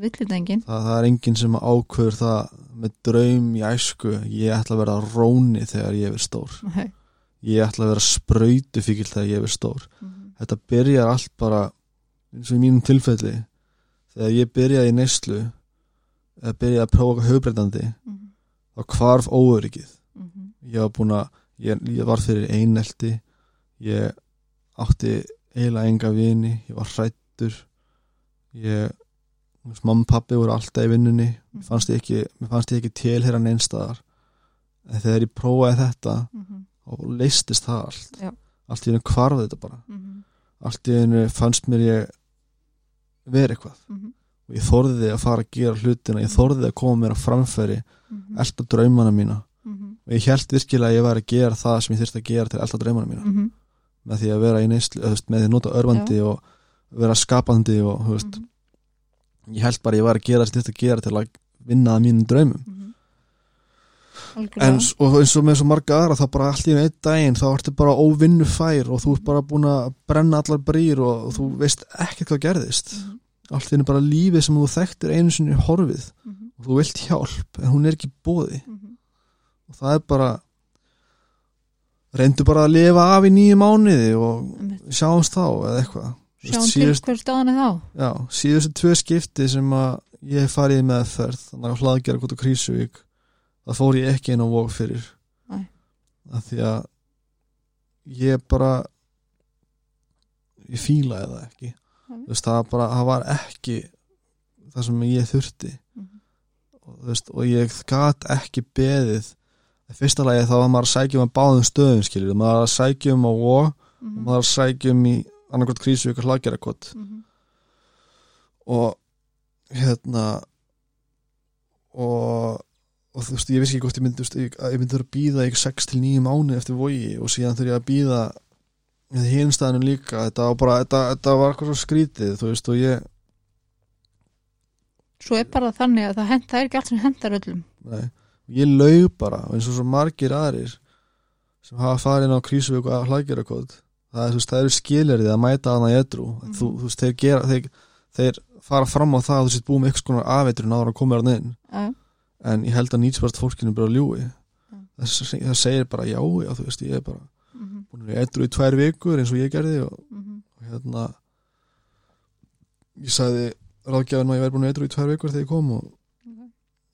Speaker 1: vill þetta enginn
Speaker 2: það, það er enginn sem ákveður það með draum í æsku ég ætla að vera róni þegar ég er stór
Speaker 1: Nei.
Speaker 2: ég ætla að vera sprautu fíkil þegar ég er stór
Speaker 1: Mhm.
Speaker 2: þetta byrjar allt bara eins og í mínum tilfelli þegar ég byrjaði í neyslu eða byrjaði að prófa okkur höfbreytandi
Speaker 1: Mhm.
Speaker 2: þá hvarf óöryggið
Speaker 1: Mhm.
Speaker 2: ég var búin að, ég, ég var fyrir einelti ég átti eiginlega enga vini ég var hrættur ég, þú veist, mamma og pappi voru alltaf í vinnunni mér fannst ég ekki, mér fannst ég ekki tilherran einstæðar en þegar ég prófaði þetta
Speaker 1: Mhm.
Speaker 2: og leistist það allt
Speaker 1: Já.
Speaker 2: allt í hennu hvarf þetta bara
Speaker 1: Mhm.
Speaker 2: allt í hennu fannst mér ég verið eitthvað
Speaker 1: Mhm.
Speaker 2: og ég þorði að fara að gera hlutina ég þorði að koma mér á framfæri
Speaker 1: Mhm.
Speaker 2: elda draumana mína
Speaker 1: Mhm.
Speaker 2: og ég held virkilega að ég væri að gera það sem ég þyrfti að gera til alltaf draumana mína
Speaker 1: Mhm.
Speaker 2: með því að vera í neyslu, þú veist, með því að nota örvandi og vera skapandi og þú veist,
Speaker 1: Mhm.
Speaker 2: ég held bara að ég væri að gera það sem ég þyrfti að gera til að vinna að mínum draumum en,
Speaker 1: algjörlega
Speaker 2: s- og eins og með svo marga aðra þá bara allt í einu einn daginn þá ertu bara óvinnu fær og þú ert bara búin að brenna allar brýr og, þú veist ekkert hvað gerðist allt í einu bara lífið sem þú þekktir einu sinni er horfið
Speaker 1: Mhm,
Speaker 2: og þú vilt hjálp en hún er ekki bóði
Speaker 1: mhm.
Speaker 2: og það er bara reyndu bara að lifa af í nýju mánuði og
Speaker 1: Einmitt.
Speaker 2: sjáumst þá eða eitthvað Þú veist,
Speaker 1: sjáum til
Speaker 2: síðust,
Speaker 1: hver staðan er þá
Speaker 2: já, síðustu tvö skipti sem að ég hef farið með ferð þannig að hlaðgerða kvota krísuvík það fór ég ekki inn á vók fyrir
Speaker 1: Nei.
Speaker 2: af því að ég bara ég fílaði það ekki
Speaker 1: Nei.
Speaker 2: Þú veist, það, bara, það var ekki það sem ég þurfti
Speaker 1: Mhm.
Speaker 2: og, þú veist, og ég gat ekki beðið í fyrsta lagi þá var maður að sækja um að báðum stöðum skilur, maður var að sækja um á Vó og
Speaker 1: Mhm,
Speaker 2: maður var að sækja um í annarkvort krísu ykkur hlagerakot
Speaker 1: mhm,
Speaker 2: og hérna og, og þú veist, ég vissi ekki hvort ég myndi, þú veist, ég, að ég myndi þurfa að býða ykkur 6 til 9 mánu eftir Vogi og síðan þurfa ég að býða hinn staðanum líka, þetta var bara þetta, þetta var eitthvað svo skrítið, þú veist, og ég
Speaker 1: svo er bara þannig að það, hend, það er ekki allt sem hendar öllum
Speaker 2: Nei, ég laug bara eins og svo margir aðrir sem hafa farið inn á krísuvík og hlaðgerakot það, er, þú veist, það eru skiljarið að mæta hana í edru
Speaker 1: Mhm.
Speaker 2: þú, þú veist, þeir, gera, þeir, þeir fara fram á það að þú sétt búið með eitthvað konar afeitrun ára að koma þarna inn
Speaker 1: Já,
Speaker 2: en ég held að nýtspart fólkinu bara ljúi
Speaker 1: Mm.
Speaker 2: það, se- það segir bara já, já, þú veist, ég er bara
Speaker 1: mhm,
Speaker 2: búin að vera edru í tvær vikur eins og ég gerði og,
Speaker 1: mhm,
Speaker 2: og hérna ég sagði ráðgjafin að ég væri búin að vera edru í tvær vikur þegar ég kom og
Speaker 1: mhm.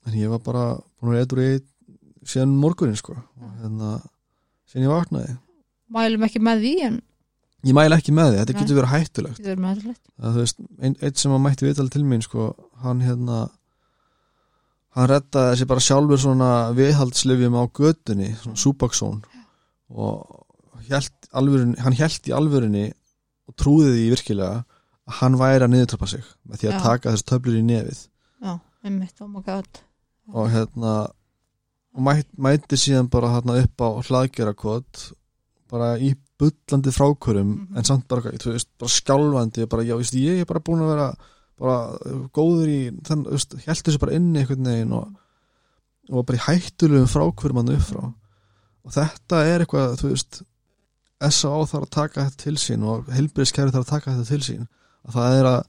Speaker 2: en ég var bara búin að vera eitthvað í síðan morgunin sko og
Speaker 1: Mm.
Speaker 2: hérna, síðan ég vaknaði
Speaker 1: mælum ekki með því en
Speaker 2: ég mæla ekki með því, þetta
Speaker 1: Nei.
Speaker 2: getur verið hættulegt
Speaker 1: getur verið með þetta
Speaker 2: það, þú veist, ein, einn sem að mætti viðtal til mín sko, hann hérna hann rettaði þessi bara sjálfur svona viðhaldslifjum á götunni svona súbaksón og hélt alvörun, hann hélt í alvörunni og trúði því virkilega að hann væri að niðurtrappa sig með því að
Speaker 1: Já.
Speaker 2: taka þessi töflur í nefið
Speaker 1: já, einmitt, oh my god
Speaker 2: og hérna og mæt, mæti síðan bara hérna upp á hlaðgerakot bara í bullandi frákurum
Speaker 1: Mhm.
Speaker 2: en samt bara, þú veist, bara skjálfandi bara, já, veist, ég er bara búin að vera bara uh, góður í, þann, þú veist, held þessu bara inni einhvern veginn og, og var bara í hættulegum frákurum hann upp frá og þetta er eitthvað, þú veist S.A.O. þarf að taka þetta til sín og helbriðskæri þarf að taka þetta til sín að það er að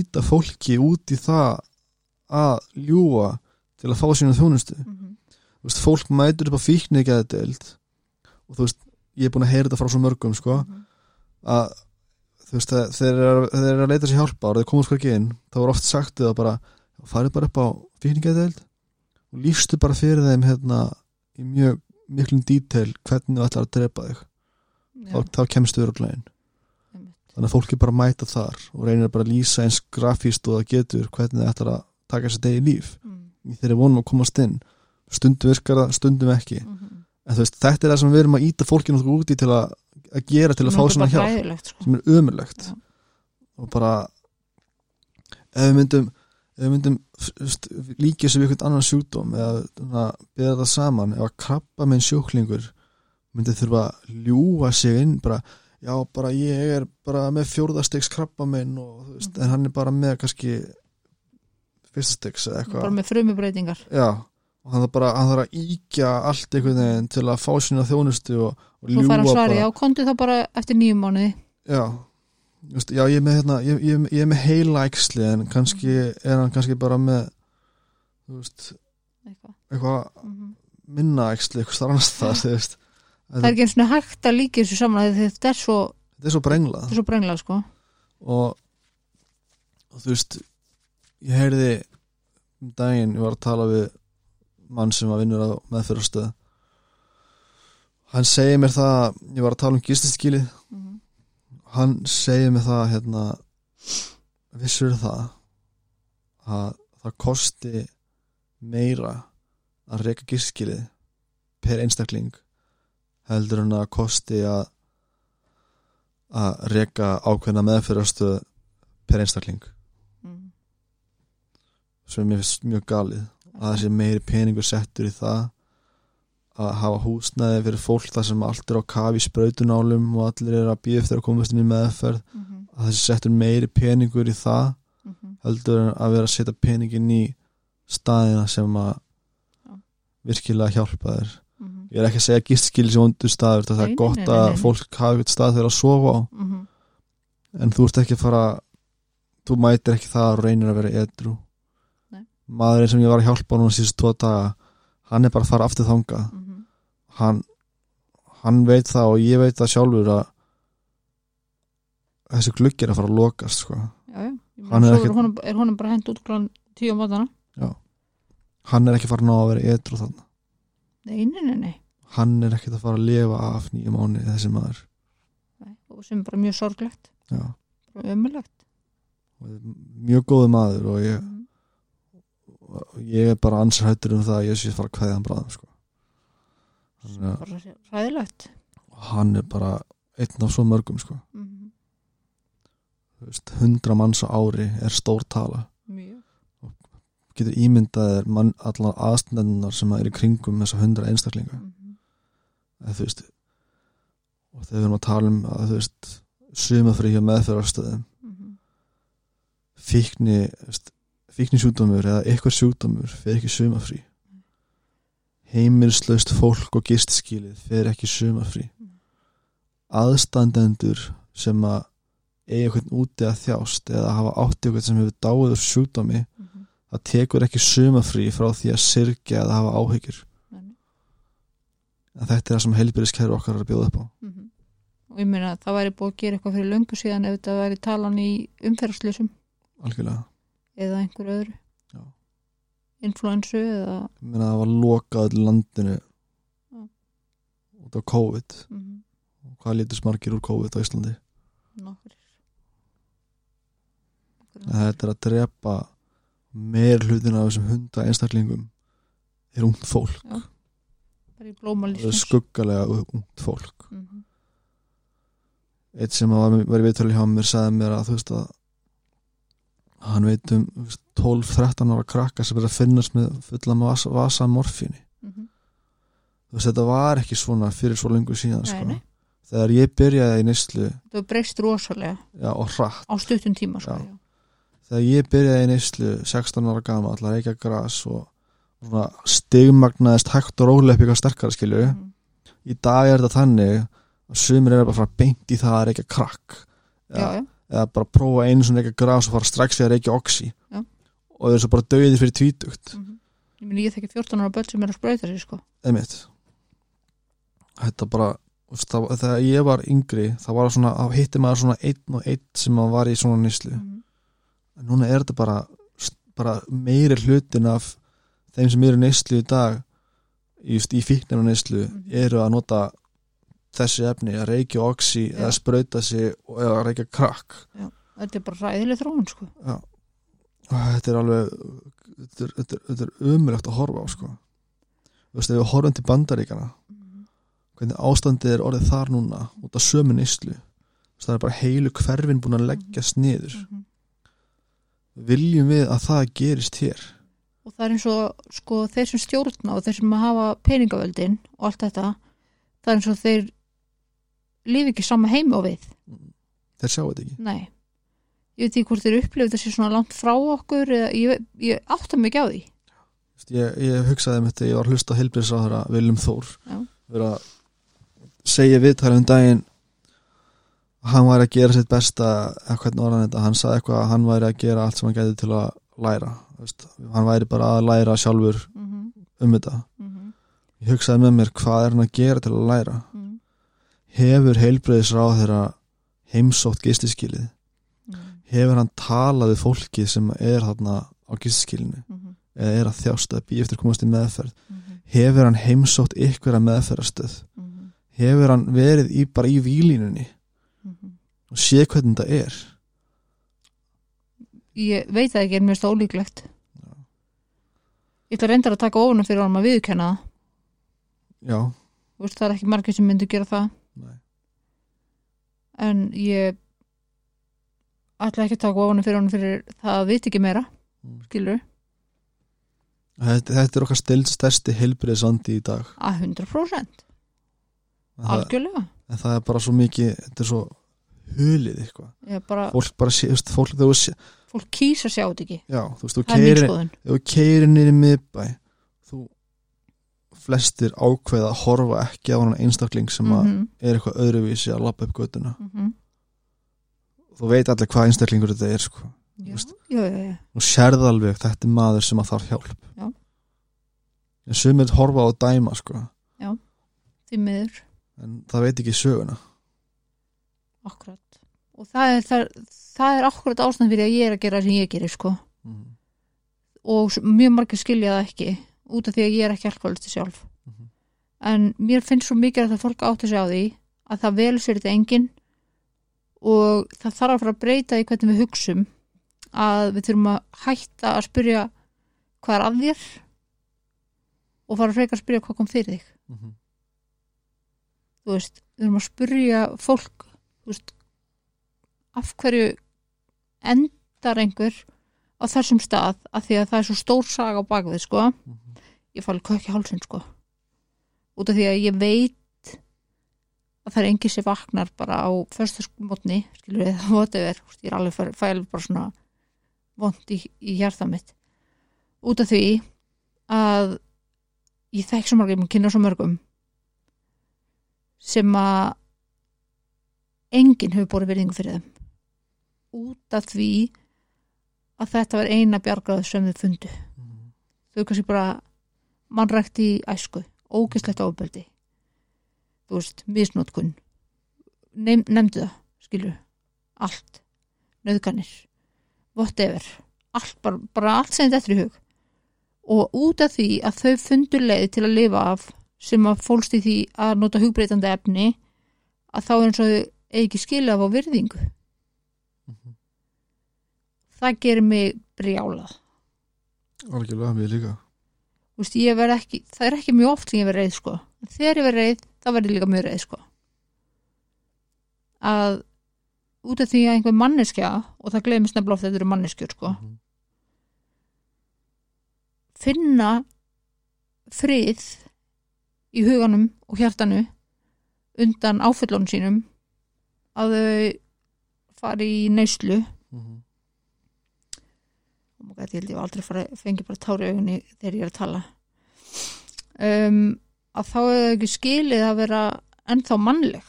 Speaker 2: íta fólki út í það að ljúa til að fá sína þjónustu
Speaker 1: Mhm,
Speaker 2: þú veist, fólk mætur upp á fíkni ekki að þetta deild og þú veist, ég er búin að heyra þetta frá svo mörgum sko,
Speaker 1: mhm,
Speaker 2: að þú veist, að þeir eru að, þeir eru að leita sér hjálpar og þeir komast hvergi inn, þá er oft sagt það bara, farið bara upp á fíkni ekki að deild og lífstu bara fyrir þeim hérna, í mjög miklum detail hvernig þú ætlar að drepa þig
Speaker 1: já,
Speaker 2: þá, þá kemstu þér á glæðin
Speaker 1: einmitt.
Speaker 2: þannig að fólk er bara að mæta þar og reynir bara að lýsa eins grafíst og það getur hvernig það ætlar að taka sér degi líf
Speaker 1: Mhm,
Speaker 2: í þeirri vonum að komast inn stundum virkar það, stundum ekki
Speaker 1: mhm.
Speaker 2: en þú veist, þetta er það sem við erum að íta fólkinu út í til að, að gera til að fá
Speaker 1: Mér finnst
Speaker 2: svona
Speaker 1: bara
Speaker 2: hjálp
Speaker 1: hræðilegt, sko.
Speaker 2: sem er ömurlegt
Speaker 1: Já.
Speaker 2: og bara ef við myndum, ef við myndum f- þú veist, líkja sem við einhvern annan sjúkdóm eða svona, beða það saman ef að krabba minn sjúklingur myndi þurfa að ljúfa sig inn bara, já, bara ég er bara með fjórðastegs krabba minn og, þú veist,
Speaker 1: Mhm.
Speaker 2: en hann er bara með kannski fyrstastegs eða eitthvað
Speaker 1: bara með frumubreitingar
Speaker 2: Já, og hann þarf bara hann þarf að íkja allt einhvern veginn til að fá sína þjónustu og, og
Speaker 1: svo fær hann
Speaker 2: bara
Speaker 1: svari, já, komdu þá bara eftir nýjum mánuði
Speaker 2: já. Þú veist, já, ég er með, hérna, ég, ég, ég er með heilæksli en kannski er hann kannski bara með þú veist,
Speaker 1: Eitthvað.
Speaker 2: eitthvað
Speaker 1: Mhm.
Speaker 2: minna æksli eitthvað starfnast þar þú veist.
Speaker 1: það er ekki eins og hægt að líka þessu saman af því að þetta er svo,
Speaker 2: þetta er svo brenglað
Speaker 1: þetta er svo brenglað sko.
Speaker 2: og, og þú veist ég heyrði um daginn, ég var að tala við mann sem var vinnur á meðfyrastöð hann segir mér það ég var að tala um gistiskilið
Speaker 1: Mhm,
Speaker 2: hann segir mig það hérna vissur það að það kosti meira að reyka gískilið per einstakling heldur en að kosti að að reyka ákveðna meðfyrastu per einstakling
Speaker 1: mhm.
Speaker 2: sem mér finnst mjög galið að það sé meiri peningur settur í það að hafa húsnæði fyrir fólk þar sem allt er á kafi í sprautunálum og allir eru að býja eftir að komast inn í meðferð
Speaker 1: Mhm,
Speaker 2: að þessi settur meiri peningur í það
Speaker 1: mhm,
Speaker 2: heldur en að vera að setja peningin í staðina sem að
Speaker 1: Já.
Speaker 2: virkilega hjálpa þér
Speaker 1: mhm,
Speaker 2: ég er ekki að segja gistskil sem undur staður það
Speaker 1: Nei,
Speaker 2: er
Speaker 1: nei,
Speaker 2: gott
Speaker 1: nei,
Speaker 2: að
Speaker 1: nei, nei.
Speaker 2: fólk hafi eitthvað stað þegar að sofa á
Speaker 1: mhm.
Speaker 2: en þú ert ekki að fara þú mætir ekki það og reynir að vera edru
Speaker 1: Nei.
Speaker 2: maðurinn sem ég var að hjálpa núna síðust tvo daga hann er bara að fara aftur þangað
Speaker 1: mhm,
Speaker 2: hann, hann veit það og ég veit það sjálfur að þessi glugg er að fara að lokast sko.
Speaker 1: já, já. Ég meina,
Speaker 2: Hann er
Speaker 1: svo
Speaker 2: ekkert-
Speaker 1: honum, er honum bara hent út kláðan tíu á mótana
Speaker 2: hann er ekki farin á að vera edru þannig
Speaker 1: nei, nei, nei, nei
Speaker 2: hann er ekkert að fara að lifa af nýju mánu þessi maður
Speaker 1: Nei, og sem er bara mjög sorglegt
Speaker 2: Já.
Speaker 1: bara ömulegt
Speaker 2: Og mjög góðu maður og ég,
Speaker 1: Mhm.
Speaker 2: og ég er bara ansrættur um það að ég sé að fara að kveðja hann bráðum sko. Þannig að
Speaker 1: bara ræðilegt
Speaker 2: hann er bara einn af svo mörgum sko.
Speaker 1: Mhm,
Speaker 2: Þú veist, 100 manns á ári er stór tala
Speaker 1: mjög
Speaker 2: getur ímyndaðir mann, allar aðstendendunar sem er í kringum þessa 100 einstaklinga
Speaker 1: mhm,
Speaker 2: eða þú veist og þegar við erum að tala um að þú veist sumafrí hjá meðferðarstöðum
Speaker 1: mhm,
Speaker 2: fíkni, þú veist, fíkni sjúdómur eða eitthvað sjúdómur fer ekki sumafrí heimilslaust fólk og gistskilið fer ekki sumafrí
Speaker 1: Mm.
Speaker 2: aðstandendur sem að eiga eitthvað úti að þjást eða hafa átti eitthvað sem hefur dáið úr sjúdómi
Speaker 1: mhm.
Speaker 2: það tekur ekki sumafrí frá því að syrgja eða hafa áhyggjur
Speaker 1: Nei, nei.
Speaker 2: en þetta er það sem heilbyrðiskerfi okkar er að bjóða upp á
Speaker 1: Mhm. og ég meina það væri búið að gera eitthvað fyrir löngu síðan ef þetta væri talan í umferðarslýsum
Speaker 2: algjörlega
Speaker 1: eða einhver öðru
Speaker 2: Já.
Speaker 1: influensu eða
Speaker 2: Ég meina það var lokað öll landinu
Speaker 1: Já.
Speaker 2: út á COVID
Speaker 1: mhm,
Speaker 2: og hvað lítist margir úr COVID á Íslandi
Speaker 1: nokkur
Speaker 2: en þetta er að drepa meir hlutin af þessum hunda einstaklingum er ungt fólk
Speaker 1: bara í blóma
Speaker 2: það er
Speaker 1: lífsins
Speaker 2: skuggalega ungt fólk
Speaker 1: Mhm,
Speaker 2: eitt sem var, var í viðtölu hjá mér sagði mér að þú veist að hann veit um þú veist, 12-13 ára krakka sem er að finnast með fulla vasa, vasa af morfíni
Speaker 1: mhm.
Speaker 2: þú veist þetta var ekki svona fyrir svo lengur síðan
Speaker 1: Nei,
Speaker 2: sko.
Speaker 1: nei.
Speaker 2: þegar ég byrjaði í neyslu
Speaker 1: þetta var breyst rosalega
Speaker 2: já, og hratt
Speaker 1: á stuttum tíma sko,
Speaker 2: Já.
Speaker 1: já.
Speaker 2: þegar ég byrjaði í neyslu 16 ára gama, allar reykja gras og svona stigmagnaðist hægt og rólega upp eitthvað sterkara skilju
Speaker 1: Mhm,
Speaker 2: í dag er þetta þannig að sumir eru bara að fara beint í það að reykja krakk
Speaker 1: já, já,
Speaker 2: eða bara prófa einu svona reykja gras og fara strax í að reykja oxi
Speaker 1: Já.
Speaker 2: og þau eru svo bara döiði fyrir tvítugt
Speaker 1: mhm. ég meina ég þekki 14 ára börn sem er að sprauta sér sko
Speaker 2: einmitt þetta bara þú veist, það- þegar ég var yngri það var svona, þá hitti maður svona einn og einn sem maður var í svona neyslu
Speaker 1: Mhm,
Speaker 2: en núna er þetta bara, bara meiri hlutin af þeim sem eru í neyslu í dag just í fíknir og neyslu
Speaker 1: Mhm.
Speaker 2: eru að nota þessi efni að reykja oxi
Speaker 1: Já.
Speaker 2: eða sprauta sig og eða reykja krakk
Speaker 1: þetta er bara ræðileg þróun sko
Speaker 2: og þetta er alveg þetta er, þetta er, þetta er umrægt að horfa á sko þú veist ef við horfum til bandaríkana
Speaker 1: Mhm,
Speaker 2: hvernig ástandið er orðið þar núna út af sömu neyslu Þú veist, það er bara heilu hverfin búin að leggjast niður
Speaker 1: mhm.
Speaker 2: viljum við að það gerist hér
Speaker 1: og það er eins og sko þeir sem stjórna og þeir sem hafa peningavöldin og allt þetta það er eins og þeir lifi ekki sama heim á við
Speaker 2: þeir sjáu þetta ekki
Speaker 1: nei ég veit ekki hvort þeir upplifið þessi svona langt frá okkur eða ég, ég átta mig ekki á því
Speaker 2: Veist, ég, ég hugsaði um þetta, ég var að hlusta heilbriðsráðara Viljum Þór
Speaker 1: Já.
Speaker 2: vera að segja viðtalið um daginn að hann væri að gera sitt besta eða hvernig orðan þetta, hann sagði eitthvað að hann væri að gera allt sem hann gæti til að læra þú veist, hann væri bara að læra sjálfur
Speaker 1: mm -hmm,
Speaker 2: um þetta
Speaker 1: mm -hmm,
Speaker 2: ég hugsaði með mér hvað er hann að gera til að læra
Speaker 1: mm
Speaker 2: hefur heilbriðsráðara heimsótt gistiskilið
Speaker 1: Mhm.
Speaker 2: hefur hann talað við fólki sem er þarna á gistiskilinu
Speaker 1: Mhm.
Speaker 2: eða er að þjásta, býja eftir að komast í meðferð hefur hann heimsótt ykkur að meðferðastöð
Speaker 1: Mhm.
Speaker 2: hefur hann verið í, bara í výlínunni
Speaker 1: Mhm.
Speaker 2: og sé hvernig það er
Speaker 1: ég veit það ekki en mér er það ólíklegt ég ætla reyndar að taka ofunum fyrir honum að viðkenna það
Speaker 2: já,
Speaker 1: Þú veist, það er ekki margir sem myndu gera það
Speaker 2: nei,
Speaker 1: en ég ætla ekki að taka ofan fyrir honum fyrir það að vit ekki meira
Speaker 2: Mm.
Speaker 1: skilur,
Speaker 2: þetta, þetta er okkar stild stærsti heilbriðsandi í dag
Speaker 1: að 100%
Speaker 2: en það,
Speaker 1: algjörlega
Speaker 2: en það er bara svo mikið þetta er svo hulið eitthvað
Speaker 1: Já, bara,
Speaker 2: fólk bara sé, þú veist, fólk þegar þú sé
Speaker 1: fólk kýs að sjá þetta ekki
Speaker 2: já, þú veist, þú
Speaker 1: það er mín
Speaker 2: keirir
Speaker 1: skoðun
Speaker 2: ef þú keirir niður í miðbæ þú flestir ákveða að horfa ekki á hann einstakling sem að
Speaker 1: Mhm,
Speaker 2: er eitthvað öðruvísi að lappa upp göttuna
Speaker 1: mhm.
Speaker 2: þú veit allir hvað einstaklingur þetta er sko.
Speaker 1: Já,
Speaker 2: veist.
Speaker 1: já, já, já.
Speaker 2: þú sérð alveg þetta er maður sem að þarf hjálp
Speaker 1: Já.
Speaker 2: en sumir horfa á að dæma sko.
Speaker 1: því miður,
Speaker 2: en það veit ekki söguna
Speaker 1: akkurat og það er, það, það er akkurat ástæðan fyrir að ég er að gera það sem ég gerir sko
Speaker 2: mm
Speaker 1: og s- mjög margir skilja það ekki út af því að ég er ekki alkoholisti sjálf
Speaker 2: Mhm.
Speaker 1: en mér finnst svo mikið að það fólk átti sig á því að það velur sér þetta enginn og það þarf að fara að breyta í hvernig við hugsum að við þurfum að hætta að spyrja hvað er að þér og fara að frekar að spyrja hvað kom fyrir þig
Speaker 2: -hmm.
Speaker 1: þú veist, við erum að spurja fólk, þú veist af hverju endar einhver á þessum stað af því að það er svo stór saga á bakvið, sko
Speaker 2: Mhm.
Speaker 1: ég fæli kökki hálsinn, sko út af því að ég veit að það er engi sem vaknar bara á föstaskmotni, skilur við það whatever, þú veist, ég er alveg fæl, fæl bara svona vond í, í hjarta mitt út af því að ég þekk svo margum, kynna svo mörgum sem að enginn hefur borið virðingu fyrir þeim út af því að þetta var eina bjargráð sem þau fundu þau kannski bara mannrækt í æsku, ógeðslegt ofbeldi þú veist, misnótkun Neym, nefndu það, skilur allt, nöðganir whatever allt, bara, bara allt sem þetta er í hug og út af því að þau fundu leið til að lifa af sem að fólst í því að nota hugbreytandi efni að þá er eins og þau eigi ekki skilja af á virðingu
Speaker 2: Mhm.
Speaker 1: það gerir mig brjálað
Speaker 2: algjörlega mér líka
Speaker 1: Þú veist, ég verð ekki, það er ekki mjög oft sem ég verð reið sko. En þegar ég verð reið, þá verð ég líka mjög reið sko. Að út af því að einhver manneskja og það gleymist nefnilega oft að þetta eru manneskjur sko,
Speaker 2: Mhm.
Speaker 1: finna frið í huganum og hjartanu undan áföllunum sínum að þau fari í neyslu
Speaker 2: Mhm.
Speaker 1: og Oh ég held ég hef aldrei fara, fengi bara tári augunni þegar ég er að tala um, að þá hefur ekki skilið að vera ennþá mannleg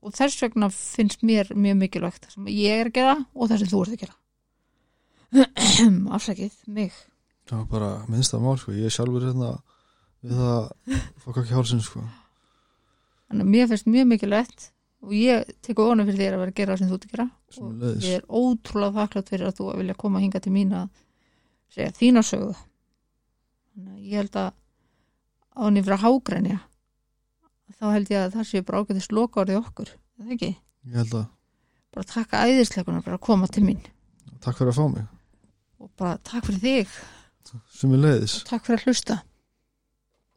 Speaker 1: og þess vegna finnst mér mjög mikilvægt það sem ég er að gera (clears throat) og það sem þú ert að gera afsakið mig
Speaker 2: það var bara minnsta mál sko. ég er sjálfur hérna við það fokk ekki hálsinn sko.
Speaker 1: þannig að mér finnst mjög mikilvægt og ég tekur óna fyrir þér að vera að gera það sem þú ert að gera
Speaker 2: sem
Speaker 1: og
Speaker 2: leiðis
Speaker 1: ég er ótrúlega þakklátt fyrir að þú vilja koma hinga til mín að segja þína sögu Þannig að ég held að á hann yfir að hágrænja þá held ég að það sé bara ágæðis loka orðið okkur, er það ekki
Speaker 2: ég held að
Speaker 1: bara taka æðisleikuna, bara koma til mín
Speaker 2: takk fyrir að fá mig
Speaker 1: og bara takk fyrir þig,
Speaker 2: sem leiðis
Speaker 1: takk fyrir að hlusta